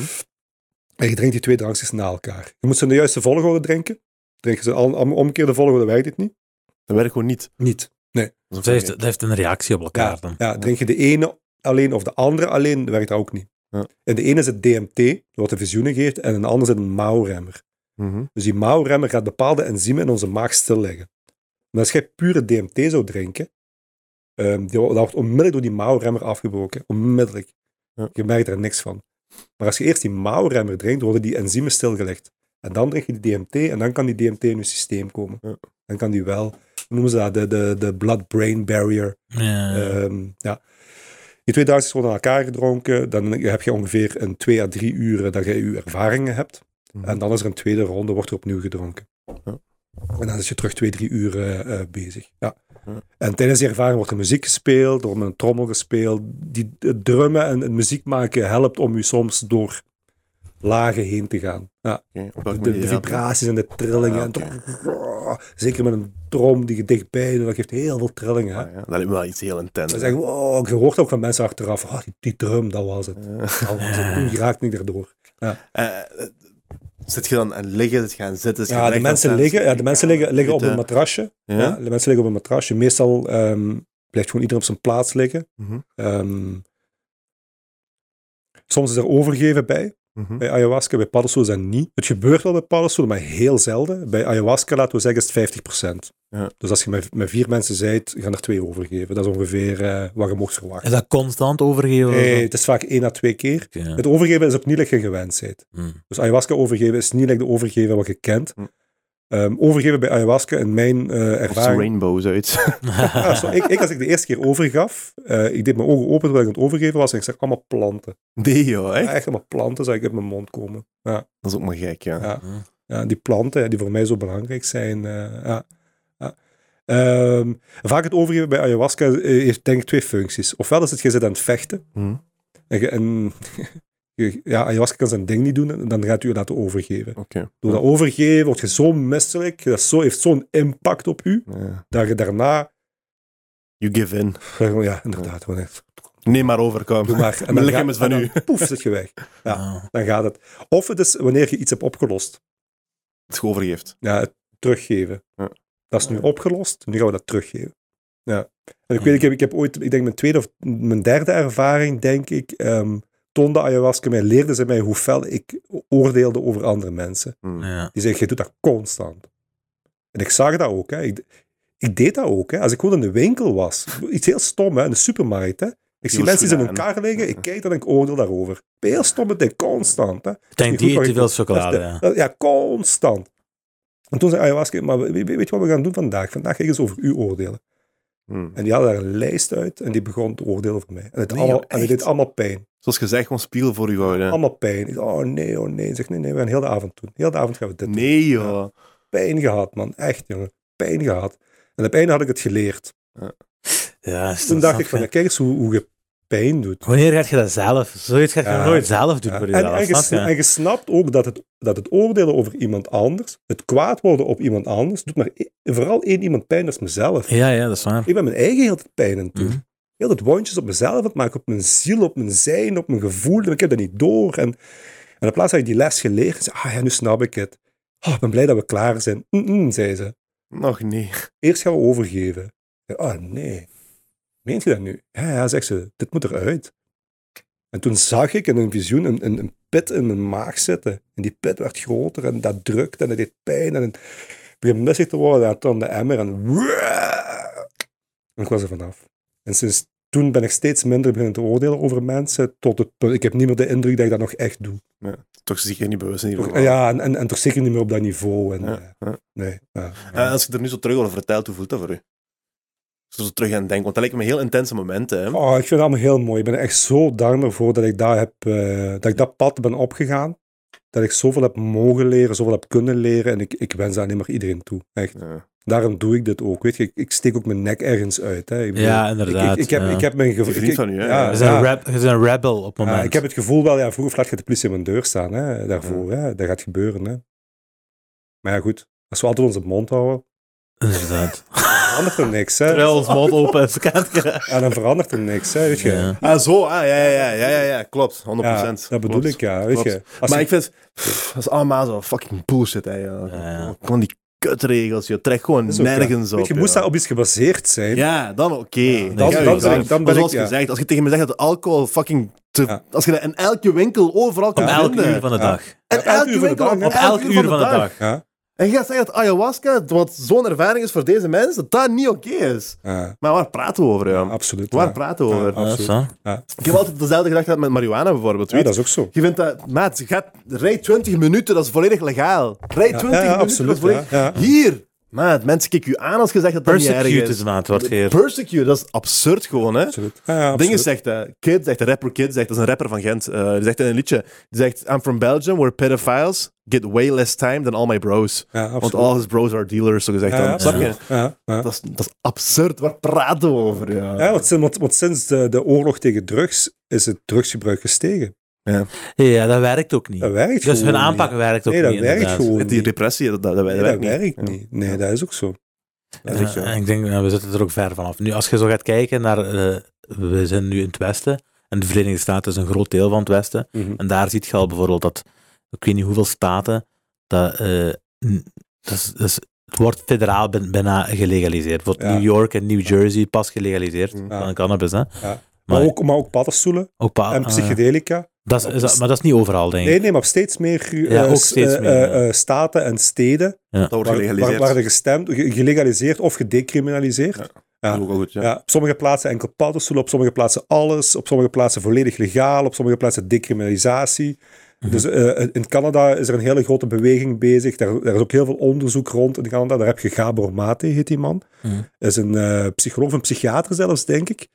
En je drinkt die twee drankjes na elkaar. Je moet ze in de juiste volgorde drinken. Denken ze, al, om, omgekeerde volgorde werkt dit niet? Dat werkt gewoon niet. Niet. Dat is een Dat heeft, probleem. dat heeft een reactie op elkaar Ja, dan. ja, drink je de ene alleen of de andere alleen, dan werkt dat ook niet. Ja. En de ene is het DMT, wat de visioenen geeft, en een ander is een mouwremmer. Mhm. Dus die mouwremmer gaat bepaalde enzymen in onze maag stilleggen. Maar als jij pure DMT zou drinken, ehm, die, wo- dat wordt onmiddellijk door die mouwremmer afgebroken. Onmiddellijk. Ja. Je merkt er niks van. Maar als je eerst die mouwremmer drinkt, worden die enzymen stilgelegd. En dan drink je die DMT en dan kan die DMT in je systeem komen. Ja. Dan kan die wel, hoe noemen ze dat, de, de, de blood-brain barrier Ja. Ehm, ja. Die twee duizend worden aan elkaar gedronken. Dan heb je ongeveer een twee à drie uren dat je je ervaringen hebt. Mhm. En dan is er een tweede ronde, wordt er opnieuw gedronken. Ja. En dan is je terug twee, drie uur eh, eh, bezig. Ja. Ja. En tijdens die ervaring wordt er muziek gespeeld, er wordt met een trommel gespeeld. Die, het drummen en het muziek maken helpt om je soms door lagen heen te gaan. Ja. Oké, op De, welke de manier helpt dat? vibraties en de trillingen. Ah, en toch- zeker met een trom die je dichtbij doet, dat geeft heel veel trillingen. hè. Ah, ja. Dat lijkt me wel iets heel intens. Ze zeggen, wow, je hoort ook van mensen achteraf, ah, die, die drum, dat [LAUGHS] was het. Dat was het. Toen raakt niet erdoor. Eh, eh, zit je dan aan liggen, zit je aan zitten? zit je Ja, de recht mensen aan staan, liggen, ja, de mensen liggen, liggen op een zitten? matrasje. eh, Ja? Ja, de mensen liggen op een matrasje. Meestal ehm, blijft gewoon iedereen op zijn plaats liggen. Mhm. Ehm, soms is er overgeven bij. Mhm. Bij ayahuasca, bij paddenstoelen is dat niet. Het gebeurt wel bij paddenstoelen, maar heel zelden. Bij ayahuasca, laten we zeggen, is het 50%. Ja. Dus als je met, met vier mensen zijt, gaan er twee overgeven. Dat is ongeveer eh, wat je mocht verwachten. Is dat constant overgeven? Eh, het is vaak één à twee keer. Ja. Het overgeven is opnieuw dat je gewend bent. Hm. Dus ayahuasca overgeven is niet like de overgeven wat je kent. Hm. Ehm, overgeven bij ayahuasca, in mijn eh, Of zo'n ervaring... rainbow, zoiets. Ja, zo, ik, ik, als ik de eerste keer overgaf, eh, ik deed mijn ogen open terwijl ik aan het overgeven was en ik zag allemaal planten. [LAUGHS] Nee, joh, Echt, echt? allemaal planten zag ik uit mijn mond komen. Dat is ook maar gek, ja. Ja. Ja, die planten ja, die voor mij zo belangrijk zijn. eh, ja, ja. Ehm, vaak het overgeven bij ayahuasca eh, heeft denk ik twee functies. Ofwel is het, je zit aan het vechten Mhm. en, je- en [LAUGHS] je- ja, ayahuasca kan zijn ding niet doen en dan gaat u je laten overgeven. Oké. Door dat overgeven word je zo misselijk, dat zo, heeft zo'n impact op u, Ja. dat je daarna, You give in. ja, inderdaad, gewoon echt, Neem maar over, kom. doe maar. Mijn dan lichaam ga- is van en u. dan [LAUGHS] Poef, zit je weg. Ja. Ah. Dan gaat het. Of het is wanneer je iets hebt opgelost. Het is overgeeft. Ja, het teruggeven. Ja. Dat is nu opgelost, nu gaan we dat teruggeven. Ja. En ik weet, ik heb, ik heb ooit, ik denk mijn tweede of mijn derde ervaring, denk ik, ehm toonde ayahuasca mij, leerde ze mij hoe fel ik oordeelde over andere mensen. Mhm. Ja. Die zegt, je doet dat constant. En ik zag dat ook. Hè. Ik, ik deed dat ook. Hè. Als ik gewoon in de winkel was. Iets heel stom, hè, in de supermarkt. Hè. Ik zie was mensen in hun gedaan. kar liggen. Ik kijk dan en ik oordeel daarover. Heel stomme ding. Constant. Hè. Ik denk Niet goed, die maar eet te ik- veel chocolade. Dat is [LAUGHS] ja. de- dat- ja, constant. En toen zei ayahuasca, maar we- we- weet, je wat we gaan doen vandaag? Vandaag ga ik eens over u oordelen. Mhm. En die hadden daar een lijst uit en die begon te oordelen over mij. En het, Nee, allemaal, joh, en het echt? deed allemaal pijn. Zoals gezegd, gewoon spiegel voor u houden. Allemaal pijn. Ik dacht, oh nee, oh nee. Ik zeg, nee, nee, we gaan heel de avond doen. Heel de avond gaan we dit doen. Nee, joh. pijn gehad, man. Echt, jongen. Pijn gehad. En op einde had ik het geleerd. Ja, is Toen dat dacht ik van, ja, snap je. kijk eens hoe, hoe je pijn doet. Wanneer gaat je dat zelf? Zoiets gaat je Ja. nog nooit zelf doen Ja. voor En, en, jezelf. je, snap en je? je snapt ook dat het, dat het oordelen over iemand anders, het kwaad worden op iemand anders, doet maar e- vooral één iemand pijn, dat is mezelf. Ja, ja, dat is waar. Ik ben mijn eigen heel het pijn aan het doen. Mhm. Heel het wondjes op mezelf aan het maken, op mijn ziel, op mijn zijn, op mijn gevoel. En ik heb dat niet door. En, en in plaats dat je die les geleerd zei, ah ja, nu snap ik het. Ah, ik ben blij dat we klaar zijn. Mm-mm, zei ze. Nog niet. Eerst gaan we overgeven. Oh nee, meent je dat nu? Ja, ja, zegt ze, dit moet eruit. En toen zag ik in een visioen een, een, een pit in mijn maag zitten. En die pit werd groter en dat drukte en dat deed pijn. En het begon missig te worden. En toen de emmer en... En ik was er vanaf. En sinds toen ben ik steeds minder beginnen te oordelen over mensen. Tot het punt, ik heb niet meer de indruk dat ik dat nog echt doe. Toch zie ik er niet bewust in ieder Toch- geval. ja, en, en, en toch zeker niet meer op dat niveau. En, Ja, eh, ja. Nee, ja. En Eh, als je er nu zo terug over vertelt, hoe voelt dat voor u? Als je er zo terug aan denkt, want dat lijken me heel intense momenten. Hè? Oh, ik vind het allemaal heel mooi. Ik ben er echt zo dankbaar voor dat ik, daar heb, eh, dat ik dat pad ben opgegaan. Dat ik zoveel heb mogen leren, zoveel heb kunnen leren. En ik, ik wens dat alleen maar iedereen toe. Echt. Ja. Daarom doe ik dit ook. Weet je, ik, ik steek ook mijn nek ergens uit. Hè. Ik bedoel, Ja, ik, inderdaad. ik, ik, heb, ja. ik heb mijn gevoel. Die vriend van u, hè? Je Ja, bent een rab- je bent een rebel op het moment. Ja, ik heb het gevoel wel, ja, vroeg of laat gaat de politie aan mijn deur staan. Hè, daarvoor, hè. dat gaat gebeuren. Hè. Maar ja, goed. Als we altijd onze mond houden, Inderdaad. verandert er niks. Hè. Terwijl ons mond open is. kan je- Ja, dan verandert er niks. Hè, weet je. Ja. Ah, zo. Ah, ja, ja, ja, ja, ja, ja. Klopt. 100%. Ja, dat bedoel Klopt. ik, ja. Weet Klopt. je. Als maar je- ik vind, pff, dat is allemaal zo fucking bullshit, hè. joh. Ja, ja. Gewoon die kutregels, je trekt gewoon Dat is ook, ja. nergens op. Weet je moest ja. dat op iets gebaseerd zijn. Ja, dan oké. Ja, dan, dan- ga je dan wel ben zeggen. ik- dan Maar ben zoals ik- ja. gezegd, als je tegen me zegt dat alcohol fucking te... Ja. Als je dat in elke winkel overal kan Op elk vinden. uur van de Ja. dag. En Op elk elke uur van de winkel, dag, hè? op elk uur van de dag. Ja, En je gaat zeggen dat ayahuasca, wat zo'n ervaring is voor deze mensen, dat dat niet oké is. ja, Maar waar praten we over, ja? absoluut. Waar ja. praten we over? Ja, Ja, absoluut. zo. Ik heb altijd dezelfde gedachte gehad met marihuana bijvoorbeeld. Ja, weet dat is ook zo. Je vindt dat, maat, je gaat, rij 20 minuten, dat is volledig legaal. Rij 20 ja, minuten, absoluut, dat is volledig... ja, ja. Hier! Maat, mensen kijken je aan als je zegt dat dat niet erg Persecuted, is. maat, wordt hier. Persecute, dat is absurd gewoon, hè? Absoluut. Ja, ja, Dingen absoluut. zegt dat. Kid zegt, de rapper Kid zegt, dat is een rapper van Gent. eh, die zegt in een liedje, die zegt, I'm from Belgium, where pedophiles get way less time than all my bros. Ja, absoluut. Want all his bros are dealers, zo gezegd. Ja, dan. ja, Snap je? absoluut. Ja, ja. Dat is, dat is absurd, waar praten we over? Ja. Ja, want, sin- want, want sinds de, de oorlog tegen drugs is het drugsgebruik gestegen. Ja, dat werkt ook niet. Dat werkt Dus gewoon hun aanpak niet. werkt ook nee, dat niet. werkt inderdaad. gewoon Met die niet. repressie, dat, dat, dat, Nee, werkt dat niet. werkt Ja. niet. Nee, dat is ook zo. Dat is Ja, ook zo. en ik denk, ja, we zitten er ook ver vanaf. Nu, als je zo gaat kijken naar, eh, we zijn nu in het Westen en de Verenigde Staten is een groot deel van het Westen. Mhm. En daar ziet je al bijvoorbeeld dat, ik weet niet hoeveel staten, dat, eh, n- dat, is, dat is- het wordt federaal ben- bijna gelegaliseerd. Bijvoorbeeld Ja. Mhm. New York en New Jersey pas gelegaliseerd Ja. van cannabis. Hè? Maar, Maar- ook, maar ook paddenstoelen Ook pa- en ah, psychedelica. dat is, is dat- maar dat is niet overal, denk ik. Nee, nee, maar op steeds meer, eh, Ja, ook s- steeds eh, meer, ja. eh, eh, staten en steden Dat wordt waar, waar, gelegaliseerd. waren gestemd, ge- gelegaliseerd of gedecriminaliseerd. Ja. Ja. Dat is ook wel goed, ja. Ja, op sommige plaatsen enkel paddenstoelen, op sommige plaatsen alles, op sommige plaatsen volledig legaal, op sommige plaatsen decriminalisatie. Dus eh, in Canada is er een hele grote beweging bezig. Daar, daar is ook heel veel onderzoek rond in Canada. Daar heb je Gabor Mate, heet die man. Mhm. is een eh, psycholoog, of een psychiater zelfs, denk ik.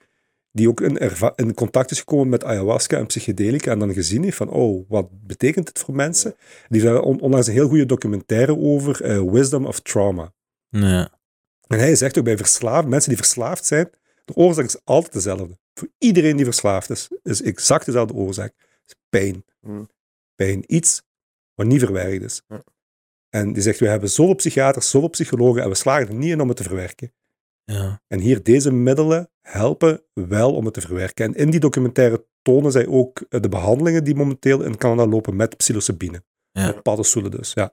Die ook in, erva- in contact is gekomen met ayahuasca en psychedelica. En dan gezien heeft van, oh, wat betekent dit voor mensen? Die heeft daar on- onlangs een heel goede documentaire over, eh, Wisdom of Trauma. Ja. En hij zegt ook bij verslaafd, mensen die verslaafd zijn, de oorzaak is altijd dezelfde. Voor iedereen die verslaafd is, is exact dezelfde oorzaak. Het is pijn. Mm. Pijn. Iets wat niet verwerkt is. Ja. En die zegt, we hebben zoveel psychiaters, zoveel psychologen en we slagen er niet in om het te verwerken. Ja. En hier, deze middelen helpen wel om het te verwerken. En in die documentaire tonen zij ook eh, de behandelingen die momenteel in Canada lopen met psilocybine. Ja. Met paddenstoelen dus, ja.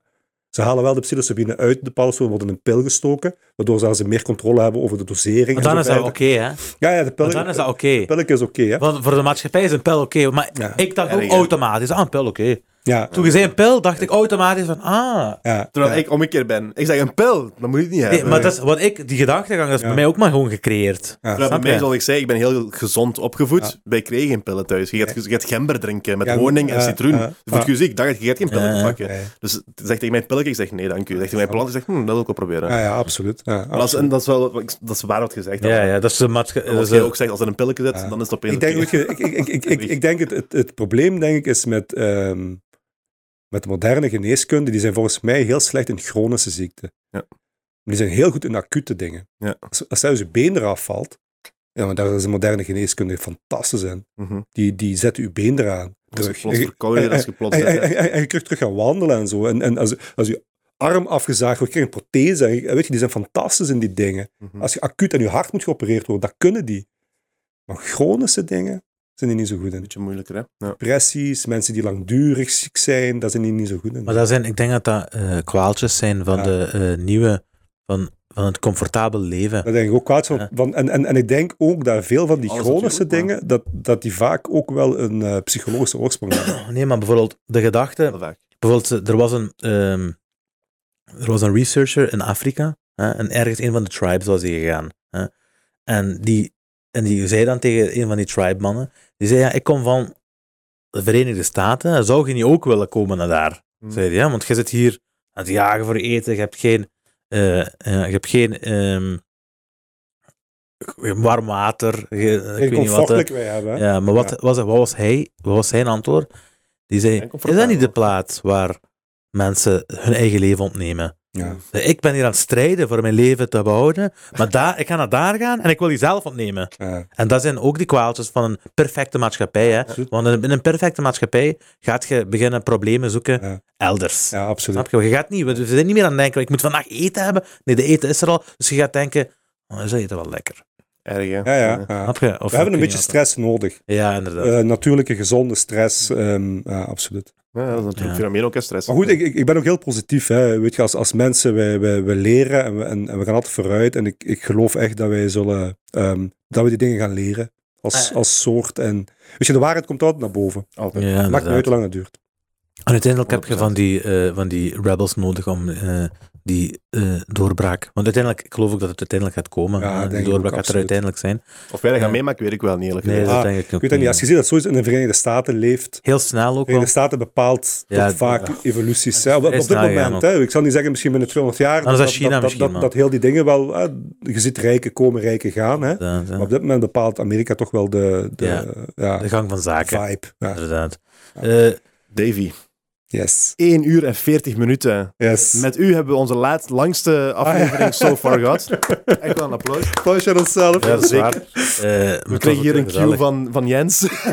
Ze halen wel de psilocybine uit de paddenstoel, worden in een pil gestoken, waardoor ze- ze meer controle hebben over de dosering. Want en dan zo is dat oké, verder. hè? Ja, ja, de pil, Want dan is dat oké. de pilletje is oké, hè. Want voor de maatschappij is een pil oké. maar Ja. ik dacht ook Erg, hè? automatisch, ah, een pil oké. Ja, Toen je zei een pil, dacht ik automatisch van, ah. ja, Terwijl ja. ik omgekeerd ben. Ik zeg een pil, dat moet je het niet Nee, hebben. maar dat is wat ik, die gedachtegang, dat is bij mij ook maar gewoon gecreëerd. Ja. Terwijl Snap bij mij, je? zoals ik zei, ik ben heel gezond opgevoed. Ja. Wij kregen geen pillen thuis. Je gaat, je gaat gember drinken met Ja, honing en ja, citroen. ja, Voor ja. je ziek, dan gaat je gaat geen pillen Ja, pakken. ja. Dus het zegt tegen mijn pilletje, ik zeg nee, dank u. Zegt tegen mijn plant, ik zeg hm, dat wil ik wel proberen. Ja, ja, absoluut. Ja, Maar dat, is, absoluut. Dus, en dat, is wel, wat ik- dat is waar wat gezegd Ja, ja, dat is de maatschappij. Als Dat is je een- ook zegt, als er een pilletje zit, dan is het opeens eh, Ik denk, oké. dat je, ik, ik, ik, ik, ik, [LAUGHS] ik denk het, het, het probleem denk ik, is met, ehm, met de moderne geneeskunde. Die zijn volgens mij heel slecht in chronische ziekten. Ja. Maar die zijn heel goed in acute dingen. Ja. Als, als zelfs je been eraf valt, ja, maar daar is de moderne geneeskunde fantastisch in. Mhm. Die, die zetten je been eraan. Als je [LAUGHS] Terug. plots En- verkouden bent, als je [LAUGHS] plots... en, en, en- en- en je kunt terug gaan wandelen en zo. En, en als, als je arm afgezaagd wordt, krijg je een prothese. En, je- weet je, die zijn fantastisch in die dingen. Mhm. Als je acuut aan je hart moet geopereerd worden, dat kunnen die. Maar chronische dingen zijn die niet zo goed Een in. beetje moeilijker, hè? Ja. Depressies, mensen die langdurig ziek zijn, daar zijn die niet zo goed in. Maar dat zijn, ik denk dat dat eh, kwaaltjes zijn van Ja. de eh, nieuwe, van, van het comfortabel leven. dat denk ik ook kwaad van. Ja. van- en, en, en ik denk ook dat veel van die Alles chronische natuurlijk, dingen, dat, dat die vaak ook wel een eh, psychologische oorsprong hebben. Nee, maar bijvoorbeeld de gedachte, Heel vaak. bijvoorbeeld eh, er was een, ehm, er was een researcher in Afrika, hè, en ergens een van de tribes was hij gegaan. Hè, en, die, en die zei dan tegen een van die tribe mannen, die zei ja, ik kom van de Verenigde Staten, zou je niet ook willen komen naar daar? Hmm. Zei hij, ja, want je zit hier aan het jagen voor eten, je hebt geen, eh, eh, je hebt geen ehm, geen warm water, je- eh, ik Geen weet niet wat. comfort hè. dat wij hebben. hè. Ja, maar wat, Was, wat, was hij, wat was zijn antwoord? Die zei, En is comfortabel. dat niet de plaats waar mensen hun eigen leven ontnemen? Ja. Ik ben hier aan het strijden voor mijn leven te behouden, maar daar, ik ga naar daar gaan en ik wil die zelf ontnemen. Ja. En dat zijn ook die kwaaltjes van een perfecte maatschappij. Hè? Absoluut. Want in in een perfecte maatschappij gaat je beginnen problemen zoeken Ja. elders. Ja, absoluut. Snap je? Je gaat niet, we we zijn niet meer aan het denken, ik moet vandaag eten hebben. Nee, de eten is er al. Dus je gaat denken, oh, is dat eten wel lekker? Erg, hè? Ja, ja, ja. Snap je? Of We hebben een kun beetje je dat- stress nodig. Ja, inderdaad. Eh, natuurlijke, gezonde stress. ehm, ja, absoluut. Ja, dat is natuurlijk Ja. fenomeen ook, hè, stress. Maar goed, ik, ik, ik ben ook heel positief. Hè. Weet je, als, als mensen, wij, wij, wij leren en we, en, en we gaan altijd vooruit. En ik, ik geloof echt dat wij zullen, ehm, dat we die dingen gaan leren. Als, Ah. als soort. En, weet je, de waarheid komt altijd naar boven. Altijd. ja, Maakt niet uit inderdaad. hoe lang het duurt. En uiteindelijk heb je 100%. van die, eh, van die rebels nodig om eh, die eh, doorbraak. Want uiteindelijk, ik geloof ook dat het uiteindelijk gaat komen. Ja, hè. denk die ik doorbraak ook, gaat er uiteindelijk zijn. Of wij dat gaan Ja. meemaken, weet ik wel niet, eerlijk Nee, gezegd. dat Ah, denk ik ook. Ik weet dat niet. niet. Als je ziet dat zoiets in de Verenigde Staten leeft. Heel snel ook De Verenigde wel. Staten bepaalt Ja, toch vaak ja. evoluties. hè. Op, op Is dit nou, ja, moment, hè. ik zal niet zeggen misschien binnen 200 jaar, Anders dat, als China dat, dat, misschien, dat, maar. dat heel die dingen wel... Hè, je ziet rijken komen, rijken gaan. Hè. Inderdaad, ja. Maar op dit moment bepaalt Amerika toch wel de, de, Ja. ja, eh, De gang van zaken, vibe. Ja. inderdaad. Ja. Eh, Davy, Yes. 1 uur en 40 minuten. Yes. Met u hebben we onze laatst langste aflevering Ah, ja. so far [LAUGHS] gehad. Echt wel een applaus. applaus aan onszelf. ja, dat is zeker. waar. Eh, We kregen hier een cue van, van [LAUGHS] Jens. [LAUGHS]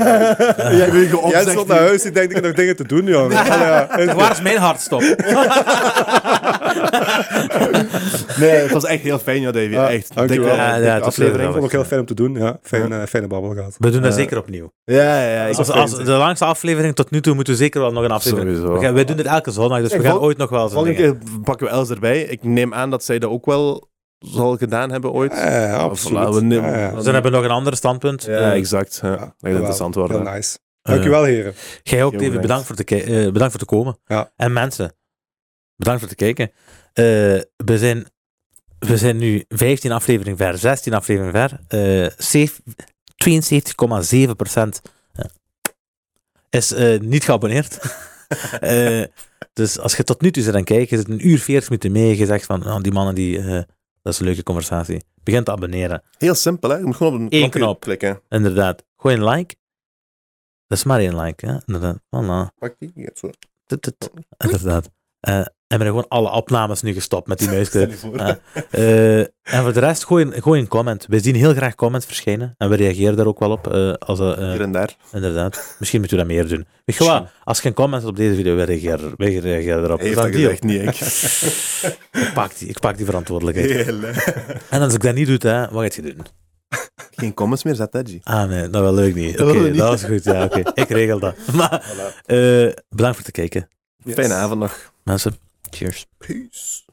Jij wil geopzegd. Jij stond nou, naar huis, ik denk dat ik nog dingen te doen, jongen. Allee, [LAUGHS] ja. Waar is mijn [LAUGHS] hartstop? [LAUGHS] Nee, het was echt heel fijn, ja, Davy. Ja, echt. dankjewel. Dikke, Ah, Ja, ja, dikke het was Ik aflevering. vond het ook heel fijn om te doen. Ja. Fijn, eh, fijne babbel gehad. We doen dat Eh, zeker opnieuw. Ja, ja, ja. Ik Als, was als de langste aflevering tot nu toe moeten we zeker wel nog een aflevering. Sowieso. We gaan- wij doen dit elke zondag, dus Ja, we gaan vol- ooit nog wel eens een Volgende ding keer pakken we Els erbij. Ik neem aan dat zij dat ook wel zal gedaan hebben ooit. Eh, Of laten absoluut. we nemen- Ja, ja. Dus dan hebben we nog een ander standpunt. Ja, Eh, exact. Ja. Ja, Dat gaat jawel. interessant worden. Heel nice. Dankjewel, heren. Jij ook, bedankt. David. Bedankt voor, te ki- eh, bedankt voor te komen. Ja. En mensen, bedankt voor te kijken. Eh, we, zijn, we zijn nu 15 afleveringen ver, 16 afleveringen ver. Eh, zeef- 72,7% eh, is eh, niet geabonneerd. Eh, dus als je tot nu toe zit aan het kijken, je zit een uur 40 minuten mee, je zegt van, oh, die mannen, die, eh, dat is een leuke conversatie. Begin te abonneren. Heel simpel, hè? Je moet gewoon op een Eén knopje knop. klikken. Inderdaad. Gooi een like. Dat is maar één like, hè? inderdaad. Voilà. Pak die. Ja, zo. Oh, Tut, tut. Inderdaad. Eh, en ben ik gewoon alle opnames nu gestopt met die [LAUGHS] muisklik. Ah. Eh, en voor de rest, gooi een, gooi een comment. We zien heel graag comments verschijnen. En we reageren daar ook wel op. eh, als, dat, eh, Hier en daar. inderdaad. Misschien moeten we dat meer doen. Weet je wat? Als je een comment hebt op deze video, wij reageren, wij reageren erop. Heeft Dan dat die gezegd, niet ik. op. [LAUGHS] Ik pak die, ik pak die verantwoordelijkheid. Heel, hè. [LAUGHS] En als ik dat niet doe, hè, wat ga je doen? Geen comments meer, zet dat, G. Ah nee, dat wil ik niet. Dat Oké, wil je niet. dat was goed. Ja, oké. Ik regel dat. [LAUGHS] Maar, eh, bedankt voor het kijken, Fijne avond nog. mensen. Cheers. Peace.